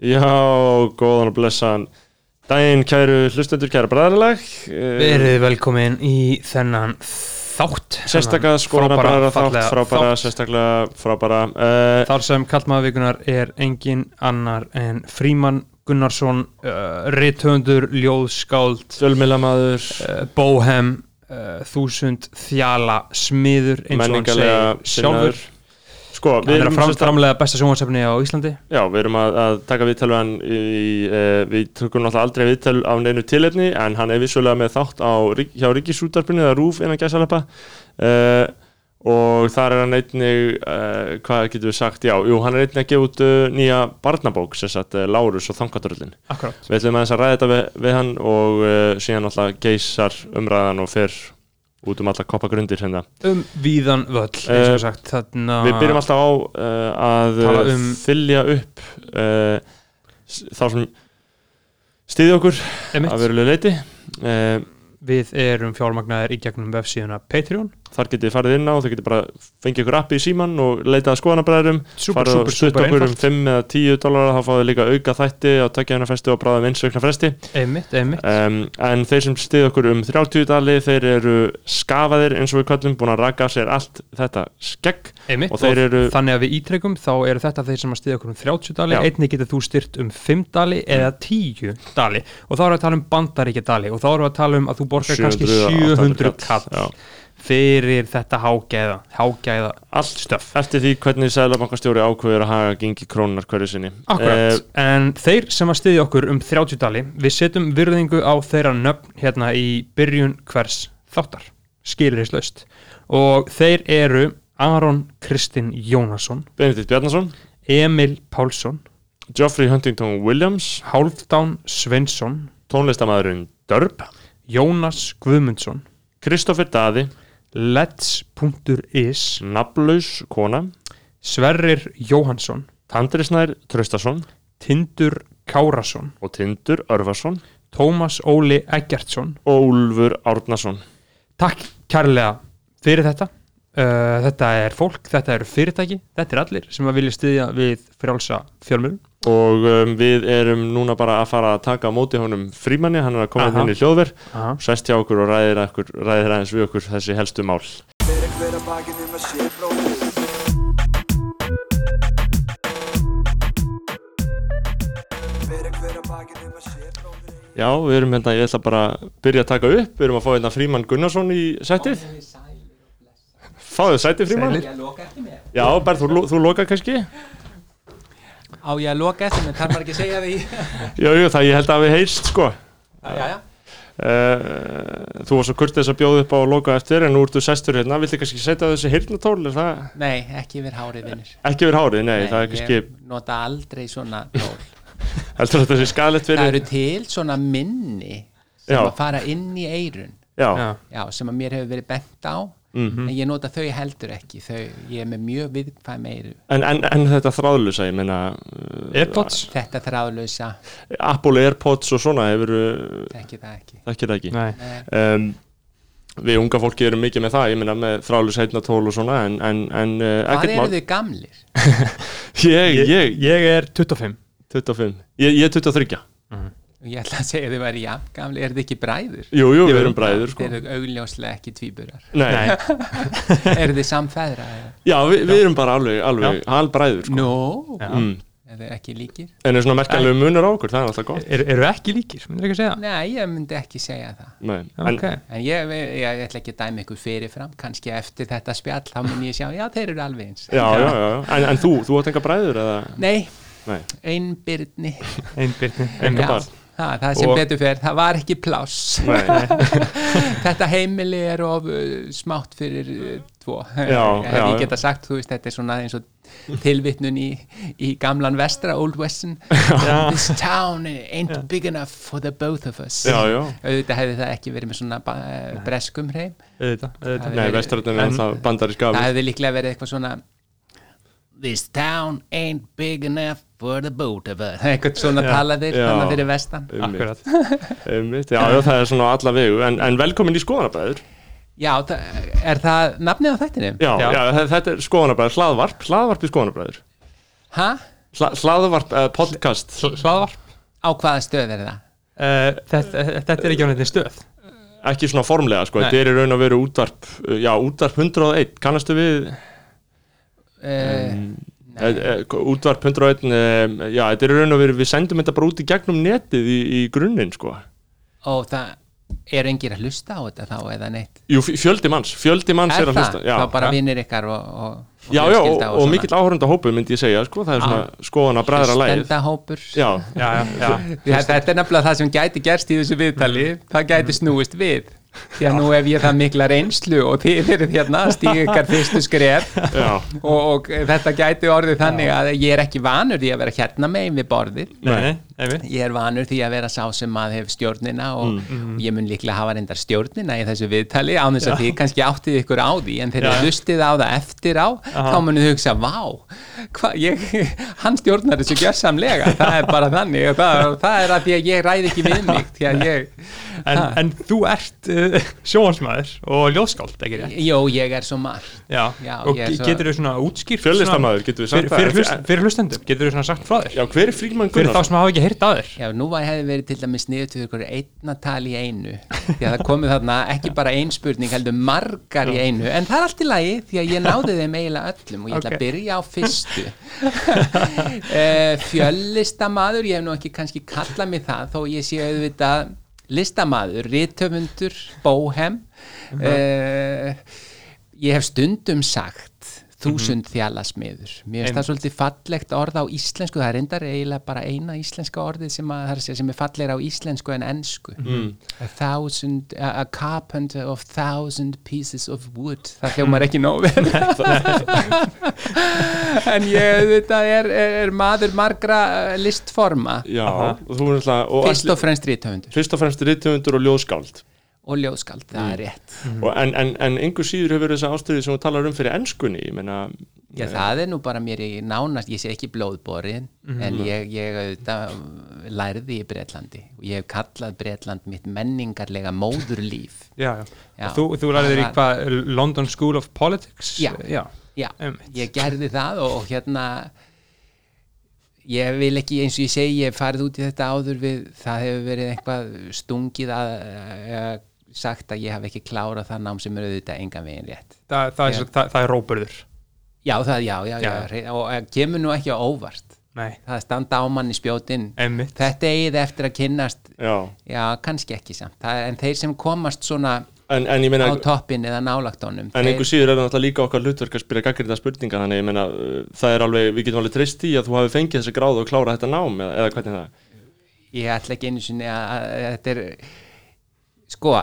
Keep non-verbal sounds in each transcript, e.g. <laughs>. Já, góðan og blessaðan daginn, kæru hlustendur, kæra Eh, bræðarlag Verið velkomin í þennan þátt Sérstaklega skoðan að bræðara þátt, frábæra, hérna þátt sérstaklega frábæra uh, Þar sem kallmaðvíkunar er engin annar en Fríman Gunnarsson uh, Rithöndur, ljóðskáld Fjölmilamaður, uh, Bóhem uh, Þúsund þjala smiður eins og hann menningalega segir sinnaður sjálfur Sko, Hann við er erum, að fram, fram, framlega besta sjónvarsefni á Íslandi já, við erum að, að taka viðtal við hann í, uh, Við tökum náttúrulega aldrei viðtal af neinu tilefni En hann er vissulega með þátt á, Rík- hjá Ríkisútarpinu eða Rúf innan gæsalappa uh, Og þar er hann einnig, uh, hvað getum við sagt, já, jú, hann er einnig að gefa út uh, nýja barnabók, sem sagt, uh, Lárus og Þangatröllin. Akkurát Við ætlum aðeins að ræða þetta við, við hann og uh, síðan alltaf geysar umræðan og fer út um alla koppagrundir hérna. Um víðan völl, eins Eh, og sagt Þarna Við byrjum alltaf á uh, að Ah. Tala um, um- fylja upp uh, s- þá sem stiði okkur einmitt. að verulega leiti. Uh, Við erum fjármagnaðir í gegnum vefsíðuna Patreon þar getið þið farið inn á, þið getið bara fengið ykkur appi í síman og leitað að skoðanabræðurum. Super, farið super, og stutt super okkur um einfalt 5 eða 10 dólarar, þá fáið þið líka auka þætti á takkjæðunarfesti og bráðum einsveikna fresti. Einmitt, einmitt um, en þeir sem stiða okkur um 30 dali þeir eru skafaðir eins og við kallum búin að raka af sér allt þetta skegg Einmitt, og þeir eru- þannig að við ítrekum þá eru þetta þeir sem að stiða okkur um 30 dali, Já. Mm. einnig getur þú styrt um 5 dali eða 10 dali og þá erum við að tala um bandaríkja dali og þá erum við að tala um að þú borgar kannski 700 kall Já. fyrir þetta hágæða, hágæða allt Eh, stöf. eftir því hvernig sæðlabankastjóri ákveður að haga gengi krónar hverju sinni Eh, Akkurat, en þeir sem að stiðja okkur um 30 dali, við setjum virðingu á þeirra nöfn hérna í byrjun hvers þáttar, skilirislaust og þeir eru Aron Kristinn Jónasson Benedikt Bjarnason, Emil Pálsson Geoffrey Huntington Williams Hálfdán Sveinsson tónlistamæðurinn Dörp Jónas Guðmundsson Kristoffer Daði, Let's.is Naflaus Kona Sverrir Jóhansson Tandrisnær Tröstason Tindur Kárasson og Tindur Örvason Tómas Óli Eggertsson og Úlfur Árnason Takk kærlega fyrir þetta uh, Þetta er fólk, þetta eru fyrirtæki Þetta er allir sem að vilja styðja við frjálsa fjölmjölum og um, við erum núna bara að fara að taka á móti honum frímanni, hann er að koma Aha. hérna í hljóðver Aha. sest hjá okkur og ræðir, okkur, ræðir aðeins við okkur þessi helstu mál Fyrir hver að bakinn um að sé bróðið Fyrir hver að bakinn um að sé bróðið Já, við erum hérna, ég ætla bara að byrja að taka upp við erum að fá hérna Fríman Gunnarsson í settið Fáðu sætið Fríman? Sælir. Ég loka eftir mér. Já, bara þú, lo- þú lokar kannski Á ég að loka eftir mér, þarf bara ekki að segja <laughs> því. Jú, jú, það ég held að við heyrst sko já, já. Uh, þú var svo kurtið að bjóða upp á að loka eftir en nú ertu sestur hérna, viltu kannski setja þessi hirnatól, er það Nei, ekki yfir hárið vinnur. ekki verið hárið, nei, það er kannski Ég nota aldrei svona <laughs> tól. heldur þetta sé skalett Það fyrir eru til svona minni sem Já. að fara inn í eirun. já, Mm. Já. Já, sem að mér hefur verið bent á. Hmm. En ég nota þau heldur ekki. Þau, ég er með mjög viðkvæm eiru. En, en, en þetta þráðlusa, ég meina uh, Airpods? Þetta þráðlausa, Apple AirPods og svona hefur uh, ekki það ekki. ekki það ekki Nei, Nei. um, Við unga fólki erum mikið með það, ég meina með þráðlusa heitnatól og svona en, en, en uh, Hvað ekkert eru mál þau gamlir? Ég, ég, ég, ég er 25 25 Ég, ég er 23 Ég ætla að segja að þau væri jafn gamlir. Er þau ekki bræður? Jú, jú, Ég við veit erum bræður sko Þeir eru augljóslega ekki tvíburar. Nei, Nei, eru þið samfæðra? eða? já, við, við erum bara alveg, alveg halbræður sko Nú, Já. no. er þau ekki líkir? En er svona merkanlegu munur á okkur, það er alltaf gott er, eru ekki líkir, myndir ekki að segja Nei, ég myndi ekki segja það Nei, það en, okay. En ég, ég, ég ætla ekki að dæmi ykkur fyrirfram kannski eftir þetta spjall, þá mun ég sjá já, þeir eru alveg eins Já, já, já, en, en þú, þú átt enga bræður eða Nei, Nei, einbyrni Einbyrni, enga Já, barn það, það sem Og- betur fer, það var ekki pláss Nei, <laughs> Þetta heimili er of uh, smátt fyrir uh, tvo <laughs> Já, Ef já, já. ég geta sagt, þú veist, þetta er svona eins og tilvitnun í, í gamlan vestra, Old <laughs> Western This town ain't big enough for the both of us já, já Auðvitað hefði það ekki verið með svona ba- breskum hreim auðvitað, auðvitað. Það Nei, er- vestrarnir er en- ennþá bandaríska Það afurð. hefði líklega verið eitthvað svona This town ain't big enough for the boat of us <laughs> Eitthvað svona Já, talaðir já. þannig fyrir vestan Einmitt, Akkurat, einmitt, já, já, það er svona á alla vegu En, en velkomin í skoðanabæður Já, það, er það nafnið á þættinum? já, já. Já. þe- þetta er skoðanabæður, hlaðvarp, hlaðvarp í skoðanabæður Ha? Hla, hlaðvarp, uh, podcast hlaðvarp á hvaða stöð er það? uh, þetta, þetta er ekki á neitt stöð ekki svona formlega sko, Nei. þetta er í raun að vera útvarp uh, já, útvarp 101, kannastu við Uh, e, e, útvarp 101 e, já, þetta er í raun að vera, við sendum þetta bara út í gegnum netið í, í grunninn sko og það er engir að hlusta á þetta þá eða neitt Jú, f- fjöldi manns, fjöldi manns er, að er það, hlusta já, þá bara ja. vinnir ykkar og, og, og já, já, og, og fjölskylda svona. Ah. mikill áhörunda hópu myndi ég segja, sko, það er svona skoðan að bræðra lægið hlustendahópur já, já, já, já. Því að Þetta er nefnilega það sem gæti gerst í þessu viðtali það gæti snúist við því að nú ef ég það mikla reynslu og þið eruð hérna að stíga ykkar fyrstu skref og, já, og þetta gæti orðið þannig að ég er ekki vanur því að vera hérna megin við borðið Nei, nei, einmitt. ég er vanur því að vera sá sem maður hefur stjórnina og, og ég mun líklega hafa reyndar stjórnina í þessu viðtali án þess að þið kannski áttið ykkur á því en þegar Já, þið já. hlustið á það eftir á þá munið þið hugsa, vá hva, ég, <laughs> hann stjórnar þessu gjörsamlega það er bara þannig og það, það er að því að ég ræð ekki við mig því að ég, En, en þú ert uh, sjóhansmaður og ljóðskáld ekki rétt jó, ég er svo marg já. Já, og ég er ge- svo- getur þau svona útskýrt Fjöllistarmaður, getum við sagt fyrir, það? fyrir, hlust, fyrir hlustendum, getur þau svona sagt frá þér já hver er fríkmann fyrir þá Gunnarsson? sem hafa ekki heyrt að þér Já, nú var- hefði verið til dæmis niður til ykkur einna tal í einu því að það komið þarna ekki bara ein spurning heldur margar í einu en það er allt í lagi því að ég náði þeim eiginlega öllum og ég ætla Ok. að byrja á fyrstu Eh, Fjöllistamaður, ég hef nú ekki kannski kallað mig það þó ég sé auðvitað listamaður, rithöfundur, bóhem uh, ég hef stundum sagt þúsund þjálasmiður mér finnst það svolítið fallegt orð á íslensku það er reyndar eiginlega bara eina íslenska orðið sem, að, það er að segja sem er fallegra á íslensku en ensku Mm. a thousand a, a carpenter of thousand pieces of wood <laughs> það hljómar ekki nóg vel en ég þetta er, er, er maður margra eh, listforma já, og þú er náttúrulega og fyrst allir- og fremst rítöfundur fyrst og fremst rithöfundur og ljóðskáld og ljóskald, það Mm. er rétt og en, en, en einhver síður hefur þessa ástöði sem þú talar um fyrir ennskunni ég meina, Já, það er nú bara mér í nánast, ég sé ekki blóðborin, Mhm. en ég, ég auðvitað, um, lærði í Bretlandi og ég hef kallað Bretland mitt menningarlega <laughs> móðurlíf. já, já. Já. þú, þú lærið þér í Það- hvað London School of Politics Já. já. Já, Einmitt. ég gerði það og, og hérna, ég vil ekki, eins og ég segi, ég hef farið út í þetta áður við, það hefur verið eitthvað stungið að, að sagt að ég hef ekki klárað það nám sem er auðvitað engan veginn rétt. Það, það, er, Já. svo- það, það er róburður Já, það, já, já, já, Já. hrein- og eh, kemur nú ekki á óvart. nei, Það standa á manni spjótin. einmitt Þetta eigið eftir að kynnast já Já, kannski ekki samt. Það, er- en þeir sem komast svona En, en ég meina, á toppin eða nálagt honum en þeir, einhver síður er það náttúrulega líka okkar hlutverk að spyrja gaggrinda spurninga þannig ég meina, uh, það er alveg, við getum alveg treyst í að þú hafi fengið þessi gráð og klára þetta nám eða, eða hvernig það ég ætla ekki einu sinni að, að, að þetta er sko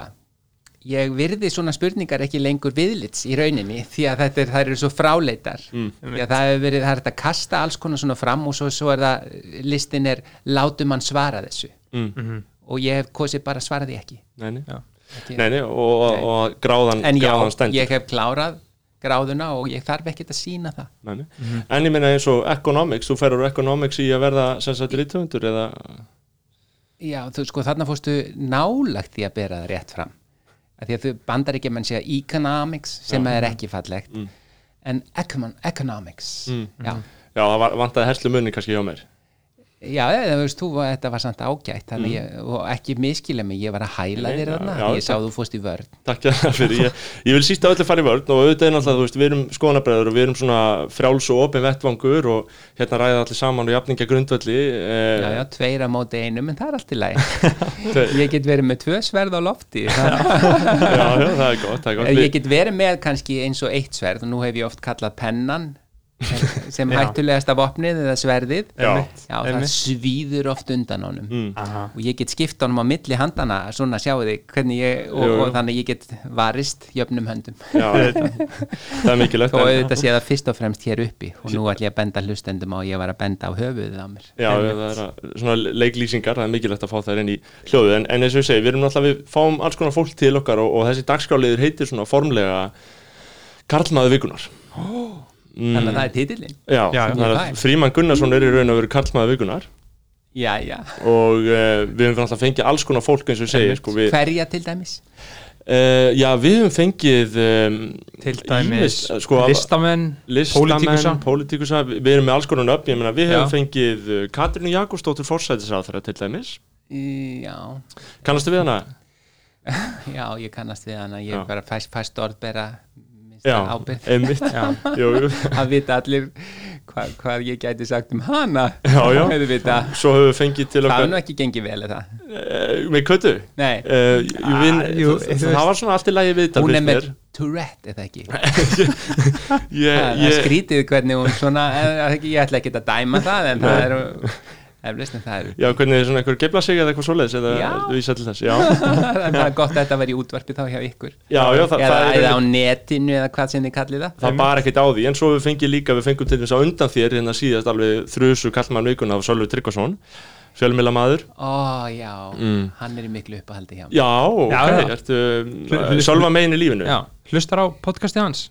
ég virði svona spurningar ekki lengur viðlits í rauninni því að þetta er, þær eru svo fráleitar Mm. því að það hefur verið, það er þetta að kasta alls konar svona fram og svo, svo er það listin er látum hann svara þessu mm. og ég hef kosið bara að svara því ekki Nei, nei, Já. nei, nei og, og, og gráðan, en já, gráðan stendur ég hef klárað gráðuna og ég þarf ekkert að sína það Nei, nei. Mhm. En ég meina eins og economics, þú ferur economics í að verða sem sagt rítöfundur eða Já, þú sko þarna fórstu nálagt því að bera það rétt fram að því að þú bandar ekki að menn segja economics sem er ekki fallegt Mm. en econ economics já, Já, það var, vantaði herslu munni kannski hjá mér já eða, þú veist, þú, var- þetta var samt ágætt þannig ég, og ekki miskilega mig, ég var að hæla Mm. Nei, þér já, þarna, já, ég sá þú fórst í vörn Takk hjá það fyrir, ég, ég vil síst að öllu fara í vörn og auðvitað er náttúrulega, þú veist, við erum skoðanabræður og við erum svona frjáls og opin vettvangur og hérna ræða allir saman og jafningja grundvölli eh, Já, já, tveir á móti einum, en það er allt í lagi <laughs> Tveir. Ég get verið með tvö sverð á <laughs> lofti það, <laughs> já, já, það er gott, það er gott. Ég get verið með kannski eins og eitt sverð og nú hef ég oft kallað pennan <laughs> sem Já. hættulegasta vopnið eða sverðið Já. Mm. Einmitt. Já, það Einmitt. svíður oft undan honum Aha. og ég get skipt honum á milli handana svona sjáu þið hvernig ég og, Jú, jú. og þannig ég get varist <laughs> jöfnum höndum já, auðvitað. það er mikilvægt og en- auðvitað sé það fyrst og fremst hér uppi og nú ætlum ég að benda hlustendum á að ég var að benda á höfuðið á mér Já, það er að, svona leiklýsingar, það er mikilvægt að fá þær inn í hljóðu en, en eins og ég segi, við erum náttúrulega, við fáum alls konar fólk til okkar og, og þessi dagskáliður heitir svona formlega Karlmaður vikunar Mm. þannig að það er titillin Já, Já, já. þannig Fæ. að Fríman Gunnarsson er í raun að vera Karlmaður eh, vikunar já, já. og uh, við höfum náttúrulega fengið alls konar fólk eins og ég segi sko, við, hverja til dæmis eh, Uh, já, við höfum fengið um, til dæmis ýmis- sko, af- listamenn, listamenn, pólitíkusa pólitikusa við við erum með alls konar nöfn, ég meina við Já. höfum fengið uh, Katrínu Jakobsdóttur fórsætisráðherra til dæmis, Í- Já, kannastu við hana? já, ég kannast við hana, ég Já. er bara fæst, fæst orðbera minnsta Já, ábyrð einmitt jú, jú. <laughs> að vita allir hvað, hvað ég gæti sagt um hana Já, já. Auðvitað. Svo höfum við fengið til það er okkar nú ekki gengið vel er það uh, með köttu Nei. uh, Ah, vin, jú, það, þú það, veist. var svona allt í lagi viðtal hún finnst er með mér. <laughs> Tourette eða ekki ég, það er ég, skrítið hvernig hún svona eh, eh, ég ætla ekki að dæma það en Nei. það er eflust en það er <laughs> Já, hvernig svona einhver geifla sig eða eitthvað svoleiðis eða Já. vísa til þess Já, það er bara gott að þetta veri í útvarpi þá hjá ykkur <laughs> já, já það, eða, það, eða á er, netinu eða hvað sem þið kallið það það bar ekkert á því en svo við fengið líka, við fengum til þess að undan þér hérna síðast alveg þrjusu kallmann vikuna af Sölvi Tryggvason, fjölmila maður ó já, Mm. hann er í miklu uppahaldi hjá mér Já, ok, Já, já. ertu Hlu- uh, Sölva megin í lífinu Já, hlustar á podcasti hans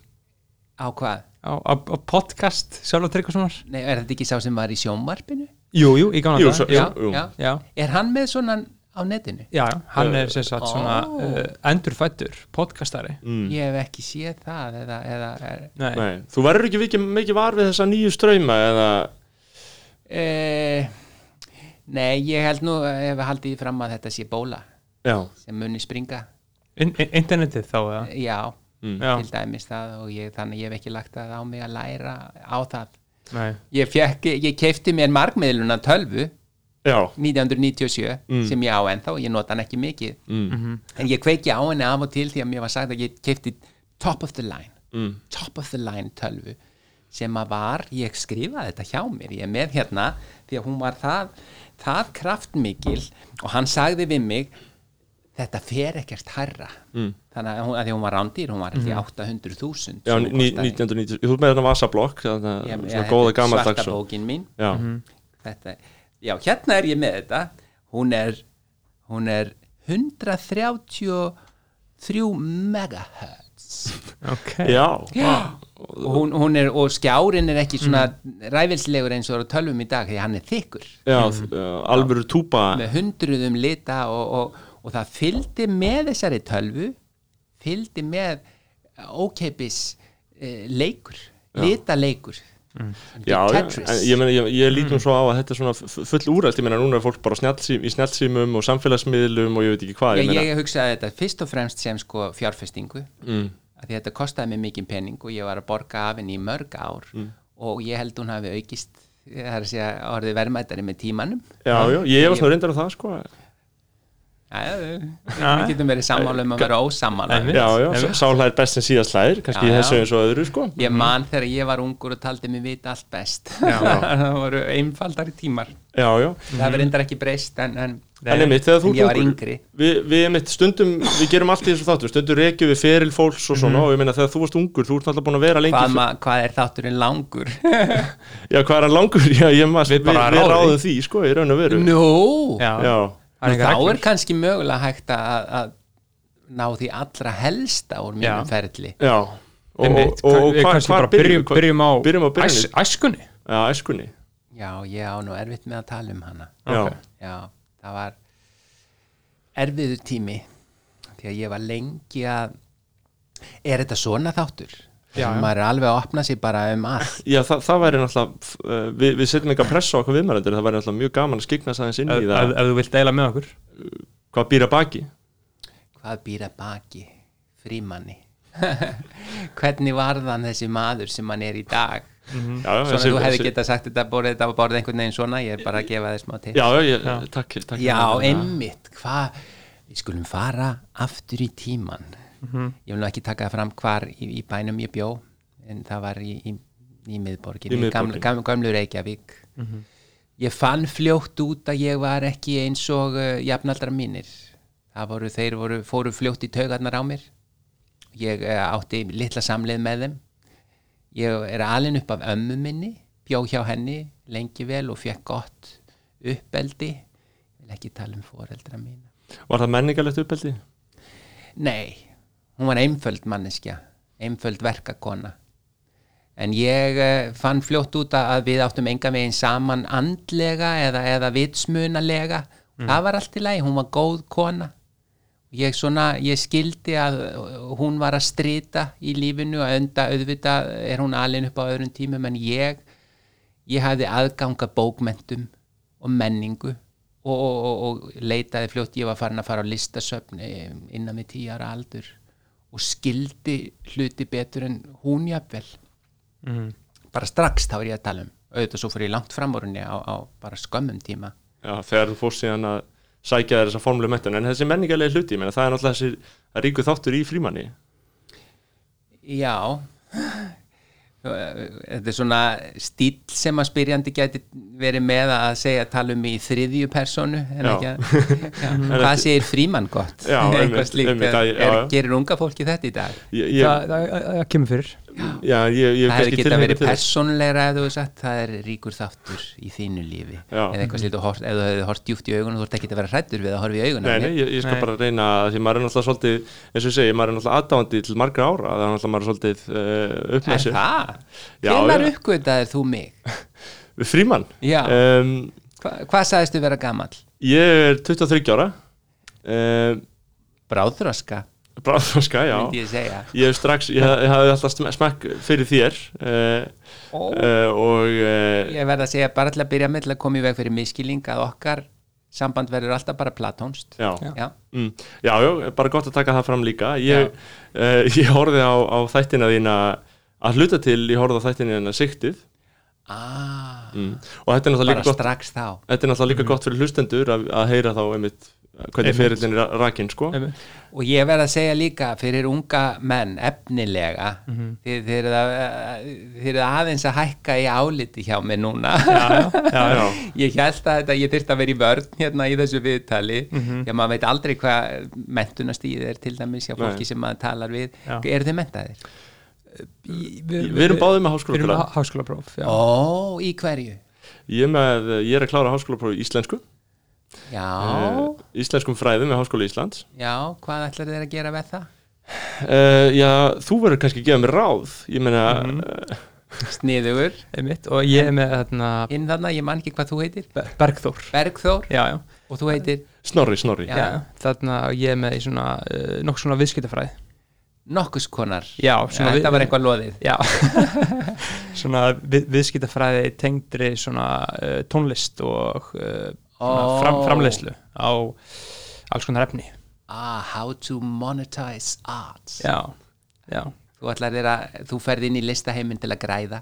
á hvað? á, á, á podcast Sjálfur Tryggvasonar Nei, er þetta ekki sá sem var í sjónvarpinu? Jú, jú, í gamla Jú, daga. svo- já, jú. Já. já, Er hann með svona á netinu? já, hann Eh, er sem sagt Ó. svona uh, endurfættur podcastari Ég hef ekki séð það eða, eða er, Nei, Nei, þú verður ekki vikið, mikið var við þessa nýju strauma eða, Eh, Nei, ég held nú eh, hef haldið því fram að þetta sé bóla já, sem muni springa In, in, internetið þá eða Já, til Já, dæmis það og ég, þannig ég hef ekki lagt það á mig að læra á það nei, Ég, fekk, ég kefti mér markmiðluna tölvu já 1997 sem ég á ennþá, ég nota hann ekki mikið Mm. en ég kveiki á henni af og til því að mér var sagt að ég kefti top of the line Mm. top of the line tölvu sem að var, ég skrifaði þetta hjá mér ég er með hérna því að hún var það, það kraftmikil og hann sagði við mig þetta fer ekkert hærra mm. þannig að hún, að því hún var rándýr, hún var ekki 800.000 Já, sem hún ní- kostaði. 1990, þú ert með þarna vasablokk þannig að Ég- ég- svona þetta góða er gamaldags svarta Mhm. og- bókin mín Já, þetta, já, hérna er ég með þetta hún er, hún er 133 megahertz ok já, og, hún, hún er, og skjárin er ekki svona ræfilslegur eins og er á tölvum í dag því hann er þykkur já uh, alvöru túpa Mhm. með hundruðum lita og, og, og það fylgdi með þessari tölvu fylgdi með ókeipis uh, leikur, litaleikur Já, já, Tetris. Mhm. en ég, meina, ég, ég lítum svo á að þetta er svona f- full úrælt, ég meina núna er fólk bara snjallsím, í snjallsímum og samfélagsmiðlum og ég veit ekki hvað, ég, meina ég hugsaði þetta fyrst og fremst sem sko fjárfestingu mm. að þetta kostaði mig mikið pening og ég var að borga af henni í mörg ár Mm. og ég held hún hafi aukist það er að segja orðið verðmættari með tímanum Já, já, ég var svona reyndar á það sko Jæja, við við getum verið sammála um að vera ósammála Einmitt. Já, já, Einmitt. sáhlæðir best sem síðast hlæðir kannski Já, í þessu já. eins og öðru sko ég man þegar ég var ungur og taldi mig vita allt best <laughs> það voru einfaldari tímar Já, já, það hefur reyndar ekki breyst en, en Mm. en einmitt þegar þú En ég var ert ungur, yngri. Við, við einmitt stundum, við gerum allt í þessu þáttum stundum reykjum við feril fólks og svona og ég meina þegar þú varst ungur, þú ert alltaf búin að vera lengi Mhm. hvað, ma, hvað er þátturinn langur Já, hvað er hann langur? <laughs> Já, ég maður, við, við, bara við ráðum ráðum því sko, í raun og veru <laughs> nú Já, Já, það er þá engar er reglur kannski mögulega hægt að, að ná því allra helsta úr mínum Já. ferli já Og, Einmitt, og, og, kannski bara byrjum, hvar- byrjum á byrjum á byrjunni. æs- æskunni Já, æskunni já, ég á nú erfitt með að tala um hana Já, Ok. já, það var erfiður tími því að ég var lengi að er þetta svona þáttur Já, já. maður er alveg að opna sig bara um allt já það, það væri náttúrulega uh, við, við setjum ekki að pressa á okkur viðmælendur það væri náttúrulega mjög gaman að skikna sæðins inn ef, í ef, það ef þú vilt deila með okkur hvað býr að baki hvað býr að baki frímanni <laughs> hvernig varðan þessi maður sem hann er í dag Mm, Mhm. Já, já, svona þessi- þú hefði þessi- getað sagt þetta borðið þetta og borðið einhvern veginn svona ég er bara að gefa þér smá til Já, já, ég, takk, takk Já, einmitt, hvað við skulum fara aftur í tíman Mhm. ég vil nú ekki taka það fram hvar í, í bænum ég bjó en það var í, í, í miðborgin, Í í gamlu, miðborginni. Mhm. gamlu, gamlu Reykjavík ég fann fljótt út að ég var ekki eins og uh, jafnaldra mínir það voru, þeir voru, fóru fljótt í taugarnar á mér ég uh, átti litla samleið með þeim ég er alin upp af ömmu minni bjó hjá henni lengi vel og fekk gott uppeldi vil ekki tala um foreldra mína Var það menningalegt uppeldi? nei, hún var einföld manneskja einföld verkakona en ég uh, fann fljótt út að að við áttum enga veginn saman andlega eða, eða vitsmunalega það var allt í lagi, hún var góð kona ég svona, ég skildi að hún var að strita í lífinu að enda auðvitað er hún alin upp á öðrum tímum en ég ég hafði aðganga bókmentum og menningu og, og, og, og leitaði fljótt ég var farin að fara á listasöfn eh, innan við tíu ára aldur og skildi hluti betur en hún jafnvel mm. bara strax þá er ég að tala um auðvitað svo fyrir ég langt framorunni á, á bara skömmum tíma Já, þegar þú fórst síðan að sækja þér þessa formlu menntun, en þessi menningarlega hluti, ég meina, það er náttúrulega þessi ríku þáttur í frímanni. Já Þetta er svona stíl sem að spyrjandi geti verið með að segja tala um í þriðju personu en Já. <laughs> ekki að já. hvað segir frímann gott Já, <laughs> eitthvað einmitt, slíkt einmitt, er, já, já. gerir unga fólki þetta í dag Ég, Þa, ég, það, það, það kemur fyrir já, ég, ég það hefur geta tilhneigingu verið til þess. persónlegra eða þú hefur sagt það er ríkur þáttur í þínu lífi Já. eða eitthvað slíkt og hort, eða þú hefur hort djúft í augunum þú ert ekki að vera hrættur við að horfa í augunum Nei, nei, ég, ég skal Nei. bara reyna að því maður er náttúrulega svolítið, eins og ég segi, maður er náttúrulega aðdáandi til margra ára, það er náttúrulega maður er svolítið uh, upp með er sér. það? Já, Hvenær já. uppgötaðir þú mig? Frímann, Já. um, Hva, hvað sagðist vera gamall? ég er 23 ára, um, Bráðþroska, bráðfroska, já. myndi ég segja Ég hef strax, ég, haf- ég hafði alltaf sm- smekk fyrir þér uh, Ó. uh, og uh, Ég verð að segja bara til að byrja með til að koma í veg fyrir miskilling að okkar samband verður alltaf bara platónst. já. Já. Mm. Já, já, bara gott að taka það fram líka Ég, uh, <laughs> ég horfði á, á þættina þína að hluta til ég horfði á þættina þína siktið Ah, mm. og þetta er náttúrulega bara líka gott strax þá. Þetta er náttúrulega líka gott fyrir hlustendur að, að heyra þá einmitt hvernig ferillin er rakinn sko. Einmitt. Og ég verð að segja líka fyrir unga menn efnilega mm -hmm. þið eru að, þið eruð aðeins að hækka í áliti hjá mig núna. já, já. <laughs> ég held að þetta, ég þyrfti að vera í vörn hérna í þessu viðtali. Mm Já, maður veit aldrei hvað mentunastíð er til dæmis hjá fólki Nei. sem maður talar við. Já. Eru þið mentaðir? Í- Við erum báðir með háskólapróf. Við erum með háskólapróf, já Ó, í hverju? Ég, er með, ég er að klára háskólapróf í íslensku Já. eh, Íslenskum fræðum með háskóla Íslands Já, hvað ætlar þeir að gera með það? uh, Já, þú verður kannski að gefa mér ráð Ég meina, eh, Sniðugur, Einmitt, og ég er með þarna, inn þarna, ég man ekki hvað þú heitir Be- Bergþór Bergþór Já, já, og þú heitir snorri, snorri Já. já. Þarna ég er með í svona, uh, nokk svona viðskiptafræði Nokkuskonar Já, Svona, svona Þetta var eitthvað loðið <laughs> Já, svona við, viðskiptafræði tengdri svona uh, tónlist og uh, Ó. oh. fram, framleiðslu á alls konar efni ah, How to monetize arts Já, já Þú ætlar þeir að, þú ferð inn í listaheimin til að græða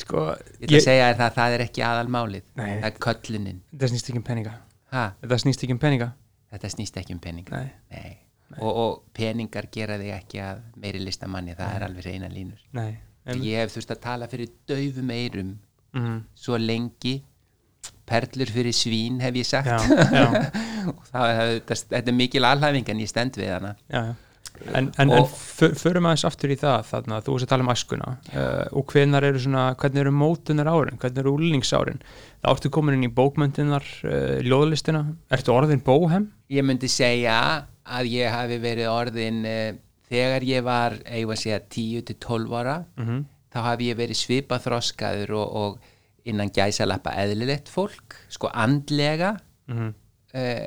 Sko, Ég ætla að segja þér það, að það er ekki aðalmálið Nei. Það er köllunin þetta snýst ekki um peninga ha, Þetta snýst ekki um peninga Þetta snýst ekki um peninga Nei, Nei. Og, og peningar gera þig ekki að meiri listamanni, það er alveg reyna línur nei einmitt. Ég hef þurft að tala fyrir daufum eirum Mhm. svo lengi perlur fyrir svín hef ég <laughs> sagt Já, já, <laughs> og það, það, það, þetta er mikil alhæfing en ég stend við hana já, já. En, en, en Og- för- förum aðeins aftur í það þarna, þú veist að tala um æskuna uh, og hvenar eru svona, hvernig eru mótunar árin hvernig eru úlningsárin þá ertu komin inn í bókmöndinar, uh, ljóðlistina ertu orðin bóhem ég myndi segja að ég hafi verið orðin uh, þegar ég var eigum að segja 10-12 ára -hmm. Mhm. þá hafi ég verið svipa þroskaður og, og innan gæsalappa eðlilegt fólk sko andlega mm Mhm. -hmm.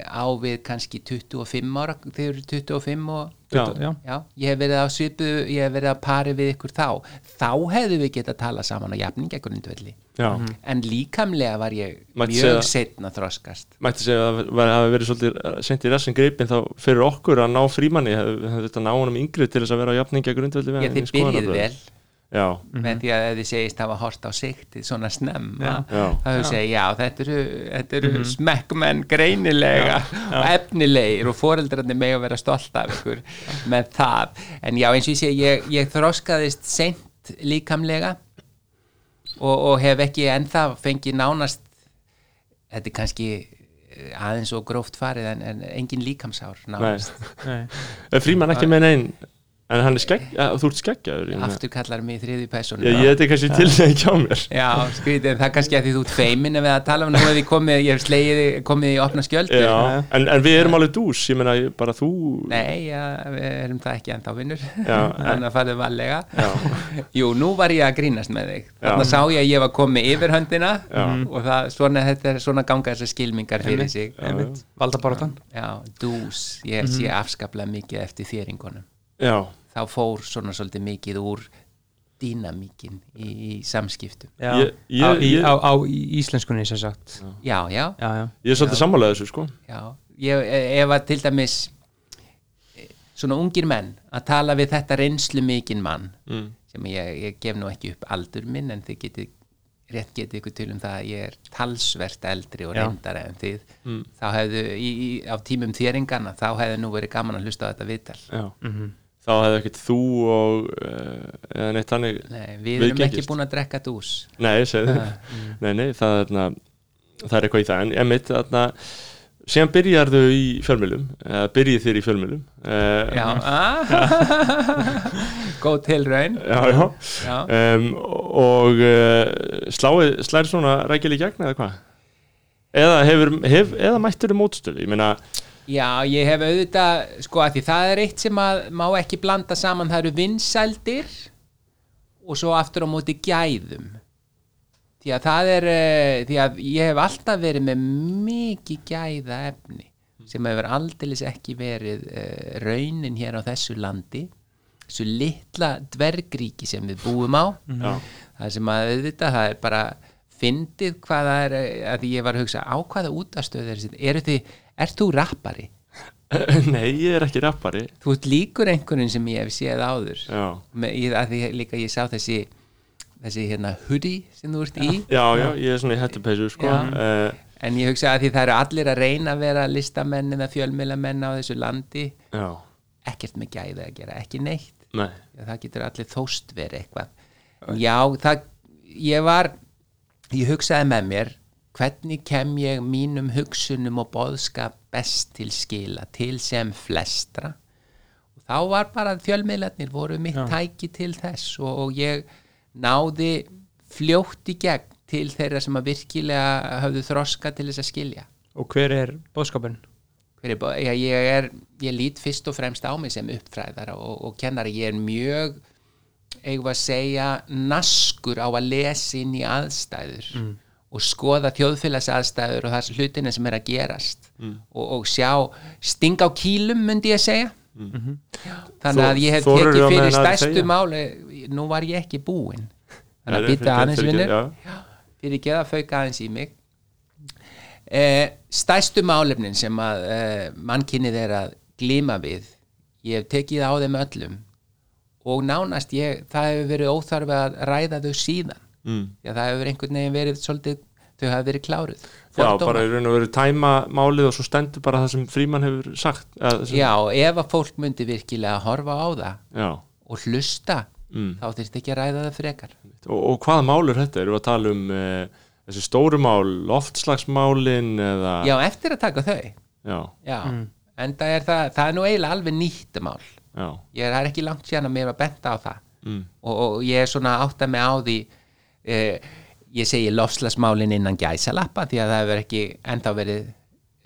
á við kannski 25 ára þegar eru 25 og Já. já, Já, ég hef verið á svipu, ég hef verið að pari við ykkur þá. Þá hefðu við getað talað saman á jafningjagrundvelli. Já. En líkamlega var ég Mhm. Mætti segja- mjög setna þroskast. mætti segja að það hafi verið svolítið sent í rassin greipin þá fyrir okkur að ná frímanni hefði hefði þetta ná honum yngri til þess að vera á jafningi að grundvelli við Ég hann í þið byrjið skoðanabrögðum. vel Já, með því að þið segist hafa hort á siktið svona snemma. Mhm. Já. Mhm. Það hefur segið, já, þetta eru, þetta eru smekkmenn greinilega og <laughs> efnilegir og foreldrarnir með að vera stolt af ykkur með það. En já, eins og ég segi, ég, ég þroskaðist seint líkamlega og, og hef ekki ennþá fengið nánast þetta er kannski eh, aðeins og gróft farið en, en engin líkamsár nei nánast Nei. Er frímann ekki með neinn en hann er skegg, ja, þú ert skeggjaður ég meina. aftur kallar mig í þriði personu ég, ég þetta er kannski til þegar ekki á mér Já, skrítið, en það er kannski að því þú ert feimin ef við að tala um nú að ég komið, ég hef slegið, komið í opna skjöldur Já, en, en við erum alveg dús, ég meina ég- bara þú Nei, já, við erum það ekki ennþá vinnur Já, <laughs> Þannig að farið varlega Já. Jú, nú var ég að grínast með þig Þannig Já. sá ég að ég var komið yfir höndina og það, svona, þetta er svona ganga þessar skilmingar fyrir sig <laughs> einmitt, valdabaratan Já, dús, ég sé afskaplega mikið eftir þéringunum Já, Þá fór svona svolítið mikið úr dýnamíkin í, í samskiptum Já, Ég- ég- á, í, ég- á, á í íslenskunni sem sagt Já, já, já, já, ég er svolítið sammálaðið þessu sko Já, ég, e- ef að til dæmis e, svona ungir menn að tala við þetta reynslu mikinn mann sem ég, ég gef nú ekki upp aldur minn en þið getið rétt getið ykkur til um það að ég er talsvert eldri og Já. reyndari en þið þá hefðu í, í, á tímum þéringana þá hefðu nú verið gaman að hlusta á þetta viðtal Já, Mhm. þá hefði ekkert þú og uh, eða neitt þannig Nei, við erum Viðgengist. ekki búin að drekka dús Nei, segðu <laughs> mm. Nei, nei, það er, na, það er eitthvað í það En emitt, þarna Síðan byrjarðu í fjölmjölum eða byrjið þér í fjölmjölum Já, uh, <laughs> góð tilraun Já, já, Já. Um, Og uh, sláið, slæri svona rækjali í gegn eða hvað? Eða, hefur, hef, eða mættur um mótstöðu Ég meina, <laughs> Já, ég hef auðvitað, sko, að því það er eitt sem að má ekki blanda saman, það eru vinsældir og svo aftur á móti gæðum. Því að það er, eh, því að ég hef alltaf verið með mikið gæða efni sem hefur aldeilis ekki verið uh, raunin hér á þessu landi, þessu litla dvergríki sem við búum á. Já. Það sem að auðvitað, það er bara fyndið hvað það er, eh, að því ég var að hugsa á hvaða útastöð er þetta, eru þið, ert þú rappari? nei, ég er ekki rappari Þú ert líkur einhverjum sem ég hef séð áður, Já, með, ég, að því líka ég sá þessi, þessi hérna hoodie sem þú ert í, já, já ég er svona í hettupeysu sko. Já. uh, en ég hugsa að því það eru allir að reyna að vera listamenn eða fjölmiðlamenn á þessu landi, Já, ekkert með gæði að gera, ekki neitt. nei Já, það getur allir þóst verið eitthvað já, það, ég var ég hugsaði með mér hvernig kem ég mínum hugsunum og boðskap best til skila til sem flestra og þá var bara að fjölmiðlarnir voru mitt tæki til þess og, og ég náði fljótt í gegn til þeirra sem að virkilega höfðu þroska til þess að skilja og hver er bóðskapin Hver er, bó- já, ég, er, ég lít fyrst og fremst á mig sem uppfræðara og, og kennari. Ég er mjög, eigum við að segja, naskur á að lesa inn í aðstæður Mm. og skoða þjóðfélags aðstæður og það hlutina sem er að gerast Mm. og, og sjá sting á kýlum, myndi ég segja. Þannig Þó- að ég hef Mm. þorirðu tekið að meina fyrir að stærstu segja? máli, nú var ég ekki búinn. Þannig að Nei, býta fyrirgefðu, aðeins vinnur fyrirgefðu, fyrir geða fauka aðeins í mig eh, stæstu málefnin sem að eh, mannkynnið er að glíma við ég hef tekið á þeim öllum og nánast ég, það hefur verið óþarfi að ræða þau síðan Mm. því að það hefur einhvern veginn verið svolítið, þau hafa verið kláruð Já, Fordómar. bara í raun og veru tæma málið og svo stendur bara það sem frímann hefur sagt eða, sem, já, og ef að fólk myndi virkilega horfa á það já. og hlusta Mm. þá þyrst ekki að ræða það frekar Og, og hvaða mál er þetta? Erum við að tala um e, þessi stóru mál, loftslagsmálin eða já, eftir að taka þau Já, já, en það er, það, það er nú eiginlega alveg nýtt mál já, ég er það er ekki langt síðan að mér var bent á það Mm. og, og ég er svona átt að mig á því eh, ég segi lofslagsmálin innan gæsalappa því að það hefur ekki ennþá verið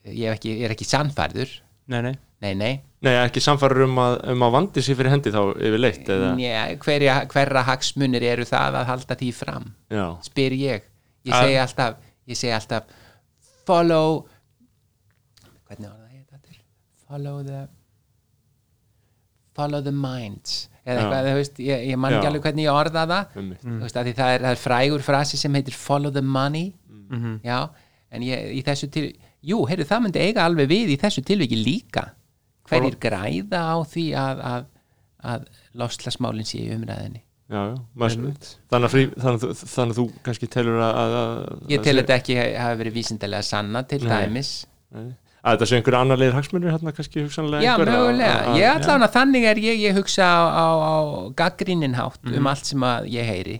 ég er ekki, ég er ekki sannfærður nei, nei, nei, nei, Nei, ekki samfærar um að, um að vandi sér fyrir hendi þá yfir leitt eða Né, hverja, hverra hagsmunir eru það að halda því fram Já, spyr ég, ég Að- segi alltaf ég segi alltaf follow hvernig var það ég þetta til follow the follow the mind Já. eða eitthvað, þú veist, ég, ég man Já. Mm. ekki alveg hvernig ég orða það Einmitt. þú veist, af því það er, það er frægur frasi sem heitir follow the money Mhm. já, en ég, í þessu til jú, heyrðu, það myndi eiga alveg við í þessu tilviki líka hverjir græða á því að, að, að loslasmálinn sé í umræðinni já, já maður, þannig, að frí, þannig, að þú- þannig að þú kannski telur að, að, að Ég tel þetta ekki hafa verið vísindalega sanna til dæmis. Nei. að þetta sé einhver annar leiðir hagsmunir hérna kannski hugsanlega Já, einhver að- mögulega. að- Ég að- allan að þannig er ég, ég hugsa á, á, á gaggríninhátt um allt sem að ég heyri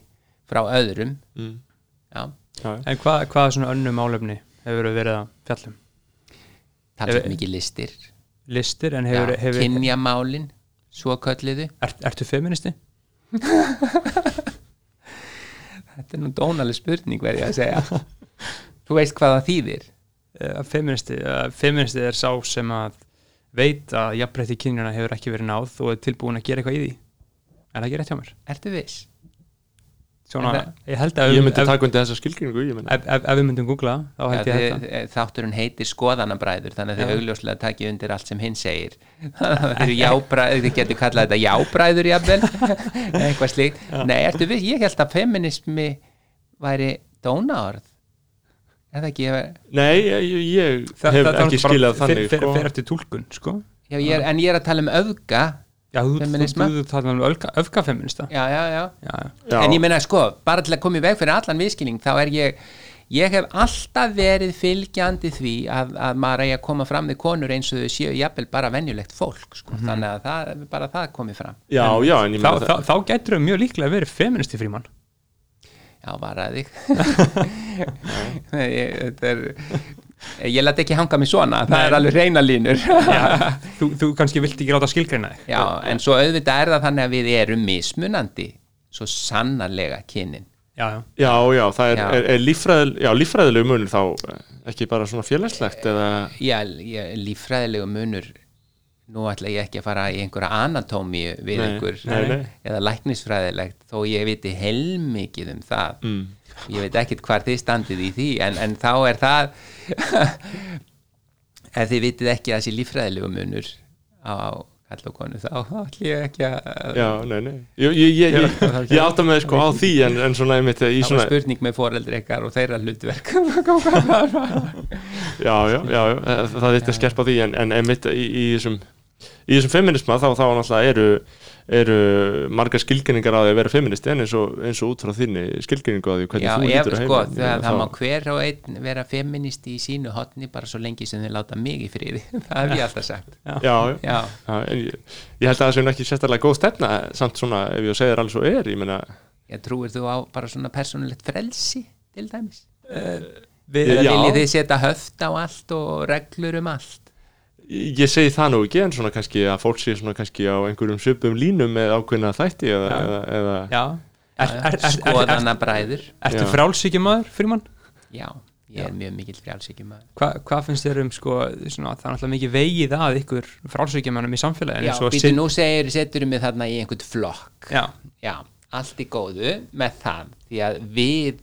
frá öðrum. Mm. Já, já, já. en hvað, hvað er svona önnu málefni hefur verið að um? fjallum talsveit Ef- mikið listir, listir en já, hefur, hefur kynjamálin, svo kölliðu er, Ertu feministi? Þetta er nú dónaleg spurning verði ég að segja <laughs> Þú veist hvað það þýðir Uh, feministi, uh, feministi er sá sem að veit að jafnbreytti kynjuna hefur ekki verið náð og er tilbúin að gera eitthvað í því Er það ekki rétt hjá mér? Ertu viss? Svona, En það- ég held að Ég myndi ef, taka undir þessa skilgringu ég meina. ef, ef, ef við myndum googla þá held ég Þið, eh, þetta þátturinn heitir skoðanabræður þannig að þið Já. augljóslega takið undir allt sem hinn <laughs> segir Þið eru jábræður, þið getur kallað þetta jábræður <laughs> jafnvel eitthvað slíkt Nei, ertu viss? Ég held að feminismi væri dónaorð eða ekki ég var Nei, ég, ég Þa- hef það- það er ekki bara- skilað fer- þannig fer, sko. fer eftir tólkun, sko Já, ég er, en ég er að tala um öfga Já, þú, þú, Feminisma? þú, þú talar um öfga, öfgafeminista Já, já, já Já, já. Já. En ég meina sko, bara til að koma í veg fyrir allan viðskilning þá er ég, ég hef alltaf verið fylgjandi því að, að maður eigi að koma fram við konur eins og þau séu jafnvel bara venjulegt fólk sko. þannig að það, bara það komi fram Já, já, en ég Þá, meina þá, það þá getur þau mjög líklega verið feministi <laughs> frímann Já, varaði ég, þetta er ég let ekki hanga mig svona, það Nei. er alveg reyna línur <laughs> Já, þú, þú kannski vilt ekki ráta skilgreina þig Já, en svo auðvitað er það þannig að við erum mismunandi, svo sannarlega kynin Já, já Já, já, það er, Já. er, er líffræðil, já, líffræðilegu munur þá eh, ekki bara svona félagslegt eða Já, ég, líffræðilegu munur nú ætla ég ekki að fara í einhverja anatómíu við Nei, einhver nei, nei. eða læknisfræðilegt þó ég viti heilmikið um það mm. ég veit ekkit hvar þið standið í því en, en þá er það <laughs> ef þið vitið ekki að þessi líffræðilegu munur á kall og konu þá ætla ég ekki að Já, nei, nei Ég, ég, ég, ég, ég átta með sko á því en, en svona einmitt eh, í það var svona spurning með foreldri ykkar og þeirra hlutverk <laughs> Já, já, já, já eh, það eitt að skerpa á því en, en einmitt eh, í, í þessum í þessum feminisma þá, þá náttúrulega eru eru margar skilgreiningar á því að vera feministi en eins og, eins og út frá þínni skilgreiningu á því hvernig Já, þú ef lítur á heiminn, sko, það, eh, það þá- má hver og einn vera feministi í sínu hotni bara svo lengi sem þau láta mig í friði <laughs> það hef ég alltaf sagt Já, já Já, Já, en ég, ég held að það sé nú ekki sérstaklega góð stefna samt svona ef ég segir alls og er ég meina, ég trúir þú á bara svona persónulegt frelsi til dæmis Við, Já. eða viljið þið setja höft á allt og reglur um allt ég segi það nú ekki en svona kannski að fólk sé svona kannski á einhverjum svipum línum með ákveðna þætti eða, eða, eða já. Er, er, er, er, er, er, skoðana bræður Ertu sko, Já. frálsíkjumadur, frímann? Já, ég er mjög mikill frjálsíkjum Hva, hvað finnst þér um sko, svona, það er náttúrulega mikið vegið að ykkur frálsvíkjumannum í samfélaginu Já, eins og býtu Sid- nú segir, setur mig þarna í einhvern flokk já, Já, allt í góðu með það því að við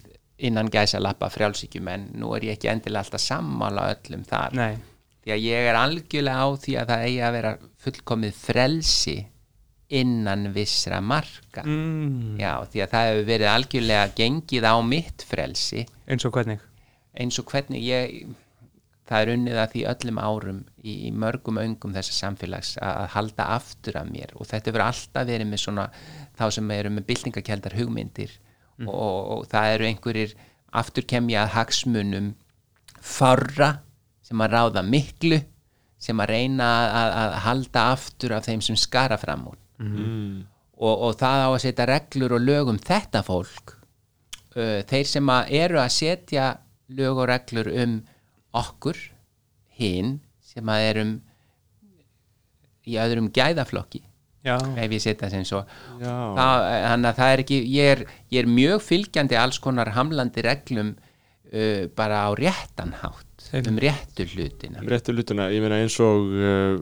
innan gæsa lappa frjálsíkjumenn, nú er ég ekki endilega alltaf sammála öllum þar nei, því að ég er algjörlega á því að það eigi að vera fullkomið frelsi innan vissra marka mm, já, því að það hefur verið algjörlega gengið á mitt frelsi eins og hvernig eins og hvernig ég það er unnið að því öllum árum í, í mörgum öngum þessa samfélags að, að halda aftur af mér og þetta hefur alltaf verið með svona þá sem eru með byltingakeldar hugmyndir og, og, og það eru einhverjir afturkemja að hagsmunum farra sem að ráða miklu sem að reyna að, að, að halda aftur af þeim sem skara fram úr Mm. Mm. og, og það á að setja reglur og lög um þetta fólk uh, þeir sem að eru að setja lög og reglur um okkur hinn sem að erum í öðrum gæðaflokki já, ef ég setja sem svo Já. það, þannig að það er ekki ég er, ég er mjög fylgjandi alls konar hamlandi reglum uh, bara á réttan hátt Einmitt. um réttu hlutina réttu lutuna, ég meina eins og uh,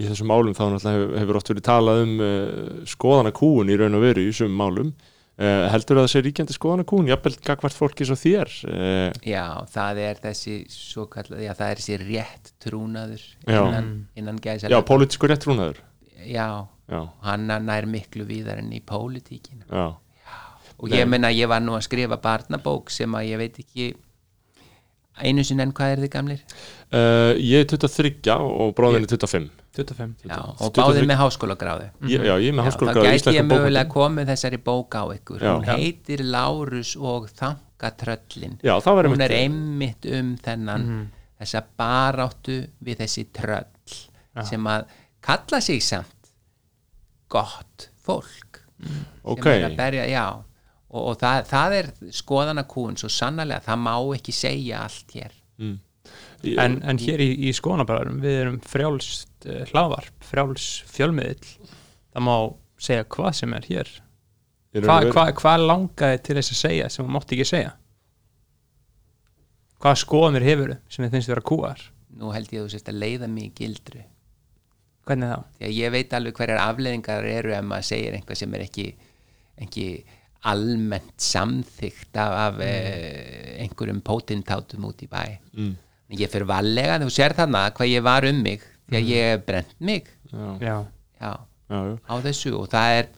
í þessum málum þá náttúrulega hefur, hefur oft verið talað um uh, skoðana kúun í raun og veru í þessum málum uh, heldur að það sé ríkjandi skoðana kúun jafnvel gagvart fólki svo þér uh, Já, það er þessi svo kallað, já, það er þessi rétt trúnaður Já. innan, innan gæsa já, pólitískur rétt rúnaður Já, já, hann nær miklu víðar enn í pólitíkina já, og ég menna ég var nú að skrifa barnabók sem að ég veit ekki einu sinni enn hvað er þið gamlir uh, ég er 23 og bróðin er 25 25 já, og Stuttur báðið fyrir- með háskólagráðu ég, já, ég er með þá háskóla Mhm. gæti ég mögulega komið þessari bók á ykkur Já. hún Já. heitir Lárus og Þankatröllin Já, það var hún einmitt- er einmitt um þennan Mhm. þessa baráttu við þessi tröll sem að kalla sig samt gott fólk ok, sem er að berja, já og, og það, það er skoðanakúin svo sannarlega, það má ekki segja allt hér en, en hér í, í skoðanabræðurum við erum frjálst uh, hlaðvarp, frjáls eh, fjölmiðill það má segja hvað sem er hér Í raun og hvað veru. hva, hva langaði til þess að segja sem hún mátti ekki segja hvað skoðanir hefur sem þið finnst vera kúar nú held ég að þú sérst að leiða mig í gildru hvernig þá? því að ég veit alveg hverjar afleðingar eru ef maður segir einhvað sem er ekki, ekki almennt samþygt af, af mm. einhverjum potentátum út í bæ mm. ég fyrir valega, þú sér þarna hvað ég var um mig því að ég hef brent mig já, Já. já, já, já. á þessu og það er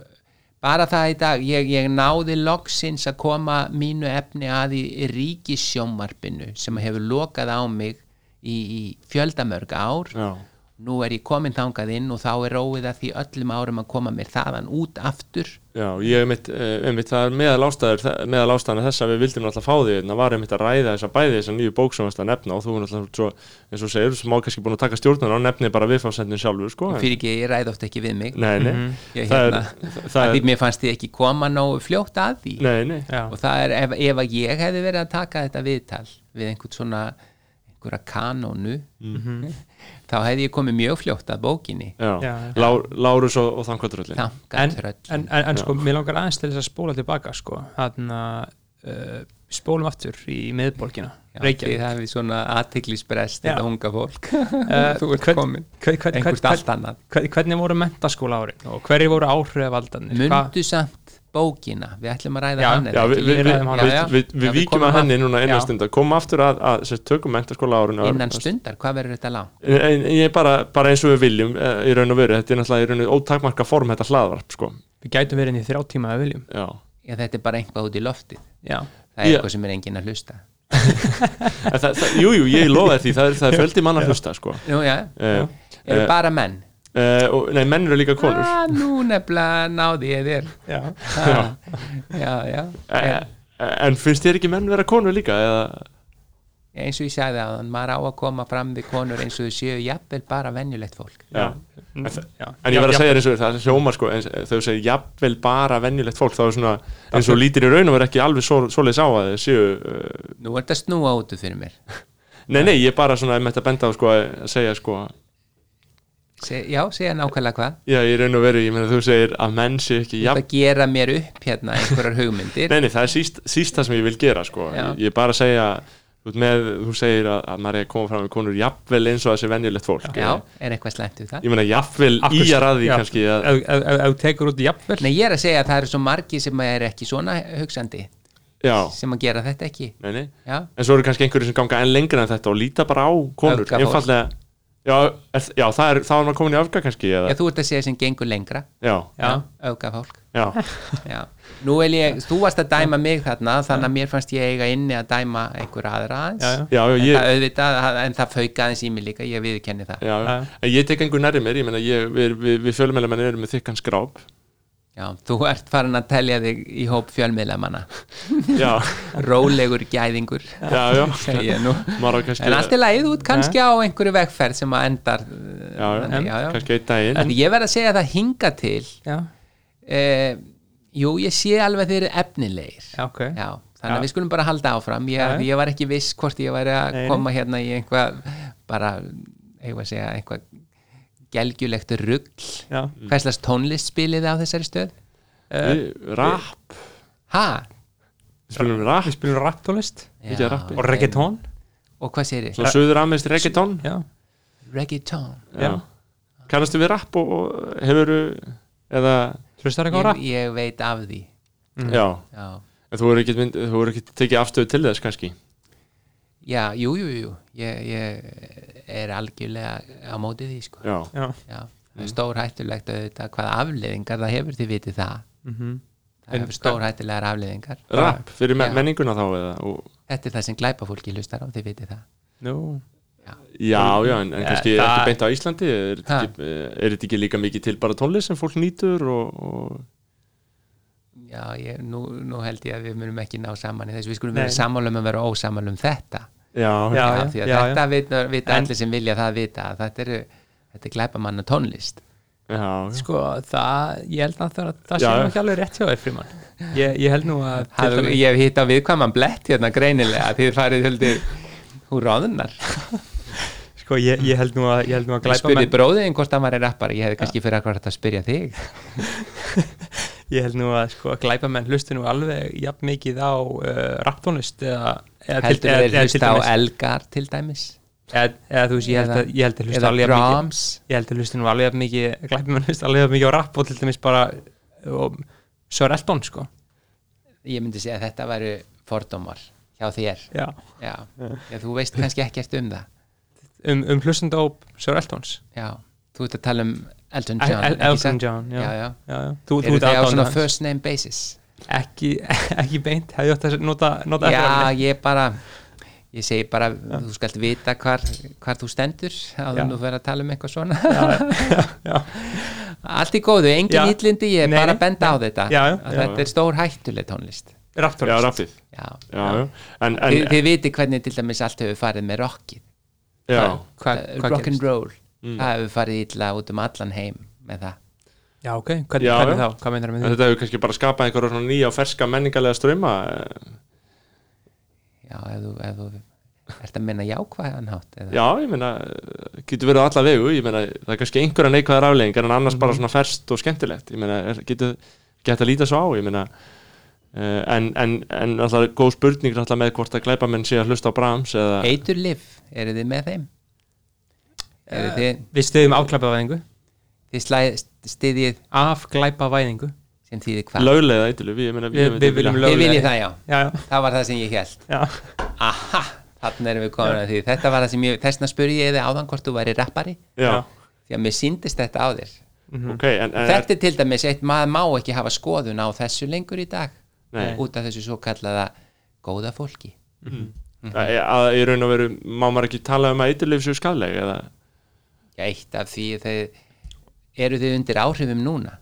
bara það í dag, ég, ég náði loksins að koma mínu efni að í ríkissjómarpinu sem hefur lokað á mig í, í fjöldamörg ár já. nú er ég komin þangað inn og þá er róið að því öllum árum að koma mér þaðan út aftur Já, ég einmitt, eh, einmitt það er meðal ástæður meðal ástæðan þess að við vildum náttúrulega fá því það var einmitt að ræða þess að bæði þess að nýju bók sem varst að nefna og þú er náttúrulega svo, eins og þú segir, sem á kannski búin að taka stjórnuna og nefni bara viðfáðsendin sjálfur sko, en- fyrir ekki, ég ræði oft ekki við mig Nei, nei, ég, það hérna, er, það- að það því er mér fannst ég ekki koma nógu fljótt að því Nei, nei, Já. og það er ef, ef að ég hefði verið að taka þetta viðtal við einhvern svona einhverja kanónu <laughs> þá hefði ég komið mjög fljótt að bókinni já, Mhm. Já, já. Lá, Lárus og, og þangatröllin en, þangat tröll en, en, en sko, mér langar aðeins til þess að spóla tilbaka sko, þannig að uh, spólum aftur í miðborgina því Reykjavík það hefði svona aðtiklisbrest þetta Já. unga fólk Eh, <laughs> þú ert hvern- komin hvern- hvern- einhvert hvern- allt annað Hver- hvernig voru mentaskóla árin og hverju voru áhrifavaldarnir Hvað- Mundu samt bókina Við ætlum að ræða Já, hann er Já, það við, ekki? við, Ég við, ræðum hana. við, Já, já. við, Já, við við víkjum komum að henni að- núna Já. einu stund Komum aftur að, að sem sagt, tökum mentaskóla árun Innan stundar, hvað verður þetta langt? En ég er bara, bara eins og við viljum eh, í raun og veru, þetta er náttúrulega í raun og ótakmarka form þetta hlaðvarp sko. við gætum verið inn í þrjá tíma að viljum Já. Já, þetta er bara eitthvað út í loftið já, Það er Já. eitthvað sem er enginn að hlusta En það- það- Jú, jú, ég lofa þér því, það er, það er fjöldi manna hlusta sko. Nú, já, uh, Eh, eru bara menn og, Nei, menn eru líka konur ah, Nú nefnilega náði ég þér já. ah, Já, já Eh, En En finnst þér ekki menn vera konur líka? Eða, eins og ég sagði að hann maður á að koma fram við konur eins og þau séu jafnvel bara venjulegt fólk já. En, En ég verð að segja þér eins og þér, það hljómar sko, eins, þau segir jafnvel bara venjulegt fólk þá er svona eins og lítir í raun og vera ekki alveg svo, svoleiðis á að þau séu uh, Nú er þetta snúa útu fyrir mér Nei, nei, ég er bara svona með þetta benda á sko að segja sko Se, Já, segja nákvæmlega hvað Já, í raun og veru, ég meina þú segir að menn séu ekki Það jafn gera mér upp hérna einhverjar hugmyndir Nei, nei, það er síst, síst það sem ég vil gera sko Já. Ég er bara að segja, þú, ert með, þú segir að, að maður er að koma fram með konur jafnvel eins og að sé venjulegt fólk sko. Já, er eitthvað slæmt við það? Ég meina jafnvel í að ræði kannski að, ef ef- ef þú tekur út jafnvel Nei, ég er að segja að það eru svo margi sem er ekki svona hugsandi Já, sem að gera þetta ekki nei, nei Já, en svo eru kannski einhverju sem ganga enn lengra en þetta og líta bara á konur Öfgafólk. einfallega já, er, já það er, þá er maður komin í öfga kannski eða, já þú ert að segja sem gengur lengra já, Já. auka fólk já, Já. Nú vil ég, þú varst að dæma mig þarna þannig að mér fannst ég eiga inni að dæma einhverja aðra aðeins Já, já. já, já, En, ég, það, auðvitað, en það fauka aðeins í mig líka, ég viðkenni það já, já. En ég tek einhver nærri mér ég meina, ég, við, við, við fjölmælamenn erum með þykkan skráp Já, þú ert farin að telja þig í hóp fjölmiðlamanna já, rólegur gæðingur já, já segi ég nú maður á kannski En allt er lagið út kannski á einhverju vegferð sem að endar uh, já, já, já, já. kannski einn daginn En ég verð að segja það hinga til já, eh, Jú, ég sé alveg þeir eru efnilegir já, ok Já, þannig Já. að við skulum bara halda áfram ég, Já. ég var ekki viss hvort ég væri að Nei, nei. koma hérna í einhvað bara, eigum að segja, einhvað gelgjulegt rugl Já. hverslas tónlist spilið þið á þessari stöð? eh, Við- rap, Ha? við spilum rap við spilum rapptólist Mikið af rappi. og reggaetón Og hvað sér þið? svona söður ameist reggaeton já, Reggaeton já. kannastu við rap og, og hefur eða, hlustar eitthvað á ég, rapp ég veit af því Mm. já Já, en þú eru ekki, mynd, þú eru ekki tekið afstöðu til þess kannski já jú, jú, jú ég, ég er algjörlega á móti því sko já, já, Mm. Já, það er stórhættulegt að þetta hvaða afleiðingar það hefur, þið vitið það Mm. Mhm. það hefur stórhættulegar afleiðingar rap fyrir me Já. menninguna þá eða og, þetta er það sem glæpa fólki hlustar á, þið vitið það nú já, já, en, en kannski það- ekki beint á Íslandi er þetta Ha. ekki, er þetta ekki líka mikið til bara tónlist sem fólk nýtur og, og já, ég, nú, nú held ég að við munum ekki ná saman í þessu, við skulum Nei. vera sammála um að vera ósammála um þetta já, Já, Af því að já, þetta já. vita, vita En- allir sem vilja það vita að þetta er, þetta er glæpamanna tónlist já, sko, það, ég held að það, það sé Já, já. nú ekki alveg rétt hjá þér frimann ég, ég held nú að Haf, ég hef hitt á viðkvæman blett hérna greinilega, þið farið höldir hún ráðunar Sko, ég, ég held nú að, ég held nú að Ég glæpa spurði bróðin hvort hann var er rappari Ég hefði kannski fyrir akkur hægt að spyrja þig <laughs> ég held nú að sko, glæpa menn hlustu nú alveg jafn mikið á uh, rapptónlist eða, eða til- Heldur eða- þeir eða til hlusta á dæmis- Elgar til dæmis eða, eða þú veist, ég held Eða- að, ég held að hlusta Eða alveg jafn mikið Brahms ég held að hlusta nú alveg jafn mikið glæpa menn hlusta alveg jafn mikið á rapp og til dæmis bara og, Sör Elton sko Ég myndi segja að þetta væru fordómar hjá þér Já. Já, Já þú veist kannski ekkert um það um, um hlustendóp Sör Eltons Já, þú ert að tala um Elton El- John El- ekki Elton satt? John, já. já, já. já, já. Þú, þú Eru ert þið á aðdáandi svona hans. first name basis ekki, <laughs> ekki beint, hefði ótt að nota, nota Já, eftirnafnið. ég bara Ég segi bara, þú skalt vita hvar, hvar þú stendur áður Já. en þú verður að tala um eitthvað svona já, <laughs> Allt í góðu, engin Já. hýllindi, ég er Nei, bara nei, að benda á þetta Já, já, að já. þetta er stór hættuleg tónlist já, raptorist rappið Já, já, já. En, en, Þið, þið viti hvernig til dæmis allt hefur farið með rockið já, Hva, Eh, hvað rock and gerist? Mm. roll það hefur farið illa út um allan heim með það Já, ok, hvernig, Já, hvernig já. þá, hvað meinar en með því? þetta hefur kannski bara skapað einhverja svona nýja og ferska menningarlega ströma eh, já, ef þú, ef þú ert að minna jákvæðan hátt eða, Já, ég meina, eh, getur verið á alla vegu ég meina, það er kannski einhverja neikvæðar afleggingar en annars bara svona ferskt og skemmtilegt ég meina, er- getur geta að líta svo á ég meina, uh, en, en, en alltaf góð spurning alltaf með hvort að glæpa menn sé að hlusta á Brahms eða, eitur lif, eru þið með þeim? eru þið, Við stöðum afglæpavæðingu þið slæð, stiðið Afglæpavæðingu sem þýðir hvað? löglega eitiluf, ég meina, Við- við viljum vilja- lög- Þið viljið það, já, Já, já, það var það sem ég held já, aha, þannig erum við komin að því þetta var það sem ég, þessna spurði ég þið áðan hvort þú væri rappari, Já, því að mér síndist þetta á þér Mhm. ok, en, en þetta er til dæmis eitt maður má ekki hafa skoðun á þessu lengur í dag Nei. út af þessu svo kallaða góða fólki að, að í raun og veru má maður ekki tala um að eitilif séu skadleg eða, Já, eitt af því þeir, eru þið undir áhrifum núna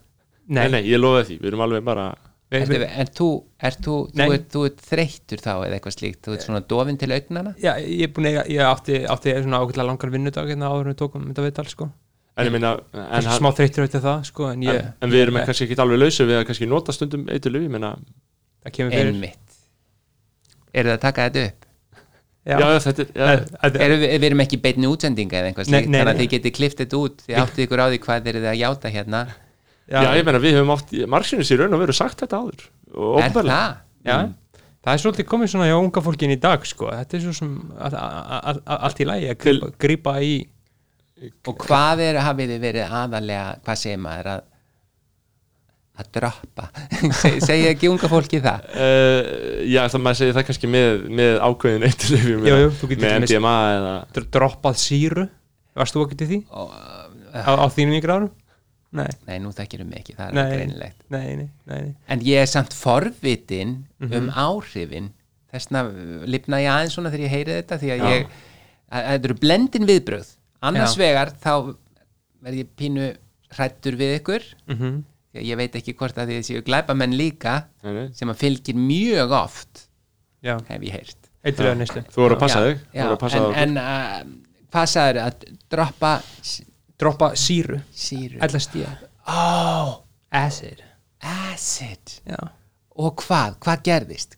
nei. nei, nei, ég lofa því, við erum alveg bara Við, Ertu, við, en þú, er þú, þú, Nei. ert, þú ert þreyttur þá eða eitthvað slíkt, þú ert svona dofin til augnana já, ég er búin að eiga- ég átti, átti svona ákveðlega langar vinnudag hérna áður en við tókum þetta viðtal sko en ég meina, en, Kannski hann, smá þreyttur auðvitað það sko en ég, en, en við erum kannski ekki alveg lausu við að kannski nota stundum eitilif, ég meina það kemur fyrir einmitt eru það að taka þetta upp? Já, já, þetta er, já, að- Eru, við, við erum ekki í beinni útsendinga eða eitthvað Nei, slíkt nei, þannig að nei. þið getið klift þetta út þið áttið ykkur á því hvað þeir eru að játa hérna Já, ég meina við höfum oft margsinnis í raun og veru sagt þetta áður og er opinberlega. það? Já, það er svolítið komið svona hjá unga fólkin í dag sko, þetta er svo sem að- að- að- að- allt í lagi að grípa, grípa í og hvað er, hafið þið verið aðalega hvað segir maður að að droppa <laughs> Se, segja ekki unga fólki það Uh, já, það maður segir það kannski með, með ákveðin eiturlyfjum Jú, eða jú, þú getur með til dæmis- MDMA eða dr- droppað síru varst þú ekki til því og, á, á þínum yngri árum? Nei, nei, nú þekkirum við ekki, það er nei, nei, greinilegt nei, nei, nei. en ég er samt forvitin Mhm. um áhrifin þessna lifna ég aðeins svona þegar ég heyri þetta því að ég, að- að þetta eru blendin viðbröð annars Já. vegar þá verð ég pínu hrættur við ykkur mm -hmm. ég veit ekki hvort að þið séu glæpamenn líka Mhm. Nei, nei. sem að fylgir mjög oft Já, hef ég heyrt eitthvað nýslu Þú voru að passa Já, þig, þú já, voru að passa þig en, en uh, hvað sagður að droppa s- Droppa síru, sýru LSD oh, Acid acid Já og hvað, hvað gerðist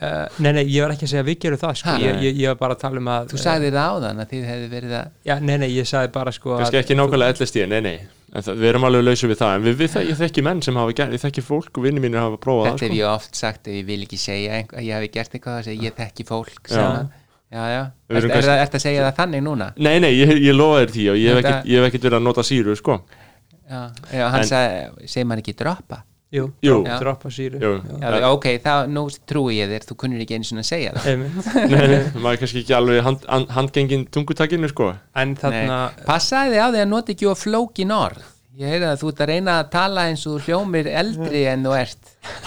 Uh, nei, nei, ég var ekki að segja að við gerum það sko. Ha. ég, ég, ég var bara að tala um að uh, þú Eh. sagðir það áðan að þið hefði verið að já, Nei, nei, ég sagði bara sko að Kannski ekki nákvæmlega ellest ég, nei, nei en það, Við erum alveg lausu við það, en við, við, ég þekki menn sem hafa gerð, ég þekki fólk og vinnir mínir hafa prófað þetta hef það, sko. ég oft sagt ef ég vil ekki segja einhver, að ég hefði gert eitthvað að segja ég þekki fólk Já. sem að- já, já, Við er, erum er, kannski- er, að segja það þannig núna sko Nei, nei, ég, ég lofa þér því og ég hef Þetta- ekkert- ég hef ekkert verið að nota síru, sko já, já, hann En- sagði, segir maður ekki droppa Jú, Jú. droppa- droppa síru Jú, já, ok, þá nú trúi ég þér þú kunnur ekki einu svona að segja það Einmitt. nei, nei, maður er kannski ekki alveg hand, hand, handgengin tungutakinu, sko En þarna Nei, passaði þið á því að nota ekki of flókin orð ég heyrði að þú ert að reyna að tala eins og þú hljómir eldri en þú ert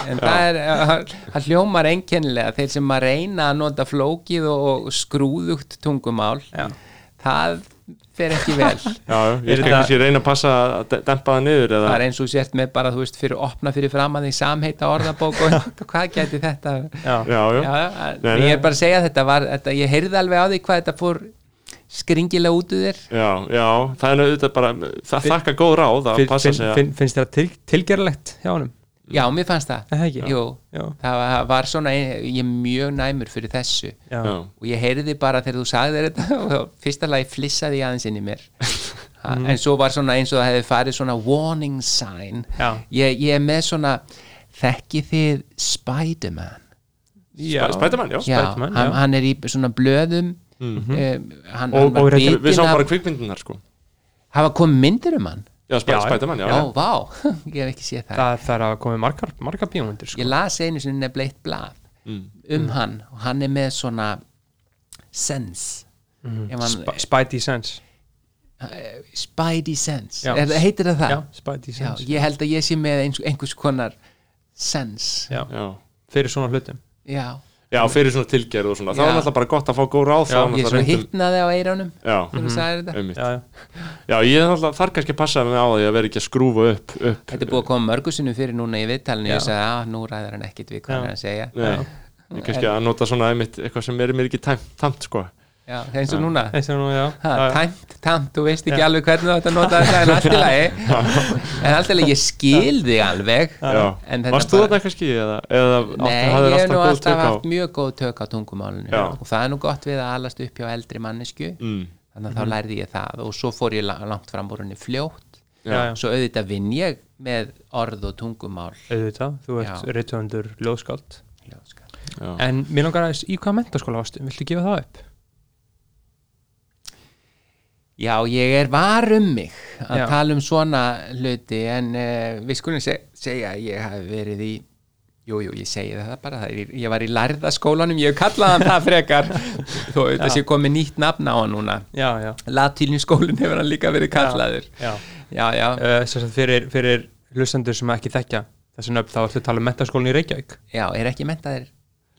en það er, eh, það hljómar einkennilega þeir sem að reyna að nota flókið og, og skrúðugt tungumál Já. það fer ekki vel það Já, já, ég Er skal þetta- kannski reyna að passa að de- dempa það niður eða er eins og þú sért með bara þú veist fyrir opna fyrir framan því samheita orðabók <laughs> og hvað gæti þetta Já, Já, já, já, já, Nei, ég nei. er bara að segja að þetta var þetta, ég heyrði alveg á því hvað þetta fór skringilega út úr þér Já, já, það er auðvitað bara það þakka góð ráð að Finn- passa finn- sig að finn- finnst þér það til, tilgerlegt hjá honum já, mér fannst það Er það ekki? Jú, Já, það var svona ég er mjög næmur fyrir þessu já, já, og ég heyrði bara þegar þú sagði þér þetta <laughs> og þá fyrsta lagi flissaði ég aðeins <laughs> inn í mér ha, Mhm. en svo var svona eins og það hefði farið svona warning sign Já. ég, ég er með svona þekki þið Spiderman já. Spiderman, já, já, Spiderman, hann, já. Mhm. hann er í svona blöðum mm hann, Og- hann og var reyndar- Við bitinn sáum bara af kvikmyndunar sko hafa komið myndir um hann Já, Já, já. Spiderman, já, já, já vá, <laughs> ég hef ekki séð það Það þarf að koma margar, margar bíómyndir ég sko. las einu sinni nefnilega eitt blað Mm. um hann og hann er með svona sense mm. hann, Mhm. Sp Spidey Sense Spidey sense Já. er, heitir það það? Já, Spidey Já, Sense ég held að ég sé með eins, einhvers konar sense Já. Já, Fyrir svona hlutum Já. já fyrir svona tilgerð og svona Það Já. var náttúrulega bara gott að fá góð ráð þá Já, var ég náttúrulega svo reyndum- hittnaði á eirónum Já, Mhm. þegar þú sagðir þetta einmitt Já, já, Já, ég er náttúrulega þar kannski að passa mig á því að vera ekki að skrúfa upp, upp. Þetta er búið að koma mörgusinu fyrir núna í viðtalinu Já. ég sagði að nú ræður hann ekkit við hvað Já. hann er að segja Nei, ég kannski að nota svona einmitt eitthvað sem er mér ekki tæmt, tæmt sko Já, eins og núna eins og nú, já, ha, já, já. Tæmt, tæmt, þú veist ekki alveg hvernig þú ætti að nota þetta en allt í <laughs> lagi en allt í lagi, ég skil þig alveg Já, en varst þú þarna kannski eða, eða átti- Nei, hafðir ég hef nú góð alltaf tök á- haft mjög góð tök á tungumálinu Já. og það er nú gott við að alast upp hjá eldri mannesku mm, þannig að þá lærði ég það og svo fór ég la- langt fram úr henni fljótt já, já. svo auðvitað vinn ég með orð og tungumál Auðvitað, þú ert Já. reytöfundur ljóðskáld ljóðskap. já. En mér langar aðeins í hvaða mentaskóla varstu, viltu gefa það upp? Já, ég er var um mig að Já. tala um svona hluti en uh, við skulum seg segja að ég hafi verið í Jú, jú, ég segi það bara, það er, í- ég var í lærðaskólanum, ég hef kallað hann <laughs> það frekar þó auðvitað sé komið nýtt nafn á hann núna Já, já, Latínu skólinn hefur hann líka verið kallaður já Já, já, uh, Sess að fyrir, fyrir hlustendur sem ekki þekkja þessi nöfn þá ertu að tala um mentaskólan í Reykjavík já, er ekki mentaðir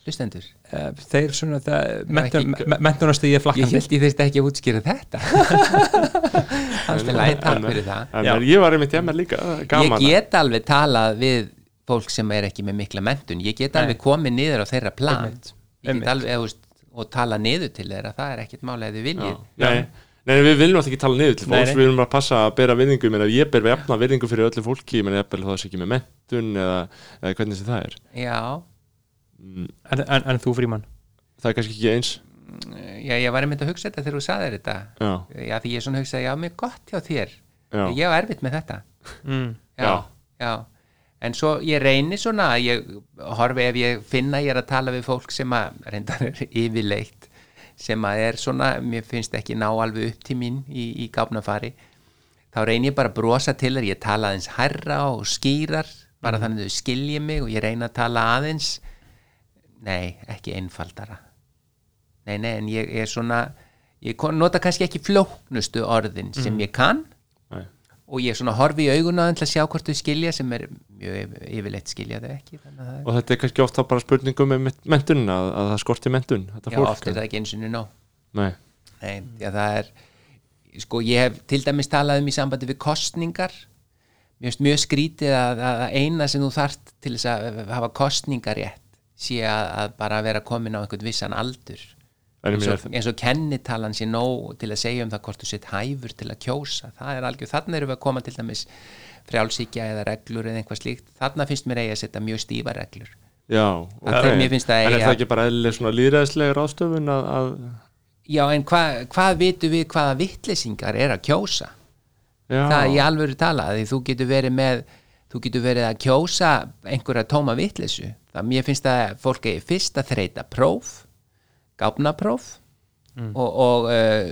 hlustendur uh, Þeir svona, ekki- mentunastíði er Ég flakkandi held ég þurfti ekki að útskýra <laughs> þetta Þannig að læta hann fyrir það en Já. er- ég var einmitt hjá mér líka eh, gaman Ég get alveg talað við fólk sem er ekki með mikla mentun Ég get alveg komið niður á þeirra plan Einmitt. Ég Einmitt. get alveg eða, og tala niður til þeirra Það er ekkert mála eða þið Já. viljið Nei, nei, við viljum alltaf ekki tala niður til Nei, fólks nei. Við viljum bara passa að bera virðingu menn, Ég ber við jafna virðingu fyrir öllu fólki menn, ég ber það sé ekki með mentun eða, eða hvernig sem það er Já, en, en, en þú fríman Það er kannski ekki eins já ég var einmitt að hugsa þetta þegar þú saðir þetta Já, Já, því ég svona hugsaði, já, mér gott hjá þér já, Ég á erfitt með þetta mm. Já. já, já en svo ég reyni svona að ég horfi ef ég finna ég er að tala við fólk sem að reyndar er yfirleitt sem að er svona, mér finnst ekki ná alveg upp til mín í, í gáfnafari þá reyni ég bara að brosa til þar ég tala aðeins hærra og skýrar bara þannig að þau skilji mig og ég reyni að tala aðeins nei, ekki einfaldara nei, nei, en ég er svona ég kon- nota kannski ekki flóknustu orðin sem ég kann Nei. og ég svona horfi í augun á þeim til að sjá hvort þau skilja sem er mjög yf- yfirleitt skilja þau ekki þannig að það er, Og þetta er kannski ofta bara spurningum með mentun að, að það skorti mentun Þetta já, fólk oft er það ekki eins og nú nóg Nei, nei, já, það er sko, ég hef til dæmis talað um í sambandi við kostningar mér finnst mjög skrítið að, að að eina sem þú þart til þess að hafa kostningar rétt sé að, að bara vera komin á einhvern vissan aldur en ég eins meina og, eins og kennitalan sé nóg til að segja um það hvort þú sett hæfur til að kjósa það er algjör, þannig erum við að koma til dæmis frjálsíkja eða reglur eða einhvað slíkt þannig finnst mér eigi að setja mjög stífa reglur Já, Það- mér finnst það En er eiga- það ekki bara eðlileg svona líðræðislega ráðstöfun að, að já en hva, hvað vitum við hvaða vittlesingar er að kjósa Já, það er í alvöru tala því þú getur verið með þú getur verið að kjósa einhverja tóma vittlesu það mér finnst að fólk er fyrst að þreita próf gáfnapróf Mm. og, og uh,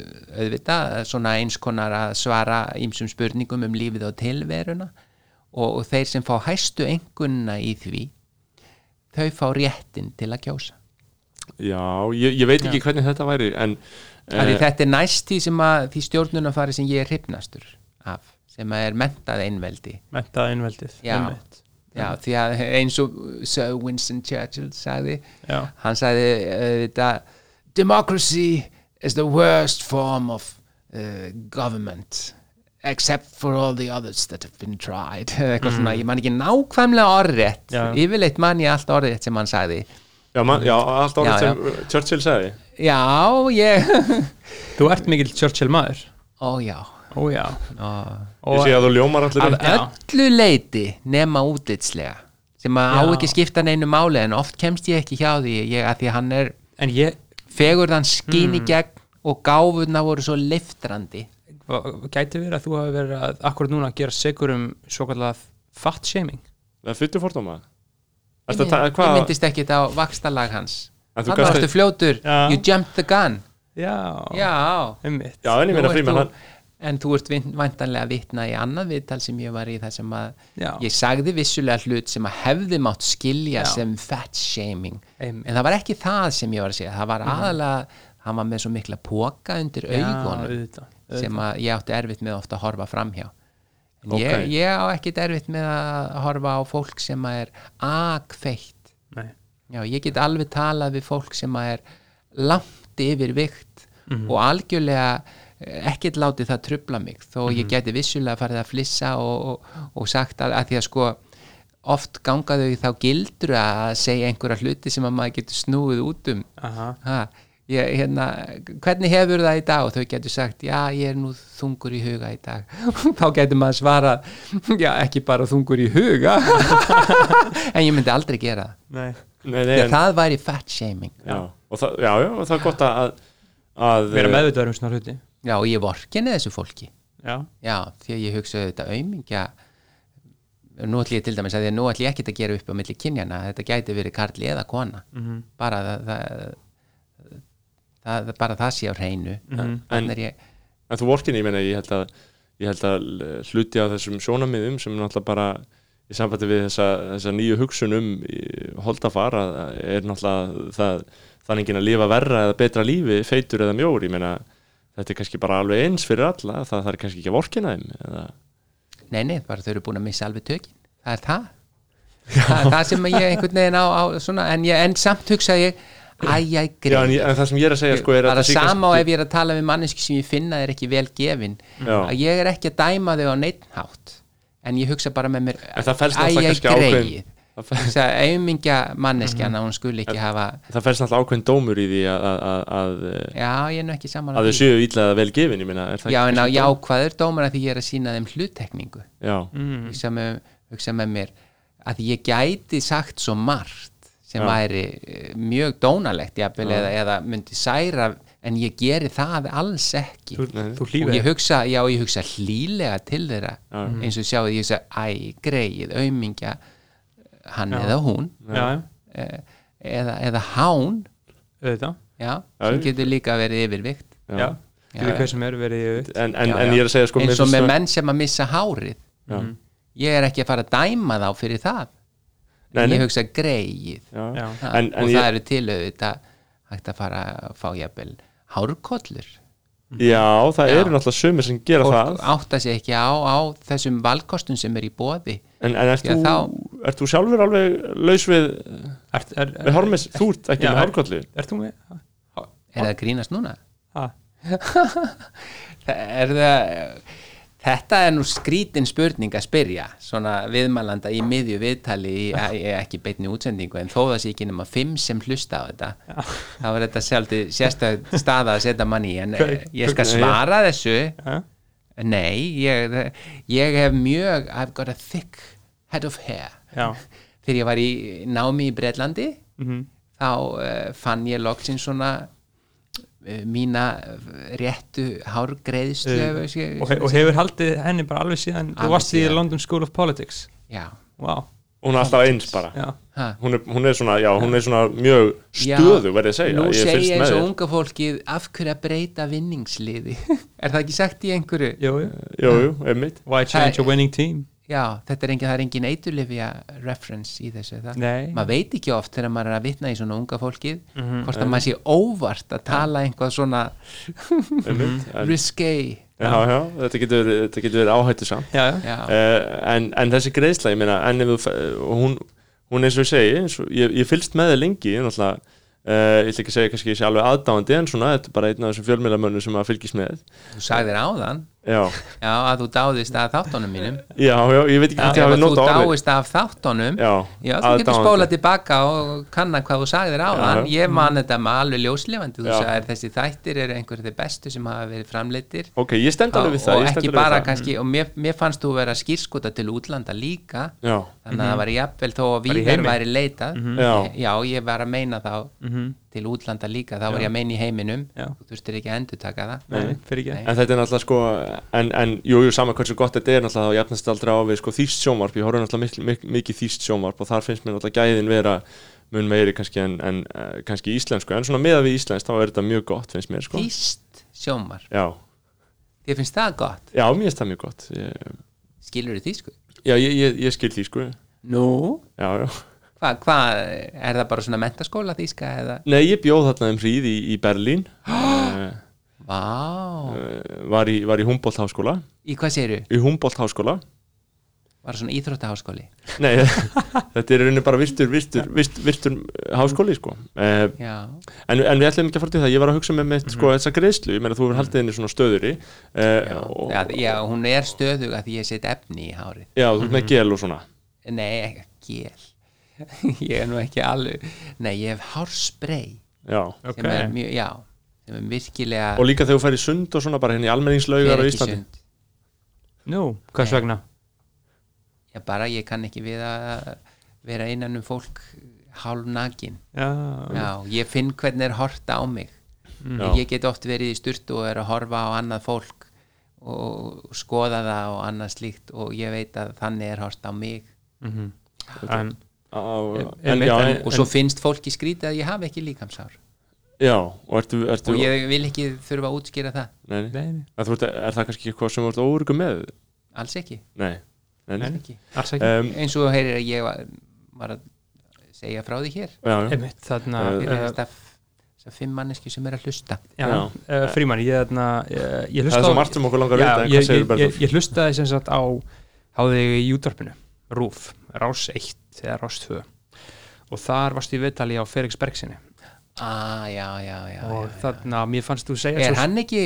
auðvitað svona eins konar að svara ýmsum spurningum um lífið og tilveruna og, og þeir sem fá hæstu engunna í því þau fá réttin til að kjósa já ég, ég veit ekki hvernig þetta væri En, Af Því eh, þetta er næst því sem að því stjórnunafari sem ég er hrypnastur af, sem að er mentað einveldi. Mentaði innveldið Já. Já, því að eins og Sir Winston Churchill sagði, Já. hann sagði uh, þetta, democracy is the worst form of uh, government except for all the others that have been tried <laughs> eitthvað svona, ég man ekki nákvæmlega orðrétt Mm. Já. yfirleitt man ég allt orðrétt sem hann sagði já, man, já, allt Já, orðið já. sem eh, Churchill sagði já, ég <laughs> Þú ert mikill Churchill maður ó já Ó já ó. Ég Og sé að þú ljómar allir um af upp Já. öllu leiti nema útlitslega sem að á Já. ekki skipta neinu máli en oft kemst ég ekki hjá því ég, að því að hann er en ég fegurðan skín Hmm. í gegn og gáfurna voru svo liftrandi gæti verið að þú hafi verið að akkurat núna að gera segur um svo kallað fat shaming Það fyrir fordóma Ég, Ertu að ta- ég hvað- myndist ekkit á vakstalag hans En hann þú gast- varstu fljótur, Já. you jumped the gun já, já, einmitt Já, en ég meina Nú ert frímann þú- hann en þú ert vin- væntanlega vitna í annað viðtal sem ég var í þar sem að Já. ég sagði vissulega hlut sem að hefði mátt skilja Já. sem fat shaming Einmitt. Mhm. en það var ekki það sem ég var að segja það var aðalega, hann var með svo mikla póka undir augunum auðvitað, auðvitað. sem að ég átti erfitt með ofta að horfa framhjá en Ok. ég, ég á ekkit erfitt með að horfa á fólk sem að er akveitt Nei. Já, ég get alveg talað við fólk sem að er langt yfir vikt og algjörlega eh, ekkert látið það trubla mig þó ég geti vissulega farið að flissa og, og, og sagt að, að því að sko oft ganga þau þá gildru að segja einhverja hluti sem að maður getur snúið út um Aha. ha, ég, hérna, hvernig hefur það í dag og þau getur sagt, já ég er nú þungur í huga í dag <laughs> þá getur maður svarað, já ekki bara þungur í huga <laughs> en ég myndi aldrei gera það Nei. Nei, nei, Já, en- það væri fat shaming já. Og það- já, já, og það er gott að að vera meðvitaður um svona hluti Já, og ég vorkinni þessu fólki já, Já, því að ég hugsa þetta aumingja Nú ætlum ég til dæmis að því að nú ætlum ég ekkert að gera upp á milli kynjana Þetta gæti verið karli eða kona Mhm. -hmm. Bara það, það, það, það Bara það sé á hreinu mm Mhm. En- er ég En þú vorkin, ég meina, ég held að ég held að eh, hluti á þessum sjónamiðum sem náttúrulega bara í sambandi við þessa, þessa nýju hugsun um holdafar að að er náttúrulega það, það er enginn að lifa verra eða betra lífi, feitur eða mjór ég meina, þetta er kannski bara alveg eins fyrir alla, það, það er kannski ekki að vorkina þeim eða, Nei, nei, bara þau eru búin að missa alveg tökin Það er það Það, það sem ég einhvern veginn á, á svona, en, ég, en samt hugsa ég Æ, æ, já, en, greið ég- en það sem ég er að segja sko, er að bara það sé sama og kannski- ef ég er að tala við manneski sem ég finna er ekki vel gefin Já. að ég er ekki að dæma þau á neittnátt en ég hugsa bara með mér En það felst náttúrulega kannski ákveðin- það Mhm. fe- ákveðin auðmingja manneskjan að hún skuli ekki hafa það færst náttúrulega ákveðin dómur í því að að, að, að, já, ég er nú ekki saman að þau séu illa eða vel gefin ég meina, er það já, Mm. en á kannski- jákvæður dómar að því ég er að sína þeim hlutekningu já, hugsa, með, hugsa með mér að ég gæti sagt svo margt sem væri eh, mjög dónalegt jafnvel, eða, eða myndi særa en ég geri það alls ekki þú, Nei. þú og ég hlýfið hugsa, já ég hugsa hlýlega til þeirra eins og sjáðu, ég hugsa æ, greið, aumingja hann eða hún já, eh, eða, eða hán auðvitað Já, já, sem ég- getur líka verið yfirvikt Já. já, fyrir hver sem er verið ég auðvitað En, en, Já, en já. ég er að segja sko, mér eins og finnst með svona- menn Mm. sem að missa hárið Já. ég er ekki að fara að dæma þá fyrir það Nei, en nei. ég hugsa greið Já. Já. Ha, En, en og ég, það eru til auðvitað hægt að fara að fá jafnvel hárkollur já, það Mhm. Já. eru náttúrulega sömur sem gera og það átta sig ekki á, á þessum valkostum sem er í bóði En, en ert, Já, þú, þá- ert þú sjálfur alveg laus við, er, er, er, Eh, við hormis, þú ert ekki Já, með er- hárkollu er þú með ha, er það að grínast núna? ha, er það þetta er nú skrítin spurning að spyrja svona viðmælanda í miðju viðtali í, í ekki beinni útsendingu en þó það sé ekki nema fimm sem hlusta á þetta þá er þetta sjálfti sérstöð staða að setja mann í en eh, ég skal svara þessu ha? nei, ég, ég hef mjög I've got a thick head of hair já, Mhm. þegar ég var í námi í Bretlandi þá uh, fann ég loksins svona uh, mína eh, réttu hárgreðslu Auðvitað. veist ég- og, he- og hefur haldið henni bara alveg síðan þú Alveg varst í síðan. London School of Politics já, wow, Hún er alltaf eins bara já, ha. hún er, hún er svona, já, hún er svona mjög Já, stöðu, verði að segja nú Ég segja fylgst ég eins með og þér unga fólkið af hverju að breyta vinningsliði <laughs> er það ekki sagt í einhverju jú, jú Jú, jú, einmitt why change a winning team já, þetta er engin, það er engin eiturlifja reference í þessu það. Nei. maður veit ekki oft þegar maður er að vitna í svona unga fólkið hvort að maður sé óvart að tala einhvað svona Mhm. einmitt en, risque Já, já, þetta getur, verið- þetta getur verið áhættu samt já, já, já, Eh. en, en þessi greiðsla, ég meina en ef þú, fe- og hún, hún eins og ég segi eins og, ég, ég fylgst með þið lengi ég náttúrulega, uh, ég ætla ekki að segja kannski ég sé alveg aðdáandi en svona, þetta er bara einn af þessum fjölmiðlamönnum sem maður fylgist með þú sagðir áðan já, Já, að þú dáðist að þáttunum mínum já, já, ég veit ekki Já, hvort ég ef hafi þú nótt á orðið. dáist af þáttunum Já, þú getur aðdáandi. spólað tilbaka og kanna hvað þú sagðir á hann Já, Mm. Ég man þetta með alveg ljóslefandi Þú Já. sagðir þessi þættir eru einhverjir þeir bestu sem hafa verið framleittir ok, ég stend alveg við það og ég stend ekki alveg við bara það. kannski og mér, mér fannst þú vera skýrskota til útlanda líka já, Mhm. þannig að það var jafnvel þó að í víðir heimi. væri leitað Já. Mhm. já, ég var að meina þá til útlanda líka, þá var ég að meina í heiminum Já. þú þurftir ekki að endurtaka það Nei, fyrir ekki en þetta er náttúrulega sko en, en jú, jú, sama hversu gott þetta er náttúrulega þá jafnast þetta aldrei á við sko þýst sjónvarp ég horfði náttúrulega mikil, mikil, mikið þýst sjónvarp og þar finnst mér náttúrulega gæðin vera mun meiri kannski en, en uh, kannski íslensku en svona meða við íslensk þá er þetta mjög gott finnst mér sko Þýst sjómar, já, ég finnst það gott já, mér finnst það mjög gott ég, skilur þú þýsku? já, ég, ég, ég skil því sko já, Nú? já Hvað, hva, er það bara svona mentaskóla þýska eða? Nei, ég bjóð þarna um hríð í, í <gasps> Berlín uh, Vá, var í, var í Humboldt háskóla í hvað séru? í Humboldt háskóla Var svona íþróttaháskóli? Nei, <laughs> þetta er í rauninni bara virtur, virtur, virt, virtur háskóli sko. uh, Já, en, en við ætlum ekki að fara til það, ég var að hugsa með mitt sko, þessa greiðslu, ég meina þú hefur haldið henni svona stöðuri já. uh, og, Já, já, hún er stöðug að því ég set efni í hárið já, þú ert með gel og svona Nei, ekki gel <laughs> Ég er nú ekki alveg Nei, ég hef hárspray já. Ok, sem er mjög, já sem er virkilega og líka þegar þú færi sund og svona bara henni almenningslaugar á fer ekki Íslandi sund. nú, hvers vegna? Já, bara ég kann ekki við að vera innan um fólk hálfnakin Já, Já, ég finn hvernig er hort á mig Já. Ég get oft verið í styrtu og er að horfa á annað fólk og skoða það og annað slíkt og ég veit að þannig er hort á mig en á, Em- en, em- já, en- en, og svo finnst fólki skrítið að ég hafi ekki líkamsár já, og ertu, ertu og ég vil ekki þurfa að útskýra það nei, nei. Nei, nei, Er, ert, er það kannski eitthvað sem þú ert óryggum með? alls ekki, Nei, nei, nei. ekki. alls ekki Um, eins og þú heyrir að ég var, var að segja frá því hér já, já. Einmitt, þarna Eh, fyrir eh, þetta þessar fimm manneski sem er að hlusta Já, Já. já. Fríman, ég, þarna, eh, ég hlusta Það er svo margt sem okkur langar að vita, en hvað ég, segirðu, ég, Bergþór? ég, ég hlustaði sem sagt á háðið í útvarpinu, RÚF Rás 1 eða Rás 2 og þar varstu í viðtali á Felix Bergsinni ah, já, já, já, og já, þarna, mér fannst þú já. segja er svo- hann ekki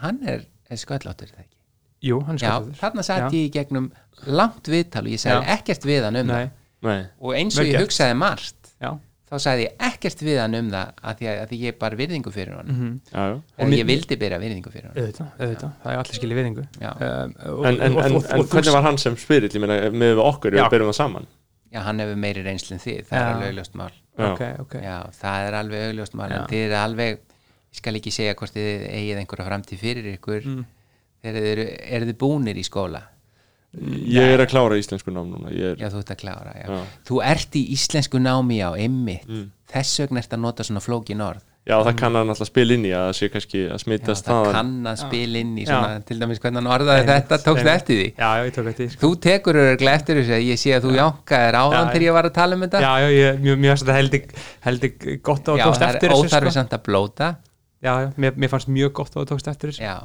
hann er, er sköllóttur er það ekki Jú, hann er já, skottur. þarna Já. satt ég í gegnum langt viðtal og ég sagði Já. ekkert við hann um Nei, Nei, það og eins og Vel ég gert. hugsaði margt já, þá sagði ég ekkert við hann um það að því að, að því ég er bara virðingu fyrir hann Mhm. já, já. og ég vildi byrja virðingu fyrir hann auðvitað, auðvitað, það er allir skilið viðingu Já. um, og, En, en, en, og- og- og- en og þú- hvernig var hann sem spyrill, ég meina, með við okkur, ef Já. við berum um það saman? já, hann hefur meiri reynslu en þið, Já. það er alveg auðljóst mál Já. Ok, ok, Já, það er alveg augljóst mál en þið eru alveg, ég skal ekki segja hvort þið eigið einhverja framtíð fyrir ykkur Mm. þegar þið eru, eru þið búnir í skóla Ég er að klára íslensku nám núna, ég er, Já, þú ert að klára, já, Já. Þú ert í íslensku námi á, einmitt Mm. þess vegna ert að nota svona flókin orð já, það kann hann alltaf spil inn í að það sé kannski að já, smittast það þaðan. kann að spila inn í Já. svona, til dæmis hvernig hann orðaði Einmitt, þetta, tókst einmitt. eftir því já, já, ég tók eftir því, sko. Þú tekur örglega eftir þessu, ég sé að þú jánkaðir áðan Já, þegar ég var að tala um þetta Já, já, ég, mjög, mjög þetta heldig, heldig gott á að tókst það eftir er þessu, óþarfi sko. samt að blóta Já, já, mér, mér fannst mjög gott á að tókst eftir þessu Já,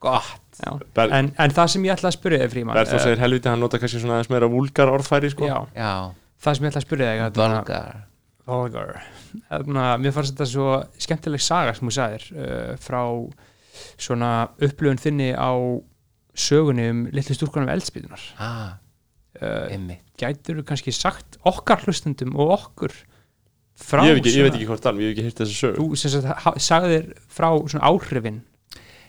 gott Já. Ber- en, en það sem ég ætla að spyrja þig Fríman Berð þú eh, segir helviti, hann nota kannski svona aðeins meira vulgar orðfæri, sko? já, Já, það sem ég ætla að spyrja þig hérna, volgar Volgar Þarna, Mér fannst þetta svo skemmtileg saga sem þú sagðir uh, frá svona upplöfun þinni á sögunni um litlu stúrkunum eldspýtunar ah, uh, einmitt Gætur þú kannski sagt okkar hlustendum og okkur frá Ég, hef ekki, ég svona- veit ekki hvort þannig, ég hef ekki hýrt þessu sög. Þú sem sagt, ha- sagðir frá svona áhrifin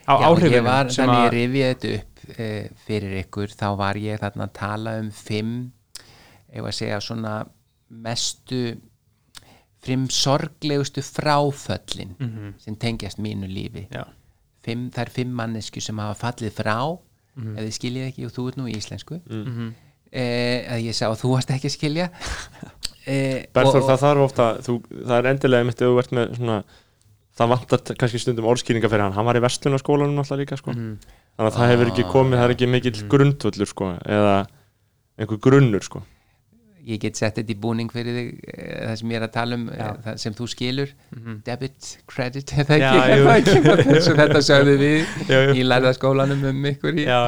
á Já, áhrifin ég var, þannig ég rifið þetta upp e, fyrir ykkur, þá var ég þarna að tala um fimm ef að segja svona mestu fimm sorglegustu fráföllin sem tengjast mínu lífi Mhm. Já, fimm, það er fimm mannesku sem hafa fallið frá Mhm. ef þið skiljið ekki og þú ert nú í íslensku mm að ég sá að þú varst ekki að <laughs> skilja e, Berður, það þarf ofta, þú, það er endilega mitt ef þú ert með svona, það vantar t- kannski stundum orðskýringa fyrir hann, hann var í vestlunarskólanum alltaf líka, sko. Þannig að það hefur ekki komið, það er ekki mikill grundvöllur, sko, eða einhver grunnur, sko. ég get sett þetta í búning fyrir þig eh, það sem ég er að tala um, eh, Já. Mhm. það sem þú skilur debit, credit, er það Já, ekki, jú. er það <laughs> ekki þessu þetta sögðu við Jú, jú. í lærðaskólanum um ykkur í, já,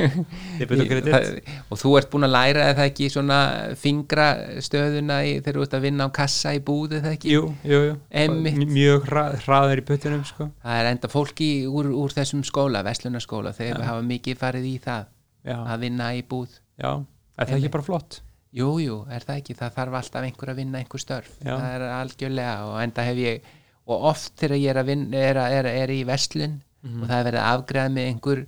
ég byrja í, kredit og þú ert búin að læra er það ekki svona fingra stöðuna í, þegar þú ert að vinna á kassa í búð er það ekki, Jú, jú, jú Einmitt. M- Mjög hra, hraður í puttunum sko. það er enda fólki úr, úr þessum skóla, veslunarskóla þegar við hafa mikið farið í það Já, að vinna í búð já Er það Einmitt. ekki bara flott? Jú, jú, er það ekki, það þarf alltaf einhver að vinna einhver störf, Já. það er algjörlega og enda hef ég, og oft þegar ég er, að vinna, er, að, er, er í verslun og það er verið að afgræða með einhver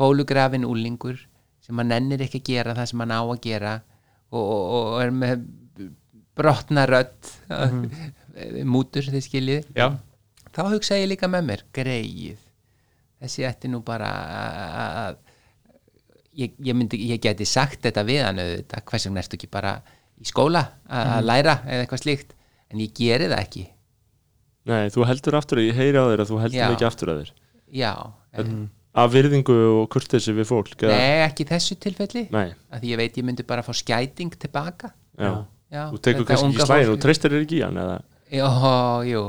bólugrafin úlingur sem hann nennir ekki að gera það sem hann á að gera og, og, og er með brotna rödd <laughs> mútur þið skiljið Já, þá hugsa ég líka með mér, greið þessi ætti nú bara að- að að- ég, ég, myndi, ég geti sagt þetta við hann auðvitað, hvers vegna ertu ekki bara í skóla að að læra eða eitthvað slíkt en ég geri það ekki Nei, þú heldur aftur, ég heyri á þér að þú heldur Já. ekki aftur að þér já, en, Af virðingu og kurtesi við fólk eða- nei ekki í þessu tilfelli Nei, að því ég veit ég myndi bara fá skæting tilbaka já, já, Þú tekur þetta kannski unga ekki slæðin, fólk- þú treystir þér ekki í hann eða Jó, jú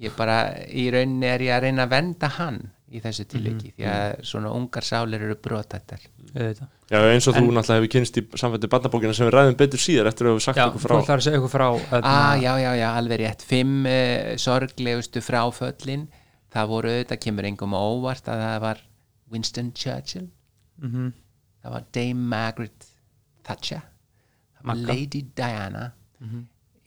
ég bara, í rauninni er ég að reyna að venda hann í þessu tilviki því að svona ungar sálir eru brotættar auðvitað Já, eins og þú náttúrulega hefur kynst í samfættu barnabókina sem við ræðum betur síðar eftir að við sagt Já, okkur þú frá ætlar að segja ykkur frá hérna. öðna, ah, já, já, já, alveg rétt fimm uh, sorglegustu fráföllin það voru, það kemur engum á óvart að það var Winston Churchill Mhm. það var Dame Margaret Thatcher það var Magga. Mhm. Lady Diana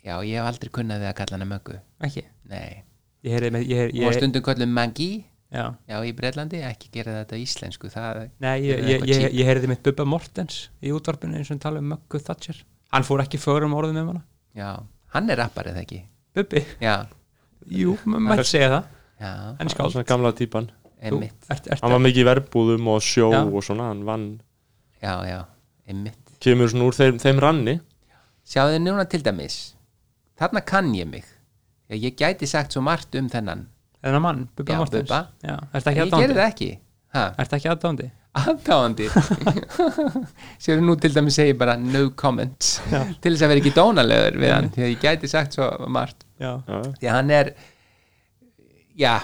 já, ég hef aldrei kunnaði að kalla hana möggu Ekki nei, Ég heyrði með, ég, og ég, stundum kallum Maggie já. já, í Breitlandi, ekki gera þetta á íslensku það, Nei, ég, ég, Eða eitthvað ég, cheap. ég heyrði mitt Bubba Mortens í útvarpinu eins og hann talaði um Möggu Thatcher Hann fór ekki förum orðum með hana já, hann er rapparið ekki Bubbi, já, jú, maður mætti segja það já, Hann er skáld Svona gamla típan Þú emmitt ert, ert, Hann var mikið í verbúðum og sjó Já. og svona Hann vann, já, já, emmitt kemur svona úr þeim, þeim ranni Sjáðu núna til dæmis Þarna kann ég mig Já, Ég gæti sagt svo margt um þennan þennan mann, Bubba Já, Mortens Bubba. Já, ert En ekki Ég gerði aðdándi það ekki Ha, Ert ekki aðdándi Aðdáandi Sjáðu nú til dæmis segi bara no comment Til þess að vera ekki dónalegur við hann Því að ég gæti sagt svo margt Já, Já, Því að hann er Já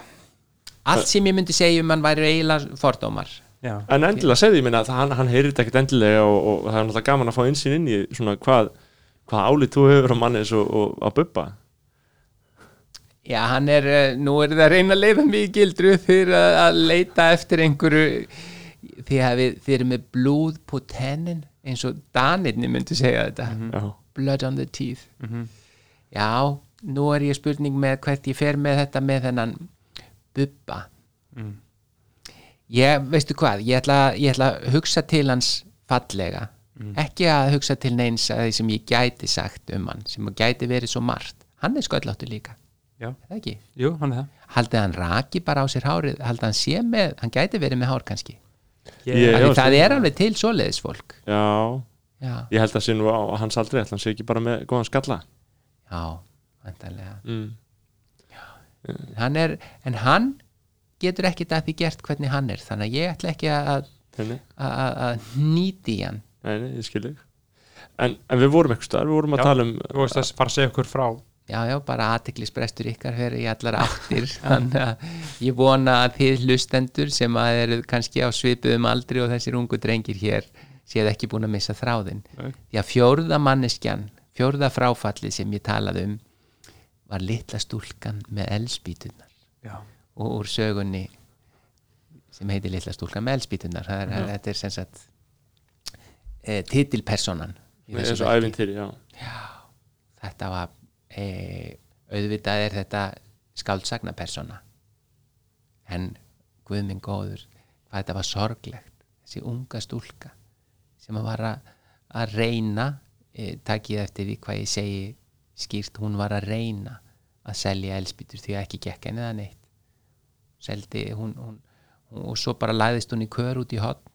Allt sem ég myndi segja um hann væri eiginlega fordómar já, En endilega segði ég minna að hann, hann heyrði ekkert endilega og, og það er náttúrulega gaman að fá einsinn inn í svona hvað, hvað álið þú hefur á mannis og, og að bubba Já, hann er, eh, nú er það að reyna að leiða mig í gildru fyrir að, að leita eftir einhverju því að við, þið eru með blóð på tennin eins og danirni myndi segja þetta Já, blood on the teeth Já, nú er ég spurning með hvert ég fer með þetta með þennan bubba Ég, veistu hvað, ég ætla, ég ætla að hugsa til hans fallega ekki að hugsa til neins að því sem ég gæti sagt um hann, sem gæti verið svo margt hann er sköllóttur líka já, er það ekki? jú, hann er Haldið hann raki bara á sér hárið, haldið hann sé með, hann gæti verið með hár kannski. það Ég- Af já, því það stundum. er alveg til svoleiðis fólk. já Já, Ég held að sé nú á á hans aldrei, ætla hann sé ekki bara með góðan skalla já, vantarlega. mm. Hann er, en hann getur ekki það því gert hvernig hann er, þannig að ég ætla ekki að, Henni, að, að- að nýti hann. henni, ég skil þig en, en við vorum eitthvað, við vorum að Já. tala um Þú veist að fara að segja ykkur frá Já, já, bara aðtiklisbrestur ykkar fyrir í allar áttir, <laughs> þannig að ég vona að þið hlustendur sem að eru kannski á svipuðum aldri og þessir ungu drengir hér séð ekki búin að missa þráðin. Nei. Því að fjórða manneskjan, fjórða fráfallið sem ég talaði um var litla stúlkan með elspýtunar Já, og úr sögunni sem heitir litla stúlkan með elspýtunar, það er, þetta er sem sagt e, titilpersonan. í þessu eins og verki ævintýri, já þetta var e, auðvitað er þetta skáldsagna persóna en guð minn góður hvað þetta var sorglegt þessi unga stúlka sem að var að, að reyna e, takið eftir því hvað ég segi skýrt hún var að reyna að selja elspýtur því að ekki gekk henni það neitt seldi hún, hún, hún og svo bara læðist hún í kör út í hotn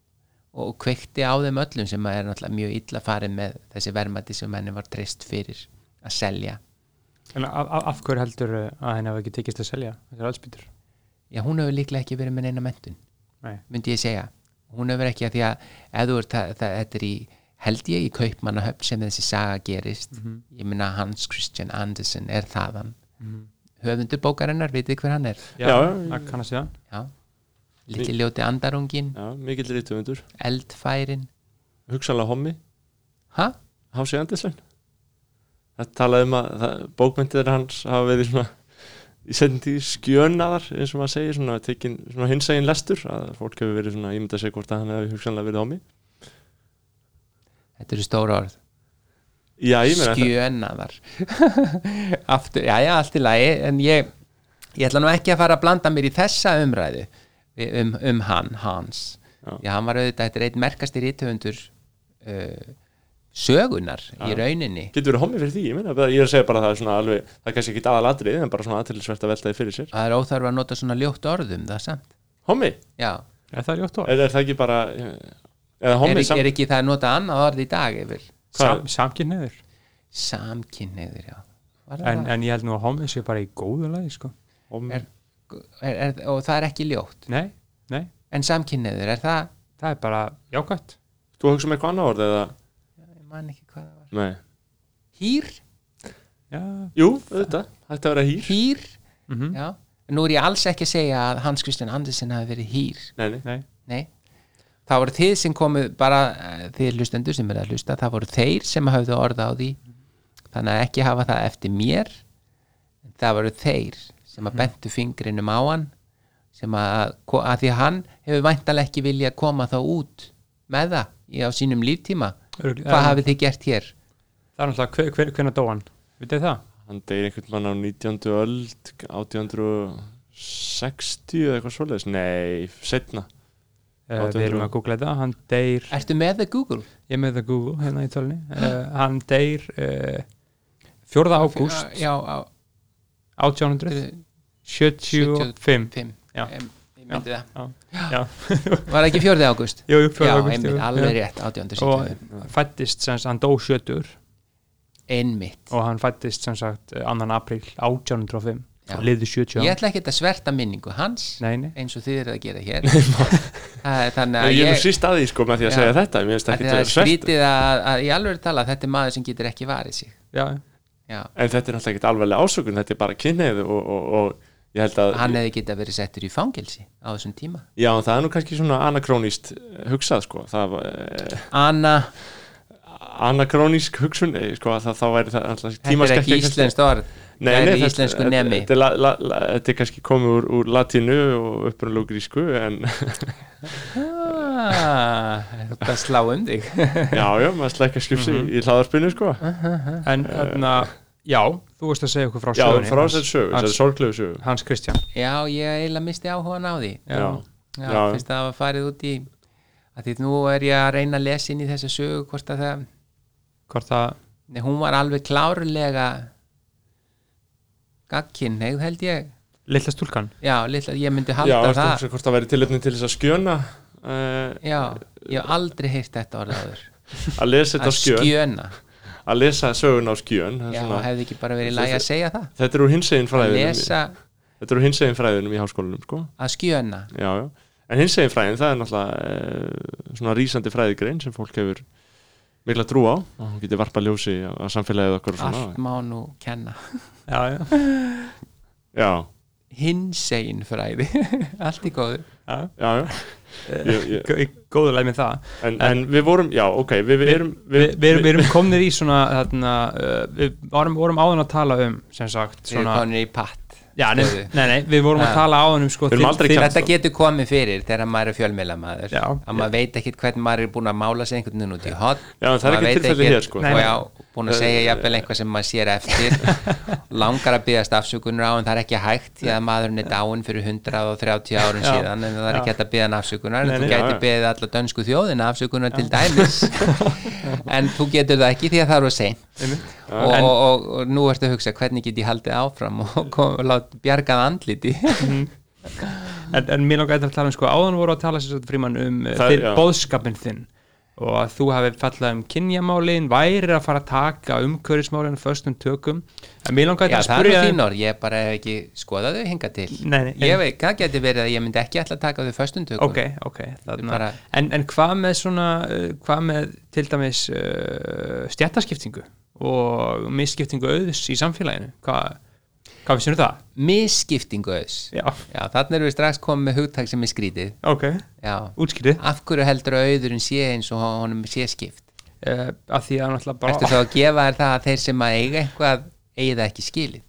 og kveikti á þeim öllum sem er náttúrulega mjög illa farið með þessi verðmæti sem henni var treyst fyrir að selja. en af, af, af hverju heldur að henni hafa ekki tekist að selja Þetta er allspýtur Já, hún hefur líklega ekki verið með neina mentun, Nei, myndi ég segja. Hún hefur ekki að því að ef þú ert það, það, þetta er í held ég í Kaupmannahöfn sem þessi saga gerist ég meina Hans Christian Andersen er þaðan höfundur bókarinnar, vitið hver hann er Já, já. það kannast ég hann já, litli ljóti andarungin Já, mikill rítumundur eldfærin, Hugsanlega hommi, ha? Hási Andersen Það talaði um að það, bókmyndir hans hafa verið svona í setjum tíð skjönaðar eins og maður segir, svona, tekin, svona hinsægin lestur að fólk hefur verið svona ímynda sig hvort að hann hefur hugsanlega verið hommi þetta eru stóra orð Já, ég meina þetta- skjönaðar <laughs> aftur, já já, allt í lagi en ég, ég ætla nú ekki að fara að blanda mér í þessa umræðu um, um hann, Hans Já. já. hann var auðvitað, þetta er einn merkasti rítufundur uh, sögunar í rauninni getur verið hommi fyrir því, ég meina bara- ég er að segja bara að það er svona alveg, það er kannski ekki aðalatrið en bara svona aðtilsvert að velta því fyrir sér það er óþarf að nota svona ljótt orðum það samt, Hommi, já Já, það er ljótt orð er, er það ekki bara eh, eða er, hommi ekki- er ekki það að nota annað orð í dag yfir Sam, Samkynniður samkynniður, já Var það en, það? en ég held nú að homið sé bara í góðu lagi sko. hommi, er- er, er, og það er ekki ljótt Nei, nei, en samkynniður, er það það er bara jákvætt þú hugsa með hvað annað orð eða, ég man ekki hvað það var nei hýr, Já, Jú, auðvitað, þetta verið hýr hýr mhm, já, nú er ég alls ekki að segja að Hans Christian Andersen hafi verið hýr Nei, nei, nei nei, það voru þið sem komu bara, eh, þið hlustendur sem er að hlusta það voru þeir sem hafðu orða á því þannig að ekki hafa það eftir mér það voru þeir sem að bentu fingrinum á hann sem að, að því að hann hefur væntalega ekki viljað koma þá út með það í á sínum líftíma Örugglega- hvað hafið þið gert hér? Það er náttúrulega, hver, hver, hvernig dó hann? Vitið þið það? hann deyr einhvern mann á 19. öld 1860 eða eitthvað svoleiðis Nei, setna Uh, við erum að googla þetta, hann deyr Ertu með það Google? ég er með það Google hérna í tölni uh, hann deyr uh, 4. ágúst Já, á 1875 5 Já. Ég myndi það <laughs> Já. Var það ekki 4. ágúst? Jú, jú, 4. Já, ágúst, einmitt, jú. alveg Já. rétt, 1870 og fættist sem sagt, hann dó 70 Einmitt og hann fættist sem sagt 2. apríl 1805 Já. og liði 70 Ég yeah. ætla ekki að sverta minningu hans nei, nei. eins og þið eru að gera hér Það er Þannig að Ég er nú ég síst að því sko með því að Já. segja þetta Mér finnst að ekki Það til er að sverta skrítið að, að í alveg tala þetta er maður sem getur ekki varið sig Já. Já, En þetta er náttúrulega ekkert alveglega ásökun Þetta er bara kynneið og, og, og ég held að hann hefði getað verið settur í fangelsi á þessum tíma Já, en það er nú kannski svona anakróníst hugsað sko Það var eh, Anna, anakrónísk hugsun eh, sko að það, þá væri það alltaf þetta er ekki tímaskekkja kannski. íslenskt orð Nei, Það nei, er í íslensku nemi þetta, er la, la, la, þetta er kannski komið úr, úr latínu og upprunalegu grísku en <laughs> Ah, Þetta slá um þig já, já, maður slækka skipsi Mhm. í hlaðarpinu sko Ah, en þarna, já, þú veist að segja okkur frá Já, sögunni frá hans- þessari sögu, hans- þessari sorglegu sögu Hans Kristján Já, ég eiginlega misti áhugan á því Já, Já, Já. fyrst að það var farið út í að því nú er ég að reyna að lesa inn í þessa sögu hvort að það, hvort það, nei, hún var alveg klárlega gagginn, held ég lilla stúlkan já, litla, ég myndi já, halda ertu að það hugsa hvort það væri tilöfni til þess að skjöna uh, já, ég hef aldrei heyrt þetta orðaður að lesa þetta að á skjön, skjöna, að lesa sögun á skjön það er já, svona, hefði ekki bara verið læg að segja það þetta er úr hinsegin að fræðinum lesa þetta er úr hinsegin fræðinum í háskólanum sko. að skjöna já, já. en hinsegin fræðin, það er náttúrulega uh, svona rísandi fræðigrein sem fólk hefur mikla trú á og hún getur varpa ljósi á, á samfélagið okkur og svona allt má nú kenna já, já, já, hinsegin fræði, <laughs> allt í góðu já. já, já ég, ég, Gó- í góðu læg með það en, en við vorum, já, ok við, við erum við, við, erum, við erum komnir í svona þarna, uh, við varum, vorum áðan að tala um sem sagt við erum svona, konir í patt já, nei, stöðu. nei, nei, við vorum Ja. að tala áðan um sko, Við erum aldrei þitt- kjaft- þetta getur komið fyrir þegar maður er fjölmiðla maður Já. að maður veit ekkit hvernig maður er búin að mála sig einhvern veginn út í hot Já, en það er ekki tilfellið hér, sko. Nei, nei. já, búin að segja jafnvel einhvað sem maður sér <laughs> eftir langar að byggast afsökunar á en það er ekki hægt því að maðurinn er dáinn fyrir 130 árum Já. síðan en það er ekki hægt að byggja hann afsökunar Nei, en nei, þú já, getur já. byggðið alla dönsku þjóðina afsökunar til dæmis <laughs> en þú getur það ekki því að það eru seint og, En- og, og, og nú ertu að hugsa hvernig get ég haldið áfram og, kom, og lát bjargað andliti Mhm. en, en mér langaði að tala um sko, áðan voru að tala sér fríman um uh, Það- þinn já. bóðskapin þinn og að þú hafi fallað um kynjamálin væri að fara að taka umhverfismálin föstum tökum en mér langaði að Já, það er spyrja nú þig- þín orð, ég bara hef ekki skoðað þau hinga til Nei, nei, Ég en- veit, það geti verið að ég myndi ekki ætla að taka þau föstundukum ok, ok þarna- Bara- en, en hvað með svona uh, hvað með til dæmis uh, stjættaskiptingu og misskiptingu auðs í samfélaginu hvað, hvað finnst þér um það? Misskiptingu auðs Já, Já, þannig erum við strax komið með hugtak sem er skrítið ok, Já, útskýrið af hverju heldur að auðurinn sé eins og honum sé skipt uh, að því að náttúrulega bara Ertu þá að gefa þér það að þeir sem að eiga eitthvað eigi það ekki skilið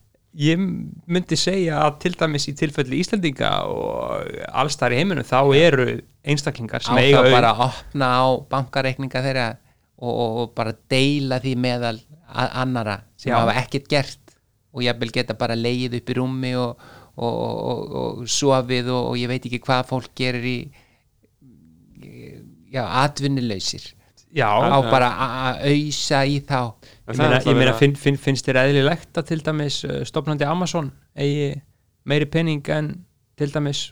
ég myndi segja að til dæmis í tilfelli Íslandinga og allstar í heiminum þá eru einstaklingar Á sem þá eiga auð bara að opna á bankareikninga þeirra og, og, og bara deila því meðal a- annara sem Já. hafa ekkert gert og jafnvel geta bara leið upp í rúmi og, og, og, og, og sofið og, og ég veit ekki hvað fólk gerir í í- já, atvinnuleysir já, á bara a- að ausa í þá ég það er meina, alltaf ég meina verið að- finn, finn, finnst þér eðlilegt að til dæmis uh, stopnandi Amazon eigi meiri pening en til dæmis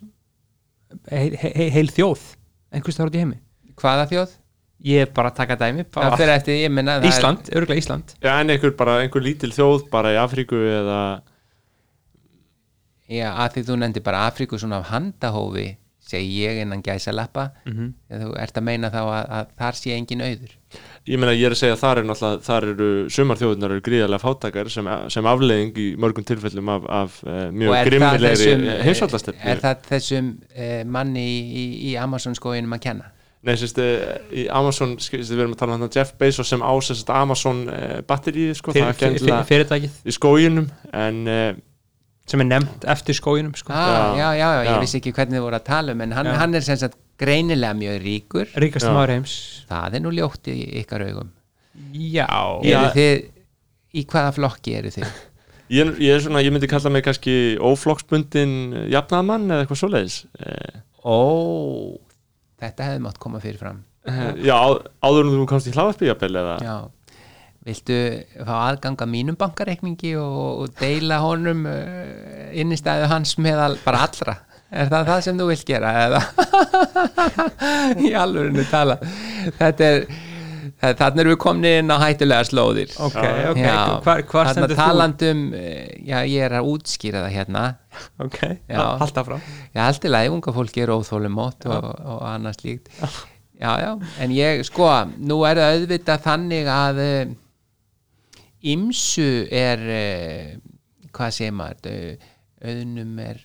heil, heil, heil þjóð einhvers þar út í heimi hvaða þjóð? ég er bara að taka dæmi Það bara, fyrir eftir, ég menna Ísland, örgulega Ísland Já, en einhver bara, einhver lítil þjóð bara í Afríku eða Já, að því þú nefndi bara Afríku svona af handahófi segi ég innan gæsalappa mm þú ert að meina þá að, að þar sé engin auður ég meina ég er að segja að þar eru náttúrulega þar eru sumar þjóðunar eru gríðarlega fátakar sem, sem afleiðing í mörgum tilfellum af, af uh, Og mjög er það grimmilegri þessum, eh, heimsvallastefni Er það þessum uh, manni í, í, í Amazon skóinum að kenna? Nei, sérst, í Amazon, sérst, við erum að tala um þetta Jeff Bezos sem ásest Amazon uh, batteríi, sko, það er Fyr- gennilega fyrirtækið í skóginum en uh, sem er nefnt eftir skóinum sko. Ah, já, já, já, ég já. vissi ekki hvernig þið voru að tala um en hann, Já. hann er sem sagt greinilega mjög ríkur ríkast Já. maður heims það er nú ljótt í ykkar augum já, Já. Eru þið, í hvaða flokki eru þið? ég, er- ég er svona, ég myndi kalla mig kannski óflokksbundin jafnaðmann eða eitthvað svoleiðis uh, Ó, þetta hefði mátt koma fyrir fram Já, á- áður en þú komst í hláðarpi jafnvel eða Já, viltu fá aðganga mínum bankareikningi og, og deila honum uh, innistæðu hans meðal bara allra er það það sem þú vilt gera eða <laughs> í alvörinu tala þetta er það- þarna erum við komni inn á hættulega slóðir ok, Já. ok, hvar, hvar þarna stendur þú talandum eh, já, ég er að útskýra það hérna ok, Já. halda fram Já, allt í lagi, unga fólki er óþólumótt og, og annars líkt. Já, já, en ég, sko, nú er það auðvitað þannig að ymsu er, uh, hvað segir maður, uh, auðnum er,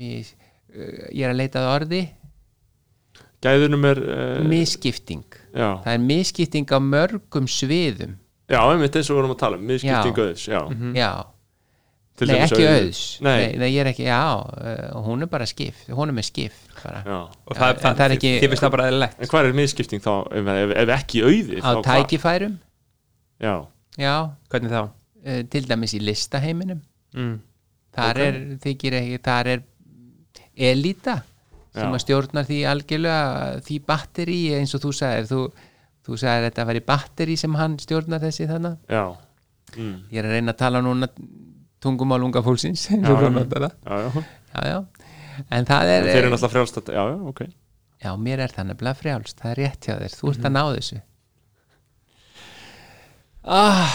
mis, uh, ég er að leita að orði, gæðunum er uh, miskipting. já, Það er miskipting á mörgum sviðum, já, einmitt eins og við vorum að tala um miskipting Já. auðs, já já. Mhm. Til Nei, dæmis ekki auður. auðs. Nei, Nei, nei, ég er ekki, já, uh, hún er bara skipt, hún er með skipt bara. já og Já, það, en það, það er ekki- þið finnst það bara eðlilegt En hvað er miskipting þá, ef, ef, ef ekki auði Á þá hvað? tækifærum, Já, já, hvernig þá eh, til dæmis í listaheiminum mm. þar er, þykir ekki, þar er elita sem Já. að stjórnar því algjörlega því batteri eins og þú sagðir þú, þú sagðir þetta að veri batteri sem hann stjórnar þessi þannig já, mm, ég er að reyna að tala núna tungumál unga fólksins já, já. já. já, já Já, já. en það En er þeir eru náttúrulega frjálst að, já, já, ok já, mér er það nefnilega frjálst, það er rétt hjá þér þú ert að ná þessu ah,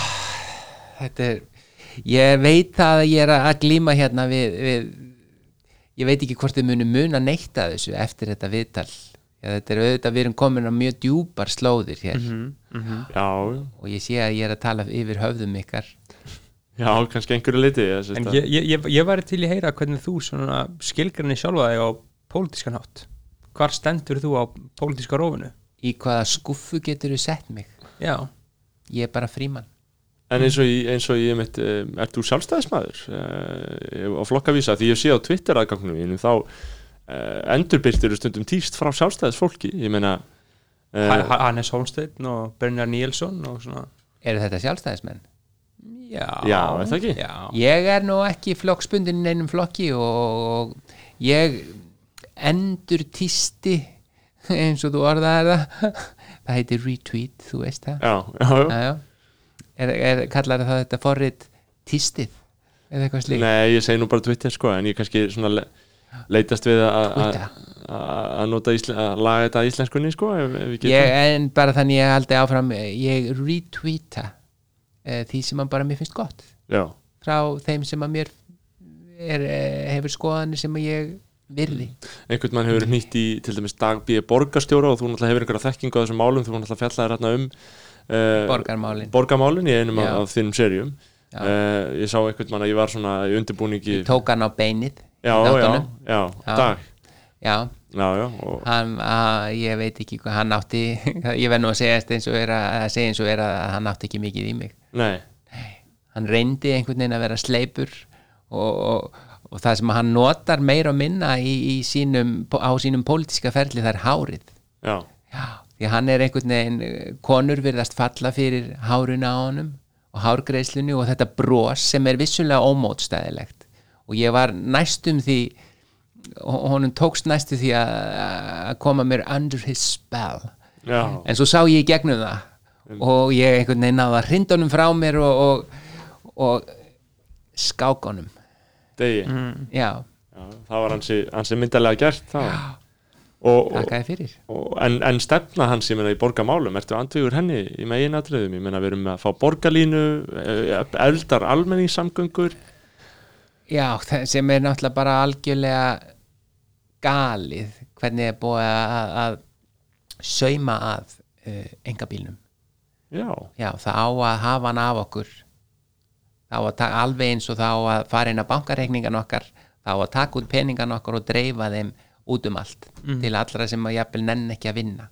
þetta er ég veit það að ég er að glíma hérna við, við ég veit ekki hvort þið munum mun að neyta þessu eftir þetta viðtal Já, þetta er auðvitað, við erum komin á mjög djúpar slóðir hér Já, og ég sé að ég er að tala yfir höfðum ykkar já, kannski einhverju liti ég, sést en að- ég, ég, ég, ég væri til í að heyra hvernig þú svona skilgrinni sjálfa þig á pólitískan hátt hvar stendur þú á pólitíska rófinu í hvaða skuffu getur þú sett mig já, ég er bara frímann En eins og, ég- eins og ég mitt, um, ert þú sjálfstæðismæður uh, á flokkavísa? Því ég sé á Twitter aðgangnum mínum þá uh, endurbyrtir stundum týst frá sjálfstæðisfólki, ég meina ha, uh, ha- Hannes Holmsteinn og Bernhard Níelsson og svona eru þetta sjálfstæðismenn? já, Já, er það ekki? já, ég er nú ekki flokksbundin í einum flokki og, og ég endur tísti eins og þú orðaðir það það heitir retweet, þú veist það Já, já, já já. Er, er, kallar það þetta forrið tístið eða eitthvað slík Nei, ég segi nú bara Twitter sko, en ég kannski svona le- leitast við að- að Útja. að- að nota ísle, að laga þetta að íslenskunni sko, ef, ef við getum ég, en bara þannig ég haldi áfram eh, ég retweeta uh, því sem að bara mér finnst gott Já, frá þeim sem að mér er, eh, hefur skoðanir sem að ég virði einhvern mann hefur nýtt í til dæmis Dag B. borgarstjóra og þú náttúrulega hefur einhverja þekkingu á þessum málum þú náttúrulega fjallaði hérna um uh, borgarmálin borgarmálin í einum af, Já. af þinnum serjum Já. uh, ég sá einhvern mann að ég var svona í undirbúningi ég tók hann á beinið Mm. já, já, í þáttunum. já, Já. dag já, já, já, og, hann, að, ég veit ekki hvað hann átti <laughs> ég verð nú að segja eins og er að, að segja eins og er að hann átti ekki mikið í mig nei, hann reyndi einhvern veginn að vera sleipur og, og, og það sem hann notar meira og minna í, í sínum, á sínum pólitíska ferli það er hárið já, Já, því hann er einhvern veginn eh, konur virðast falla fyrir háruna á honum og hárgreiðslunni og þetta bros sem er vissulega ómótstæðilegt og ég var næstum því hon- honum tókst næstum því að að koma mér under his spell já en svo sá ég í gegnum það og ég einhvern veginn náða hrindunum frá mér og, og, og skákonum degi, já, já, það var hansi, hansi myndalega gert þá og, og, takkaði fyrir og, en, en stefna hans, ég meina, í borgarmálum ertu andvígur henni í meginatriðum ég meina, við erum að fá borgarlínu eh, eldar almenningssamgöngur Já, þe- sem er náttúrulega bara algjörlega galið hvernig er búið að, að sauma að uh, engabílnum. já, Já, það á að hafa hann af okkur. Það á að taka alveg eins og það á að fara inn á bankareikningan okkar, það á að taka út peningan okkar og dreifa þeim út um allt Mm. til allra sem að jafnvel nenn ekki að vinna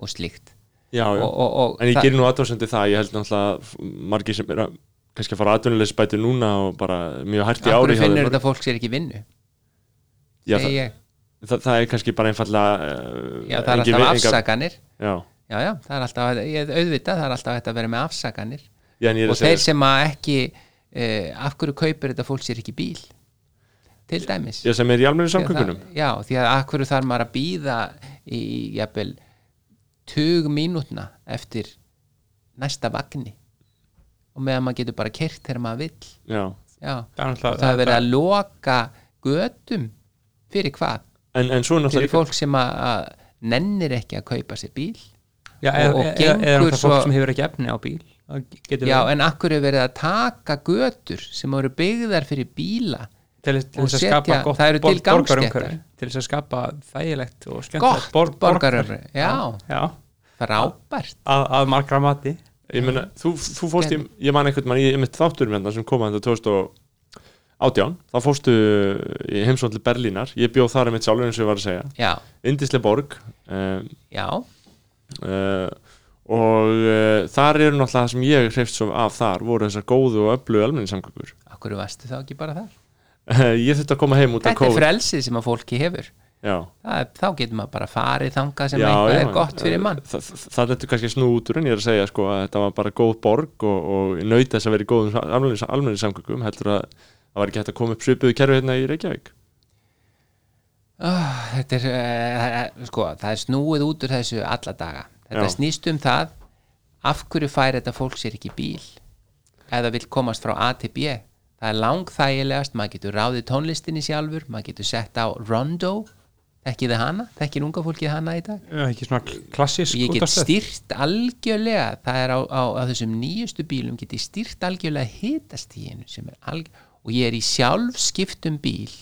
og slíkt. já, já Og, og, og, en ég það- gerir nú aðtóðsendu það, ég held náttúrulega að margir sem er að kannski að fara aðtunleis bæti núna og bara mjög hært í ári af hverju hjá þeim. finnur þetta fólk sér ekki vinnu? já, Segi það, ég, það, það er kannski bara einfallega uh, já, það engin er alltaf vi- enga- afsakanir. já, já, já, það er alltaf, ég, auðvitað það er alltaf hægt að vera með afsakanir já, en ég er og að segja þeir sem að ekki uh, af hverju kaupir þetta fólk sér ekki bíl til dæmis Já, sem er í almennu Því að samgöngunum það- já, því að af hverju þarf maður að býða í, jafnvel, tug mínútna eftir næsta vagni og meðan maður getur bara kert þegar maður vill Já, já, Það er náttúrulega- það er verið að loka götum fyrir hvað en, en svo er fyrir náttúrulega fólk sem að, að nennir ekki að kaupa sér bíl Já, eða, og- og eða, eða gengur náttúrulega fólk svo- sem hefur ekki efni á bíl Það getur Já, verið. en akkur er verið að taka götur sem eru byggðar fyrir bíla til, þess- til og þess að setja- skapa gott það eru til borg- borgarumhverfi, gangstéttar. til þess að skapa þægilegt og Gott skemmtilegt borgaröfri, já, já, frábært að, að margra mati Ég meina, þú, þú fórst í, ég man einhvern mann í mitt þátturum hérna sem kom að þetta 2018 þá fórstu í heimsókn til Berlínar, ég bjóð þar einmitt sjálfur eins og ég var að segja, Já, Indisle borg um, já, uh, og uh, þar eru náttúrulega það sem ég hreifst svo af þar voru þessar góðu og öflugu almenni samgöngur akkur varstu þá ekki bara þar Ég þurfti að koma heim út af Þetta er COVID frelsið sem að fólki hefur Já, Það, er- Þá getur maður bara farið þangað sem Já, eitthvað já, er gott fyrir mann Þa- þa- Það er kannski snú út úr en ég er að segja sko að þetta var bara góð borg og, og nöyt þess að vera í góðum almenni, almenni samgöngum heldur að það var ekki hægt að koma upp svipuðu kerfi hérna í Reykjavík oh, Þetta er, uh, sko, það er snúið út úr þessu alla daga Þetta Já. snýst um það Af hverju fær þetta fólk sér ekki bíl Ef það vil komast frá A til B Það er langþægilegast, maður getur ráðið tónlistinni sjálfur Maður getur sett á Rondo Þekkið þið hana, þekkið unga fólkið hana í dag Já, ekki svona klassísk Ég get útvarpsstöð. stýrt algjörlega það er á, á, á þessum nýjustu bílum get ég stýrt algjörlega hitastíinu sem er alg og ég er í sjálfskiptum bíl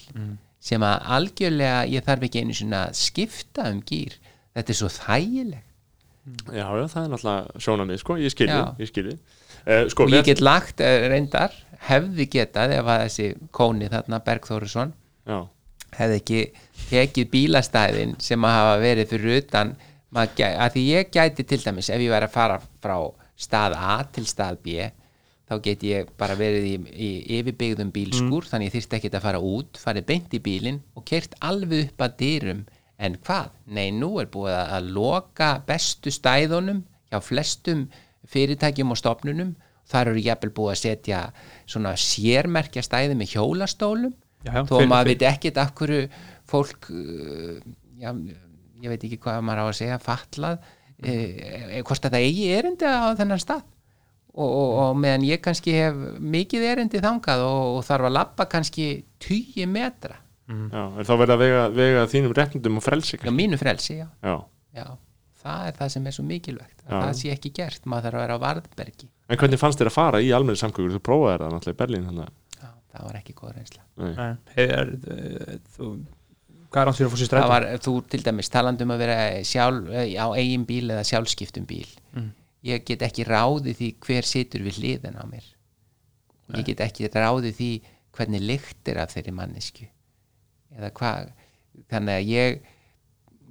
sem að algjörlega ég þarf ekki einu svona að skipta um gýr þetta er svo þægilegt Já, já, það er náttúrulega sjónamið sko, ég skilji, Já. ég skilji uh, Sko, og við- ég get lagt eh, reyndar hefði getað ef að þessi kóni þarna Bergþóruðsson já, hefði ekki tekið bílastæðin sem að hafa verið fyrir utan maður gæ, að því ég gæti til dæmis ef ég væri að fara frá stað A til stað B þá geti ég bara verið í, í yfirbyggðum bílskúr Mm. þannig ég þyrfti ekkit að fara út farið beint í bílinn og kert alveg upp að dyrum en hvað? Nei, nú er búið að, að loka bestu stæðunum hjá flestum fyrirtækjum og stofnunum þar eru jafnvel búið að setja svona sérmerkja stæði með hjólastólum Já, já, þó að fyrir- maður fyrir- veit ekkert af hverju fólk uh, já, ég veit ekki hvað maður á að segja fatlað uh, hvort að það eigi erindi á þennan stað og, og, og meðan ég kannski hef mikið erindi þangað og, og þarf að labba kannski tugi metra Já, en þá verða að vega, vega þínum regnundum og frelsi Já, kannski. mínu frelsi, já. Já. já. Það er það sem er svo mikilvægt. Já. að Það sé ekki gert, maður þarf að vera á varðbergi. En hvernig fannst þér að fara í almenni samgöngur? Þú prófaði það náttúrulega í Berlín þannig. Já, það var ekki góð reynsla. að- Nei. Nei, er, eh, þú, hvað er hans fyrir að fór sér Það strætó? var, þú til dæmis talandi um að vera sjálf, eh, á eigin bíl eða sjálfskiptum bíl. Ég get ekki ráðið því hver situr við hliðin á mér. Ég get ekki ráðið því hvernig lykt er af þeirri mannesku. Eða hvað, þannig að ég,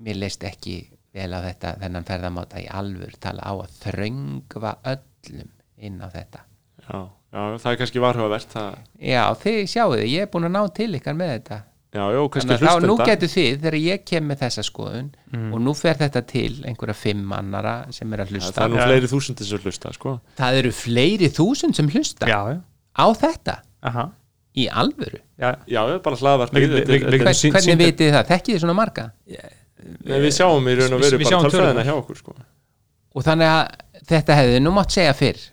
mér leist ekki vel á þetta, þennan ferðamáta í alvur tala á að þröngva öllum inn á þetta. Já. Já, það er kannski varhugavert. Það... Já, þið sjáuðu, ég er búin að ná til ykkar með þetta. Já, já, kannski Þannig að þá nú hlustenda. Mm. getur þið, þegar ég kem með þessa skoðun og nú fer þetta til einhverja fimm annara sem er að Já, hlusta Það er nú Já. fleiri þúsundir sem hlusta, sko. það eru fleiri þúsund sem hlusta Já, já, á þetta aha, í alvöru já, já. Já, það er bara hlaðvarpið. Við- Þetta við- er- við- þetta Hvern, sín- hvernig sýndi- vitið þið það, þekkið þið svona marga er- Nei, Við sjáum í raun og við- veru við bara sjáum tölfræðina tölurnar. hjá okkur, sko. og þannig að þetta hefði nú mátt segja fyrr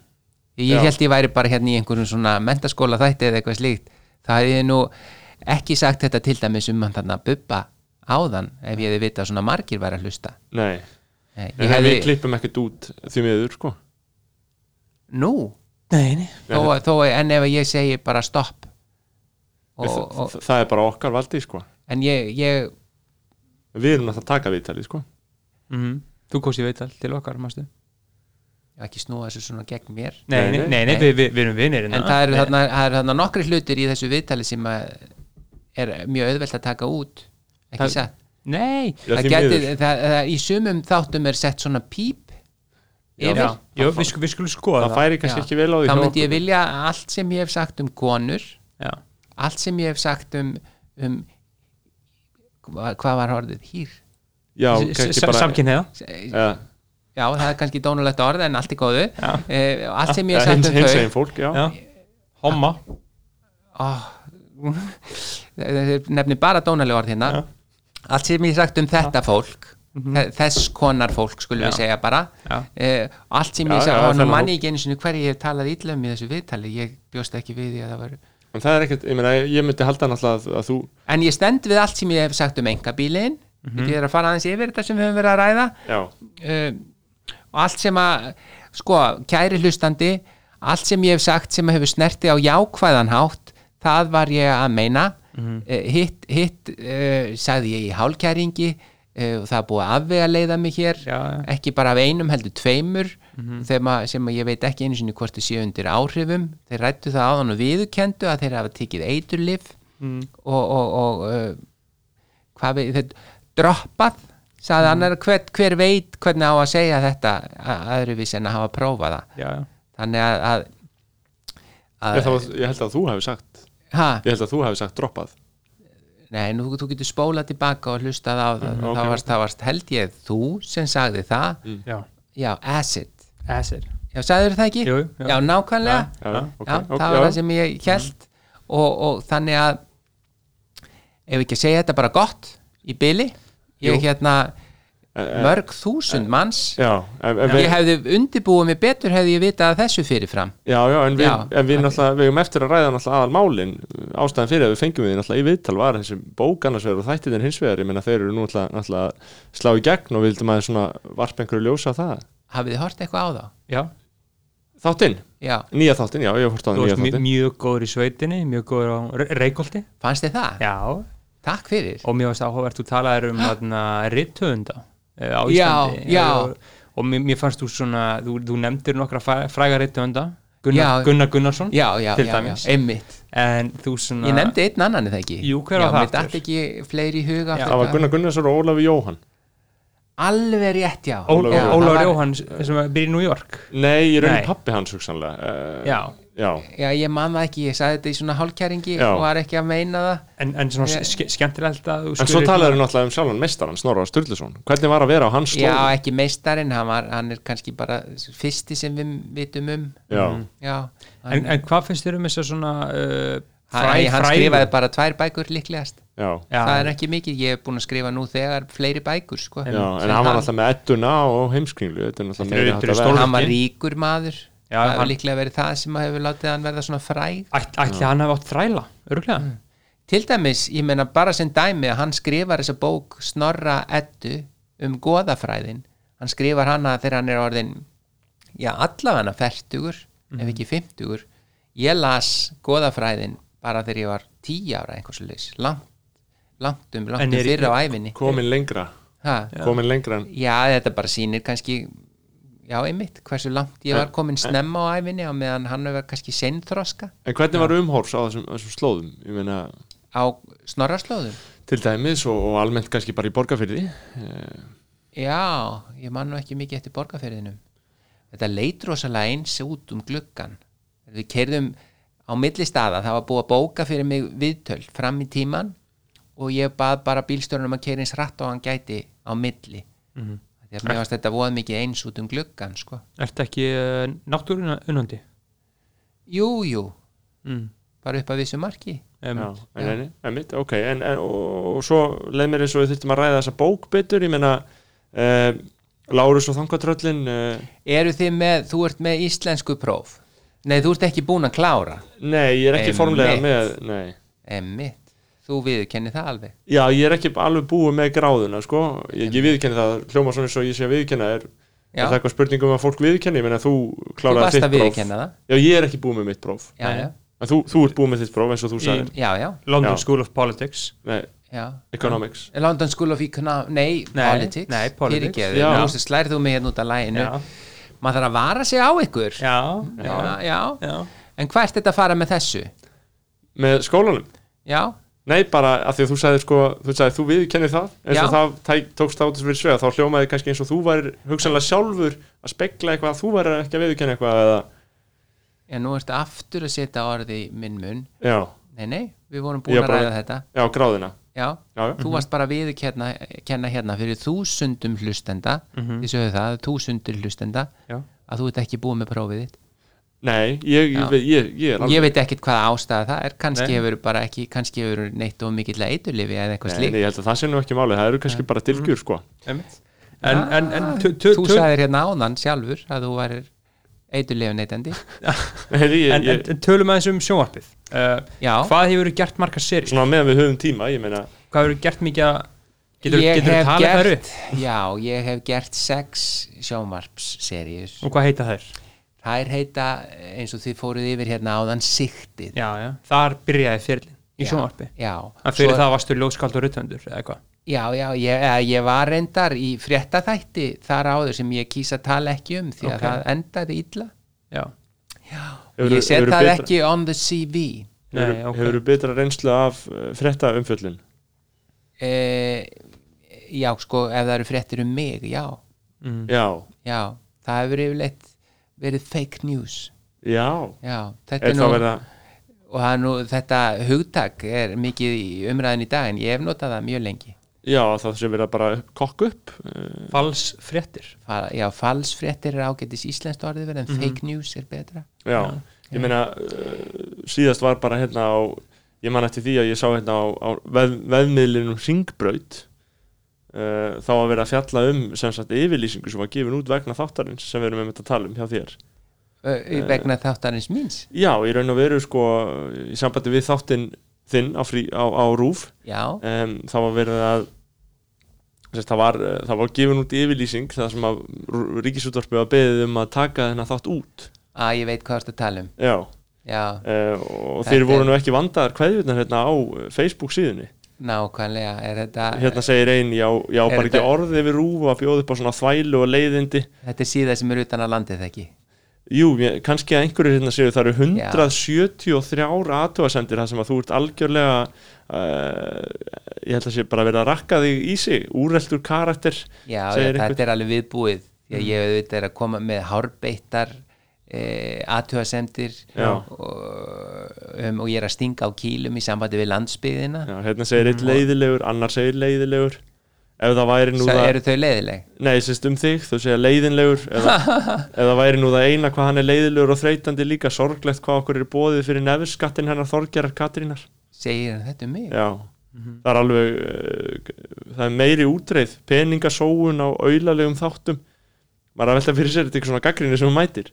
ég Já. held ég væri bara hérna í einhverjum svona mentaskóla þætti eða eitthvað slíkt það hefði ég nú ekki sagt þetta til dæmis um hann þarna bubba áðan ef ég hefði vitað að svona margir væri að hlusta Nei, Nei, ég en við hefði, klippum ekkert út því miður, sko. nú Nei, nei. þó, þó, en ef ég segi bara stopp og, Þa- og, þa- Það er bara okkar valdi, sko. en ég, ég Við erum náttúrulega að taka viðtalið, sko. Mm. Þú kosti veital til okkar, mástu? ekki snúa þessu svona gegn mér Nei, nei, nei, nei, við, við, við erum vinir hérna. en það eru þarna, það eru þarna nokkri hlutir í þessu viðtali sem að er mjög auðvelt að taka út ekki Það- satt Nei, Já, það því geti, miður. það, það, í sumum þáttum er sett svona píp yfir já, já við, sku, við skulum skoða Það það, færi kannski Já. ekki vel á því. þá hjá myndi ég okkur. vilja að allt sem ég hef sagt um konur Já, allt sem ég hef sagt um, um hva- hvað var orðið hýr Já, S- s- kannski bara... samkynhneigða. Já. já það er kannski dónulegt orð en allt er góðu uh, allt sem ég Já, hef sagt hins, um hins þau einn fólk, já, Já. homma oh, eh, nefnir bara dónalega orð hérna allt sem ég hef sagt um þetta fólk þe- þess konar fólk skulum við Já. segja bara Já. uh, allt sem Já, ég hef já, sagt, og nú þennan manni ég ekki einu sinni hverju ég hef talað ítlum í þessu viðtali ég bjóst ekki við því að það var en það er ekkert, ég meina, ég myndi halda náttúrulega að, að þú, en ég stend við allt sem ég hef sagt um engabílin mm ég er að fara aðeins yfir þetta sem við höfum verið að ræða já, um, og allt sem að sko, kæri hlustandi allt sem ég hef sagt sem hefur snerti á jákvæðan hátt það var ég að meina mm hitt, hitt uh, sagði ég í hálkæringi uh, og það er búið að afvega leiða mig hér Já, já. ekki bara af einum heldur tveimur Mhm. mm að, sem að ég veit ekki einu sinni hvort þau séu undir áhrifum þeir rættu það áðan og viðukendu að þeir hafa tekið eiturlif Mm. og, og, og uh, hvað við, þetta, droppað sagði Mhm. annar, hver, hver veit hvernig á að segja þetta a- aðruvís en að hafa prófað það já, já. þannig að, að, að ég, það, ég held að þú hefði sagt ha, ég held að þú hefði sagt droppað nei, nú þú getur spólað tilbaka og hlustað á það Mhm, ok, Mm. þá varst, þá varst held ég þú sem sagði það já. já, acid, Asir já, sagður það ekki? Jú, jú, já. já. nákvæmlega Já. já, ok, já, ok, það var já, það sem ég held og, og þannig að ef ekki að segja þetta bara gott í byli, ég hérna Eh, mörg þúsund manns já, en, en ég við, hefði undirbúið mig betur hefði ég vitað þessu fyrirfram já, já, en við, Já. en við náttúrulega við hefum eftir að ræða náttúrulega aðal málin ástæðan fyrir að við fengjum við náttúrulega í viðtal var þessi bók annars vegar og þættin hins vegar ég meina þeir eru nú náttúrulega, náttúrulega að slá í gegn og við vildum að svona varpa einhverju ljósa það hafið þið hort eitthvað á þá? Já, þáttinn, Já, nýja þáttinn, já, ég hef hort á þú það nýja varst mj þáttinn mjög góður í sveitinni, mjög góður á Re- Reykholti fannst þið það? Já, Takk fyrir og mér varst áhugavert, þú talaðir um þarna rithöfunda eh, á Já, Íslandi já. Og, og mér, mér fannst þú svona, þú, þú nefndir nokkra fæ- fræga rithöfunda Já. Gunnar, Gunnar Gunnarsson Já, já, til já, já, dæmis einmitt En þú svona Ég nefndi einn annan eða ekki Jú, hver var já, það Mér aftur? dætt ekki fleiri í huga Já. það var Gunnar Gunnarsson og Ólafi Jóhann Alveg rétt, já Ól- Já, það Ólafur var- Jóhann sem að byrja í New York nei, ég Nei. raunin pappi hans hugsanlega Eh, Já. já, Já, ég man það ekki, ég sagði þetta í svona hálkæringi Já. og var ekki að meina það En, en svona Ég- ske, skemmtilegt að þú En svo skulir- talaður náttúrulega um sjálfan meistaran Snorra Sturluson Hvernig var að vera á hans slóðum? Já, ekki meistarinn, hann, var, hann er kannski bara fyrsti sem við vitum um Já. Já, hann, En, en hvað finnst þér um þess að svona uh, hann, hann skrifaði bara tvær bækur líklegast já, Já, það er ekki mikið, ég hef búin að skrifa nú þegar fleiri bækur sko. já En hann var náttúrulega með Edduna og heimskringlu Þetta er náttúrulega meira Þetta eru hægt að vera stór- hann var ríkur maður Já, það hefur hann- líklega verið það sem hefur látið hann verða svona fræg Mm. Æt, ætli hann hafi átt þræla, öruglega til dæmis, ég meina bara sem dæmi að hann skrifar þessa bók Snorra Eddu um goðafræðin hann skrifar hana þegar hann er orðin já, allavega fertugur Mhm. ef ekki fimmtugur ég las goðafræðin bara þegar ég var tíu ára einhversu leys langt, langt um, langt En um er í- fyrra á æfinni komin lengra ha, komin lengra en Já, þetta bara sýnir kannski já, einmitt, hversu langt ég var komin snemma á æfinni og meðan hann var kannski seinþroska en hvernig var umhorfs á þessum, þessum slóðum ég meina á snorraslóðum til dæmis og, og almennt kannski bara í Eh, borgarfyrði Já, ég man nú ekki mikið eftir borgarferðinum Þetta leit rosalega eins út um gluggan Við keirðum á milli staða það var búið að bóka fyrir mig viðtöl fram í tíman og ég bað bara bílstörunum að keira eins rætt og hann gæti á milli mm -hmm. Þegar mér varst þetta voða mikið eins út um gluggan sko. Ertu ekki uh, náttúruna unnandi? Jú, jú, Mm. bara upp að vissu marki Um, Já, en, en, en mitt, ok en, en, og, og svo leið mér eins og við þurftum að ræða þessa bók betur, ég meina uh, Lárus og þangatröllin uh, Eru þið með, þú ert með íslensku próf Nei, þú ert ekki búin að klára nei, ég er ekki Einmitt. formlega með nei. Emmitt, þú viðurkenni það alveg já, ég er ekki alveg búið með gráðuna sko. ég, ég viðkenni það, hljóma svona eins og ég sé að viðkenna er, er Já. það eitthvað spurningum að fólk viðkenni, ég meina þú Þú kláraði varst þitt að próf viðurkenna það já, ég er ekki búið með mitt próf Já, Nei. já, en þú, þú ert búið með þitt próf eins og þú Í- sagðir já, já, London Já. School of Politics Mm. nei, já. economics London School of Economics, nei, Nei, politics nei, politics. Fyrirgeðu, Já. nú slærið þú mig hérna út af læginu Já. Maður þarf að vara sig á ykkur Já, já, já, já. já. En hvað ert þetta að fara með þessu? með skólanum Já, Nei, bara af því að þú sagði sko, þú sagði þú viðkennir það eins og Já. það tæk, tókst það út fyrir svega þá hljómaði kannski eins og þú væri hugsanlega sjálfur að spegla eitthvað að þú væri ekki að viðkenna eitthvað eða, en nú ertu aftur að setja orði í minn mun já, Nei, nei, við vorum búin Já, að bara- ræða þetta já, gráðina Já, Já, já. þú varst bara við kenna, kenna hérna fyrir þúsundum hlustenda ég sögðu það, þúsundur hlustenda Já. að þú ert ekki búið með prófið þitt Nei, ég, Já. ég, ég, ég er ég veit ekkit hvaða ástæða það er kannski Nei. hefur bara ekki, kannski hefur neitt og mikill að eiturlifi eða eitthvað Nei, slíkt nei, ég held að það sé nú ekki málið, það eru kannski bara dilgjur sko einmitt. En, en, en tu, tu, þú tu, sagðir hérna áðan sjálfur að þú varir eiturlifi neitandi <laughs> Nei, ég, en, en, ég, en tölum aðeins um sjónvarpið uh, Já. Hvað hefur gert marga seri? Svona meðan við höfum tíma, ég meina Hvað hefur gert mikið að Getur, getur talið þær upp? já, ég hef gert sex sjónvarpsseríur Og hvað heita þær? þær heita eins og þið fóruð yfir hérna áðan siktið Já, já, þar byrjaði fyrirlin í Já, sjónvarpi já. En fyrir Svo- það varstu ljóðskald og rutthöndur eða hvað? Já, já, ég, eða ég var reyndar í fréttaþætti þar áður sem ég kýsa tala ekki um því að Ok. það endaði illa. Já, hefurðu- ég set hefurðu það betra- ekki on the CV. Nei, hefurðu- ok. Hefurðu betra reynslu af uh, frétta umfjöllun E, já, sko, ef það eru fréttir um mig, já, Já, já, það hefur yfirleitt verið fake news. já Já, Er þetta er þá nú, verða, og það er nú, þetta hugtak er mikið í umræðin í dag en ég hef notað það mjög lengi. já, það sé verða bara kokk upp uh, fals fréttir Fa- Já, falsfréttir er ágætis íslenskt orðið verið en Mhm. fake news er betra. Já, ég meina uh, síðast var bara hérna á ég man eftir því að ég sá hérna á, á vef, vefmiðlinum Ringbraut uh, þá að vera að fjalla um sem sagt yfirlýsingu sem var gefin út vegna þáttarins sem við erum með að tala um hjá þér Ö, Eh. vegna þáttarins míns. Já, í raun og veru sko í sambandi við þáttinn þinn á, frí, á, á rúf Já, um, þá var verið að Sest, það, var, eh, það var gefin út yfirlýsing það sem að Ríkisútvarpið var beðið um að taka þennan þátt út að ég veit hvað þú ert að tala um. Já, Já, Uh, og Þetta þeir voru er- nú ekki vandaðar kveðjurnar hérna á eh, Facebook síðunni nákvæmlega er þetta, hérna segir einn, já, já Er bara ekki þetta- orð yfir rúf að bjóða upp á svona þvælu og leiðindi þetta er síða sem er utan að landið það ekki jú, ég- kannski að einhverjir hérna segir það eru 173 aðtóasendir þar sem að þú ert algjörlega uh, ég held að sé bara verið að rakka þig í sig, úreldur karakter Já, já segir Mm. þetta er alveg viðbúið því að ég auðvitað er að koma með hárbeittar e, aðtjóðasemdir Já. og, um, og ég er að stinga á kýlum í sambandi við landsbyðina já, hérna segir Mhm. einn leiðilegur, annar segir leiðilegur ef það væri nú Svo það eru þau leiðileg Nei, sérst um þig, þú segja leiðinlegur eða, <laughs> eða væri nú það eina hvað hann er leiðinlegur og þreytandi líka sorglegt hvað okkur er bóðið fyrir nefnskattin hennar Þorgerar Katrínar segir hann þetta um mig Já, það er alveg uh, það er meiri útreið peningasóun á auðalegum þáttum maður er að velta fyrir sér þetta er eitthvað svona gaggrinni sem hún mætir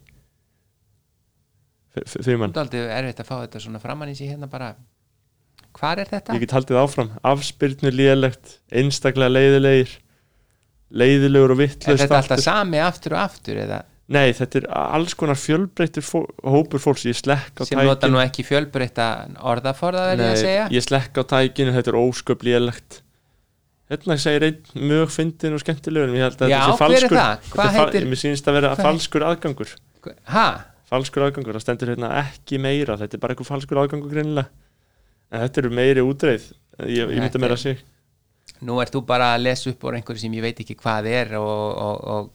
F- f- fyrir mann Þetta er aldrei erfitt að fá þetta svona framann í sig hérna bara hvar er þetta? Ég get haldið áfram Afspyrnu lélegt, einstaklega leiðilegir Leiðilegur og er vitlaust þetta alltaf aftur. sami aftur og aftur eða Nei, þetta er alls konar fjölbreyttur fó hópur fólks Ég slekk á sem nota tækin nú ekki fjölbreytta orðaforða verði ég að segja Nei, ég slekk á tækinu, þetta er ósköp lélegt Hérna segir einn mjög fyndin og skemmtilegur en ég held að Já, þetta sé hver er falskur það? Þetta Hvað er fa- heitir- Mér sýnist að vera hvað- falskur aðgangur ha, falskur aðgangur, það stendur hérna ekki meira þetta er bara eitthvað falskur aðgangur greinilega en þetta eru meiri útreið ég, ég Þetta myndi meira að sé nú ert þú bara að lesa upp úr einhverju sem ég veit ekki hvað er og, og, og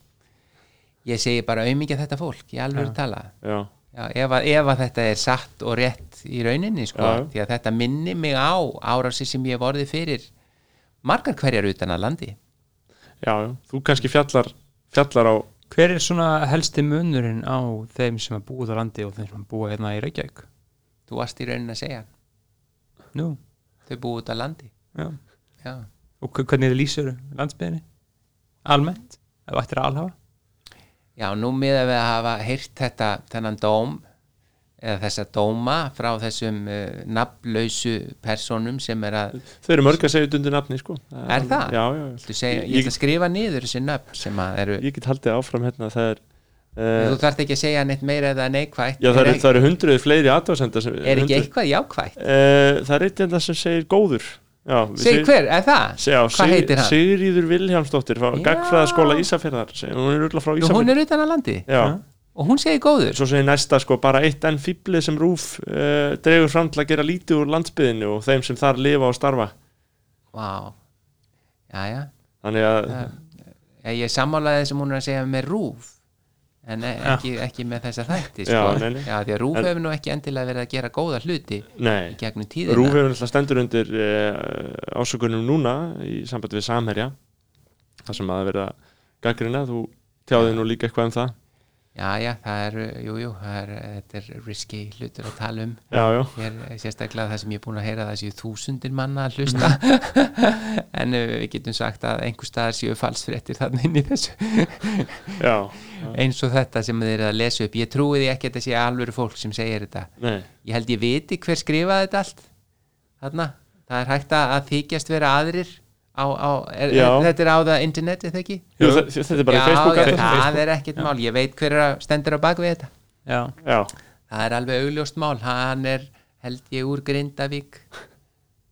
ég segi bara auðmingja þetta fólk, ég alveg tala já, Já, ef, að, ef að þetta er satt og rétt í rauninni sko, Já. því að þetta minni mig á árasi sem ég hef orðið fyrir margar hverjar utan að landi já, já, þú kannski fjallar fjallar á, Hver er svona helsti munurinn á þeim sem að búið á landi og þeim sem að búið hérna í Reykjavík? þú varst í rauninni að segja, Nú, þau búið út að landi já. já, Og hve- hvernig þið lýsir landsbyðinni? Almennt? Ef þú ættir að alhafa? já nú miða við að hafa heyrt þetta, þennan dóm eða þessa dóma frá þessum uh, nafnlausu personum sem er að þau eru mörg að segja þetta undir nafni sko. Er það? Já, já, já. Þú segja, ég, ég, ætla að skrifa niður þessi nöfn sem að eru, ég get haldið áfram hérna það er þú uh, þarft ekki að segja neitt meira eða neikvætt já, það er, eru, það eru hundruð fleiri aðdáðsenda sem, er ekki hundruð- eitthvað jákvætt Eh, það er eitt hérna sem segir góður já, við segir seg- hver, er það? Já, hvað heitir hann? Sigríður Vilhjálmsdóttir frá Já. Gagfræðaskóla Ísafjörðar segir- hún er rullar frá Nú, hún Ísafjörðar er utan að landi já, og hún segir góður svo segir næsta sko bara eitt enn fýblið sem Rúf uh, dregur fram til að gera lítið úr landsbyðinu og þeim sem þar lifa og starfa Vá, jæja þannig að Ég- Ég sammálaði þessum hún er að segja með rúf en e- ekki, ekki með þessa þætti sko. Já, nei, nei. Já, því að rúf En- hefur nú ekki endilega verið að gera góða hluti nei, í gegnum tíðina Rúf hefur náttúrulega stendur undir uh, ásökunum núna í sambandi við Samherja þar sem að vera gaggrina þú tjáði nú líka eitthvað um það Jæja, það er, jú, jú, það er, þetta er risky hlutur að tala um já, já, Hér, eh, sérstaklega það sem ég er búin að heyra að það séu þúsundir manna að hlusta <laughs> en eh, við getum sagt að einhver staðar séu falsfréttir þarna inn í þessu já, eins og þetta sem þeir eru að lesa upp ég trúi því ekki að þetta sé alvöru fólk sem segir þetta nei ég held ég viti hver skrifaði þetta allt þarna, það er hægt að að þykjast vera aðrir á, á, er, Já. er, þetta er á það interneti þegar ekki? Jú, þe- þetta er bara já, Facebook já, já, það Facebook. er ekkert mál, ég veit hver er að- stendur á bak við þetta Já. já, það er alveg augljóst mál, hann er held ég úr Grindavík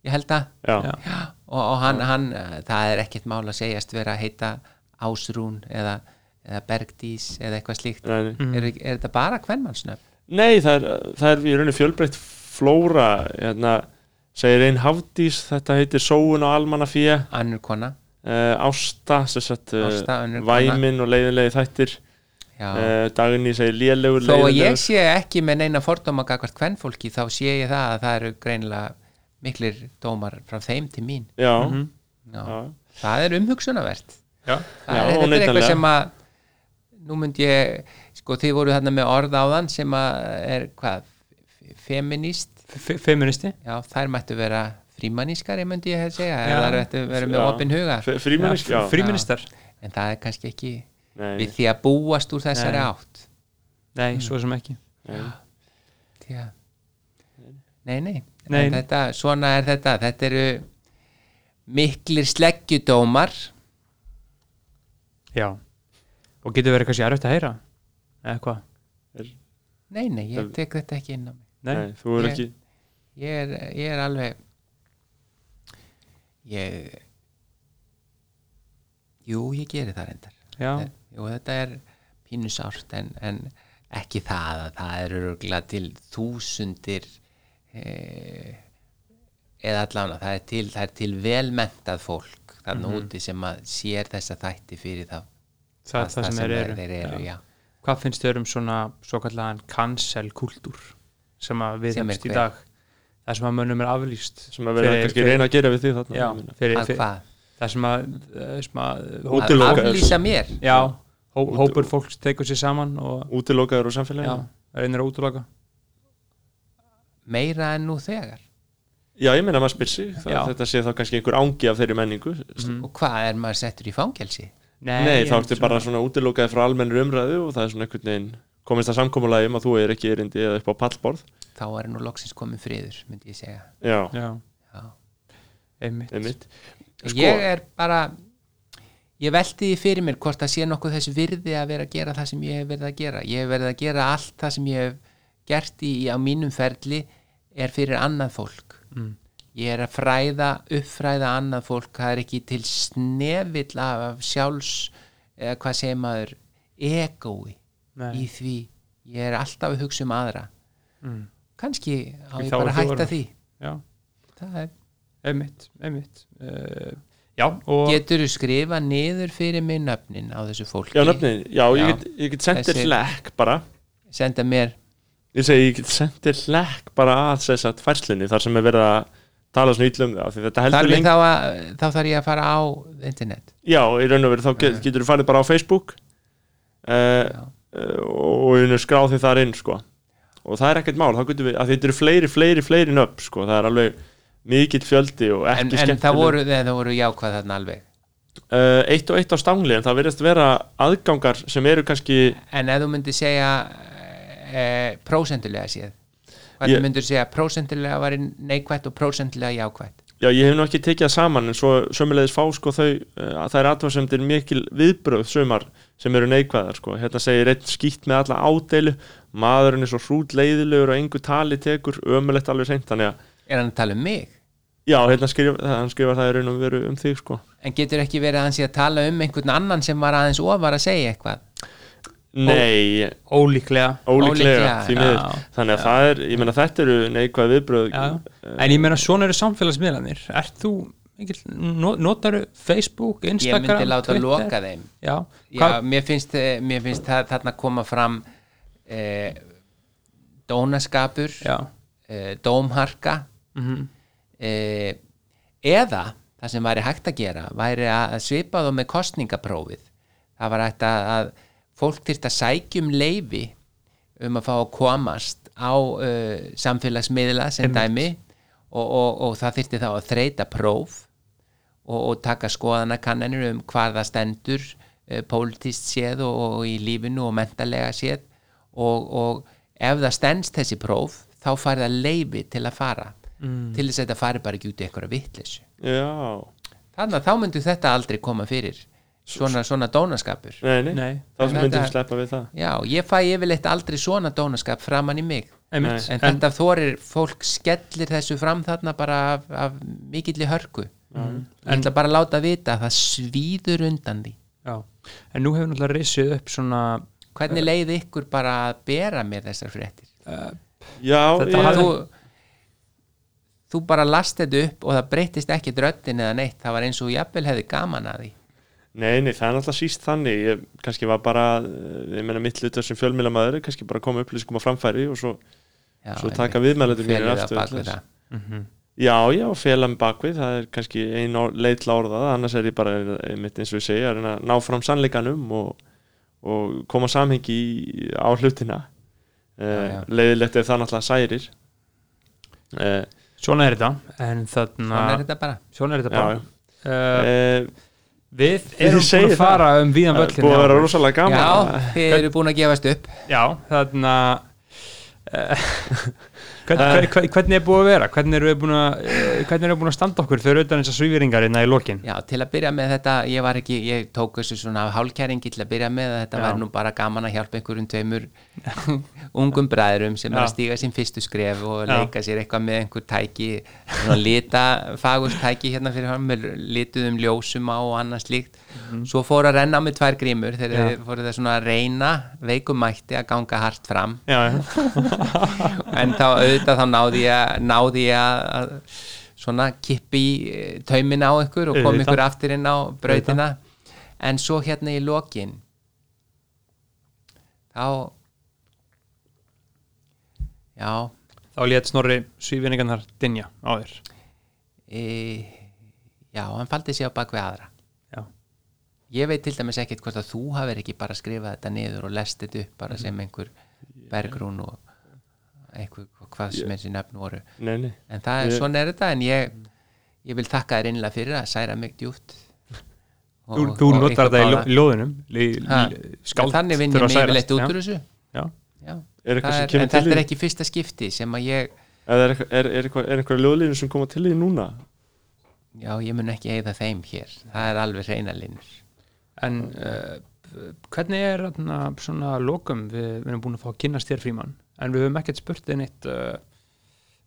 ég held það já, Já. Já, og, og hann, hann, eh, það er ekkert mál að segjast vera að heita Ásrún eða, eða Bergdís eða eitthvað slíkt Nei, nei. er, er þetta bara kvenmannsnöfn? nei það er, það er í rauninni fjölbreytt flóra hérna, segir einn Hafdís þetta heitir Sóun og Almannafíja Annur kona uh, Ásta, sem sagt, Ásta, uh, önnur kona. Væmin og leiðinlegi þættir Já. uh, Dagný segir lélegur þó að ég leiðinlegur. sé ekki með neina fordóma gagvart kvenfólki þá sé ég það að það eru greinilega miklir dómar frá þeim til mín Já, Mhm. Já. já, það er umhugsunavert Já. Já, það er, þetta er óneitanlega. eitthvað sem að nú mynd ég, sko þið voru þarna með orð áðan sem að er hvað, f- feminist F- Feministi? já, þær mættu vera frímannískari myndi ég að segja, Já. eða þær mættu vera með Já. opinn huga F- Frímennisk, já, Fríministar? en það er kannski ekki Nei, við því að búast úr þessari Nei. átt Nei, svo sem ekki. nei. Já. Nei, nei. Nei. En Þetta, svona er þetta. Þetta eru miklir sleggjudómar. Já. Og getur verið kannski erfitt að heyra? Eða hvað? Nei, nei, ég tek þetta ekki inn á mig. Nei. Nei, þú er Ég- ekki Ég er, ég er alveg, ég, jú, ég geri það reyndar. Eh, Já. Jú, þetta er pínusárt en, en ekki það að það eru örgulega til þúsundir eh, eða allan það er til, það er til velmentað fólk þannig Mhm. úti sem að sér þessa þætti fyrir það, Það er það sem þeir eru. þeir eru já. Hvað finnst þér um svona svo kallan cancel-kultúr sem að við Sem er hefumst í hver? dag? Það sem að mönnum er aflýst. sem að vera kannski að reyna að gera við þig þarna Já, ég meina. fyrir, að fyrir, hvað? það sem að, eh, sem að Út- hó, Að Útilokaður. aflýsa mér já, hó, hópur fólks tekur sér saman og Útilokaður úr já, samfélaginu reynir að útloka meira en nú þegar Já, ég meina að maður spyr sig það, Já. Þetta sé þá kannski einhver ángi af þeirri menningu Mhm. og hvað er maður settur í fangelsi? Nei, ég- þá ertu bara svona útilokaði frá almennur umræðu og það er svona einhvern veginn komist að samkomulagi um að þú er ekki erindi eða upp á pallborð Þá er nú loksins komin friður, myndi ég segja. Já, já, einmitt einmitt Sko- ég er bara ég velti því fyrir mér hvort það sé nokkuð þess virði að vera að gera það sem ég hef verið að gera ég hef verið að gera allt það sem ég hef gert í, á mínum ferli er fyrir annað fólk mm. ég er að fræða, uppfræða annað fólk, það er ekki til snefill af, af sjálfs eða hvað segir maður egoi Nei. í því ég er alltaf að hugsa um aðra Mm. kannski á Í ég þágu bara að hætta þjóðarinnar. því já, það er einmitt, einmitt uh, já, og Getur þú skrifa niður fyrir mig nöfnin á þessu fólki? Já, nöfnin, já, Já. ég get, ég get sendt þér Þessi- hlekk bara Senda mér, Ég segi, ég get sendt þér hlekk bara að þess að færslunni þar sem er verið að tala svona ítlum því þetta heldur þarf ég lengi þá, að, þá þarf ég að fara á internet Já, í raun og veru þá get, getur þú farið bara á Facebook uh, og einu skráð þig þar inn sko. og það er ekkert mál þá getur við, að þetta eru fleiri, fleiri, fleiri nöfn sko. það er alveg mikill fjöldi og En, ekki en það skemmtileg. voru, nei, það voru jákvæð þarna alveg uh, eitt og eitt á stangli en það verðist vera aðgangar sem eru kannski En ef þú myndir segja e, prósendulega séð Hvernig Ég- myndir þú segja prósendulega var neikvætt og prósendulega jákvætt já ég hef nú ekki tekið það saman en svo sömulegis fá sko þau uh, það er aðtöðasemdir mikil viðbröð sumar sem eru neikvæðar sko hérna segir einn skýtt með alla ádeilu maðurinn er svo hrút leiðilegur og engu tali tekur ömulegt alveg seint þannig að Er hann að tala um mig? já hérna skrif, hann skrifar það í raun og veru um þig sko En getur ekki verið að hann sé að tala um einhvern annan sem var aðeins ofar að segja eitthvað? nei ólíklega ólíklega Ólíklega, því miður já, þannig að það er ég meina þetta eru neikvæð viðbröð já. en ég meina svona eru samfélagsmiðlanir ert þú, mikill, no- notaru Facebook, Ég Instagram, myndi láta loka þeim já, Já, hvað, mér finnst, eh, mér finnst það, þarna koma fram e, dónaskapur, já, Mhm. e, dómharka e, eða það sem væri hægt að gera væri að svipa þá með kostningaprófið. Það var hægt að, að fólk þyrst að sækjum leifi um að fá að komast á uh, samfélagsmiðla sem dæmi og, og, og það þyrfti þá að þreita próf og, og taka skoðanakannanir um hvað það stendur uh, pólitist séð og, og í lífinu og mentalega séð og, og ef það stendst þessi próf þá fær það leifi til að fara til þess að þetta fari bara ekki út í einhverja vitleysu já þannig að þá myndu þetta aldrei koma fyrir svona, svona dónaskapur nei nei, Nei. þá En myndum þetta- við sleppa við það já, ég fæ yfirleitt aldrei svona dónaskap framan í mig einmitt en, þetta þorir, fólk skellir þessu fram þarna bara af, af mikilli hörku Mm. ég ætla bara að láta vita að það svíður undan því já. en nú hefur náttúrulega reysið upp svona Eh. hvernig leið ykkur bara að bera mér þessar fréttir eh, já Þetta ég- hafði- þú, þú bara last þetta upp og það breyttist ekki dröttin eða neitt, það var eins og jafnvel hefði gaman að því Nei, nei, það er náttúrulega síst þannig ég kannski var bara, eh, ég meina mitt hlutur sem fjölmiðlamæður, kannski bara koma upplýsingum á framfæri og svo, já, svo taka viðmælendur mínir aftur til aftur þess. Já, já, félag með bakvið, það er kannski einn leit láraða, annars er ég bara eh, mitt eins og ég segja, að reyna að ná fram sannleikanum og, og koma samhengi í, á hlutina Já, já. uh, leiðilegt ef það náttúrulega særir uh, svona er þetta en þarna, Ah. þannig er þetta bara svona er þetta Já, bara já. uh, uh, við ég erum segi búin að það. fara um víðan eh, Búið völlin að vera rosalega gaman já, þið eru búin að gefast upp já, þarna Eh. uh, <laughs> hvern, hvern, hvernig er búið að vera hvernig erum við búin að eh, hvernig erum við búin að standa okkur fyrir auðvitað þessar svífyringar innan í lokin Já, til að byrja með þetta, ég var ekki, ég tók þessu svona hálkæringi til að byrja með að þetta Já. var nú bara gaman að hjálpa einhverjum tveimur <laughs> ungum bræðurum sem er að Já. stíga sín fyrstu skref og Já. leika sér eitthvað með einhver tæki, svona lita fagustæki hérna fyrir hann með lituðum ljósum á og annað slíkt. Svo fór að renna á mig tvær grímur þegar Mhm. Já. þeir fóru það svona að reyna veikumætti að ganga hart fram já, já. en þá auðvitað þá náði ég, náði ég að- að svona kippi í eh, taumina á ykkur og kom Auðvitað. ykkur aftur inn á brautina en svo hérna í lokin þá já þá létt snorri svífyringarnar dinja á þér e, já, hann faldi sig á bakvið aðra já, ég veit til dæmis ekkert hvort að þú hafir ekki bara skrifað þetta niður og lest þetta upp bara sem einhver bergrún og einhver hvað sem þessi nefn voru Nei, nei en það er Ég- svona er þetta en ég, ég vil þakka þér innlega fyrir að særa mig djúpt og, þú, þú notar þetta í ljó- báða. í ljóðunum lí, Ha, lí, skáld en þannig vinn ég þurfa að mig særast. yfirleitt út Já, úr þessu já. Já, Er eitthvað það sem er, kemur en til þetta er þín? ekki fyrsta skipti sem að ég Eða er, eitthvað- er, er, eitthvað- er einhverja ljóðlínu sem koma til því núna? já, ég mun ekki eigða þeim hér það er alveg reyna linnur en uh, hvernig er þarna svona lokum við, við erum búin að fá að kynast þér frímann en við höfum ekkert spurt þér neitt uh,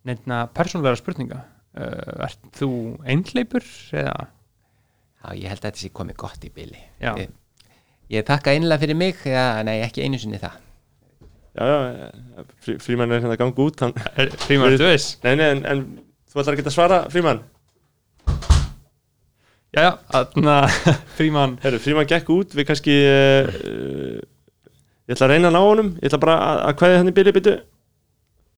neitna persónulega spurninga uh, ert þú einhleipur eða já, ég held að þetta sé komið gott í bili Já. ég, ég þakka einlega fyrir mig já, nei, ekki einu sinni það já, já, frí, frímann er hérna að ganga út hann... er, frímann, Verið- þú veist nei, nei, en, en þú ætlar ekki að svara, frímann já, já, þarna <laughs> frímann Herru, frímann gekk út, eh, við kannski uh, ég ætla að reyna að ná honum ég ætla bara að, að kveðja henni byrja byttu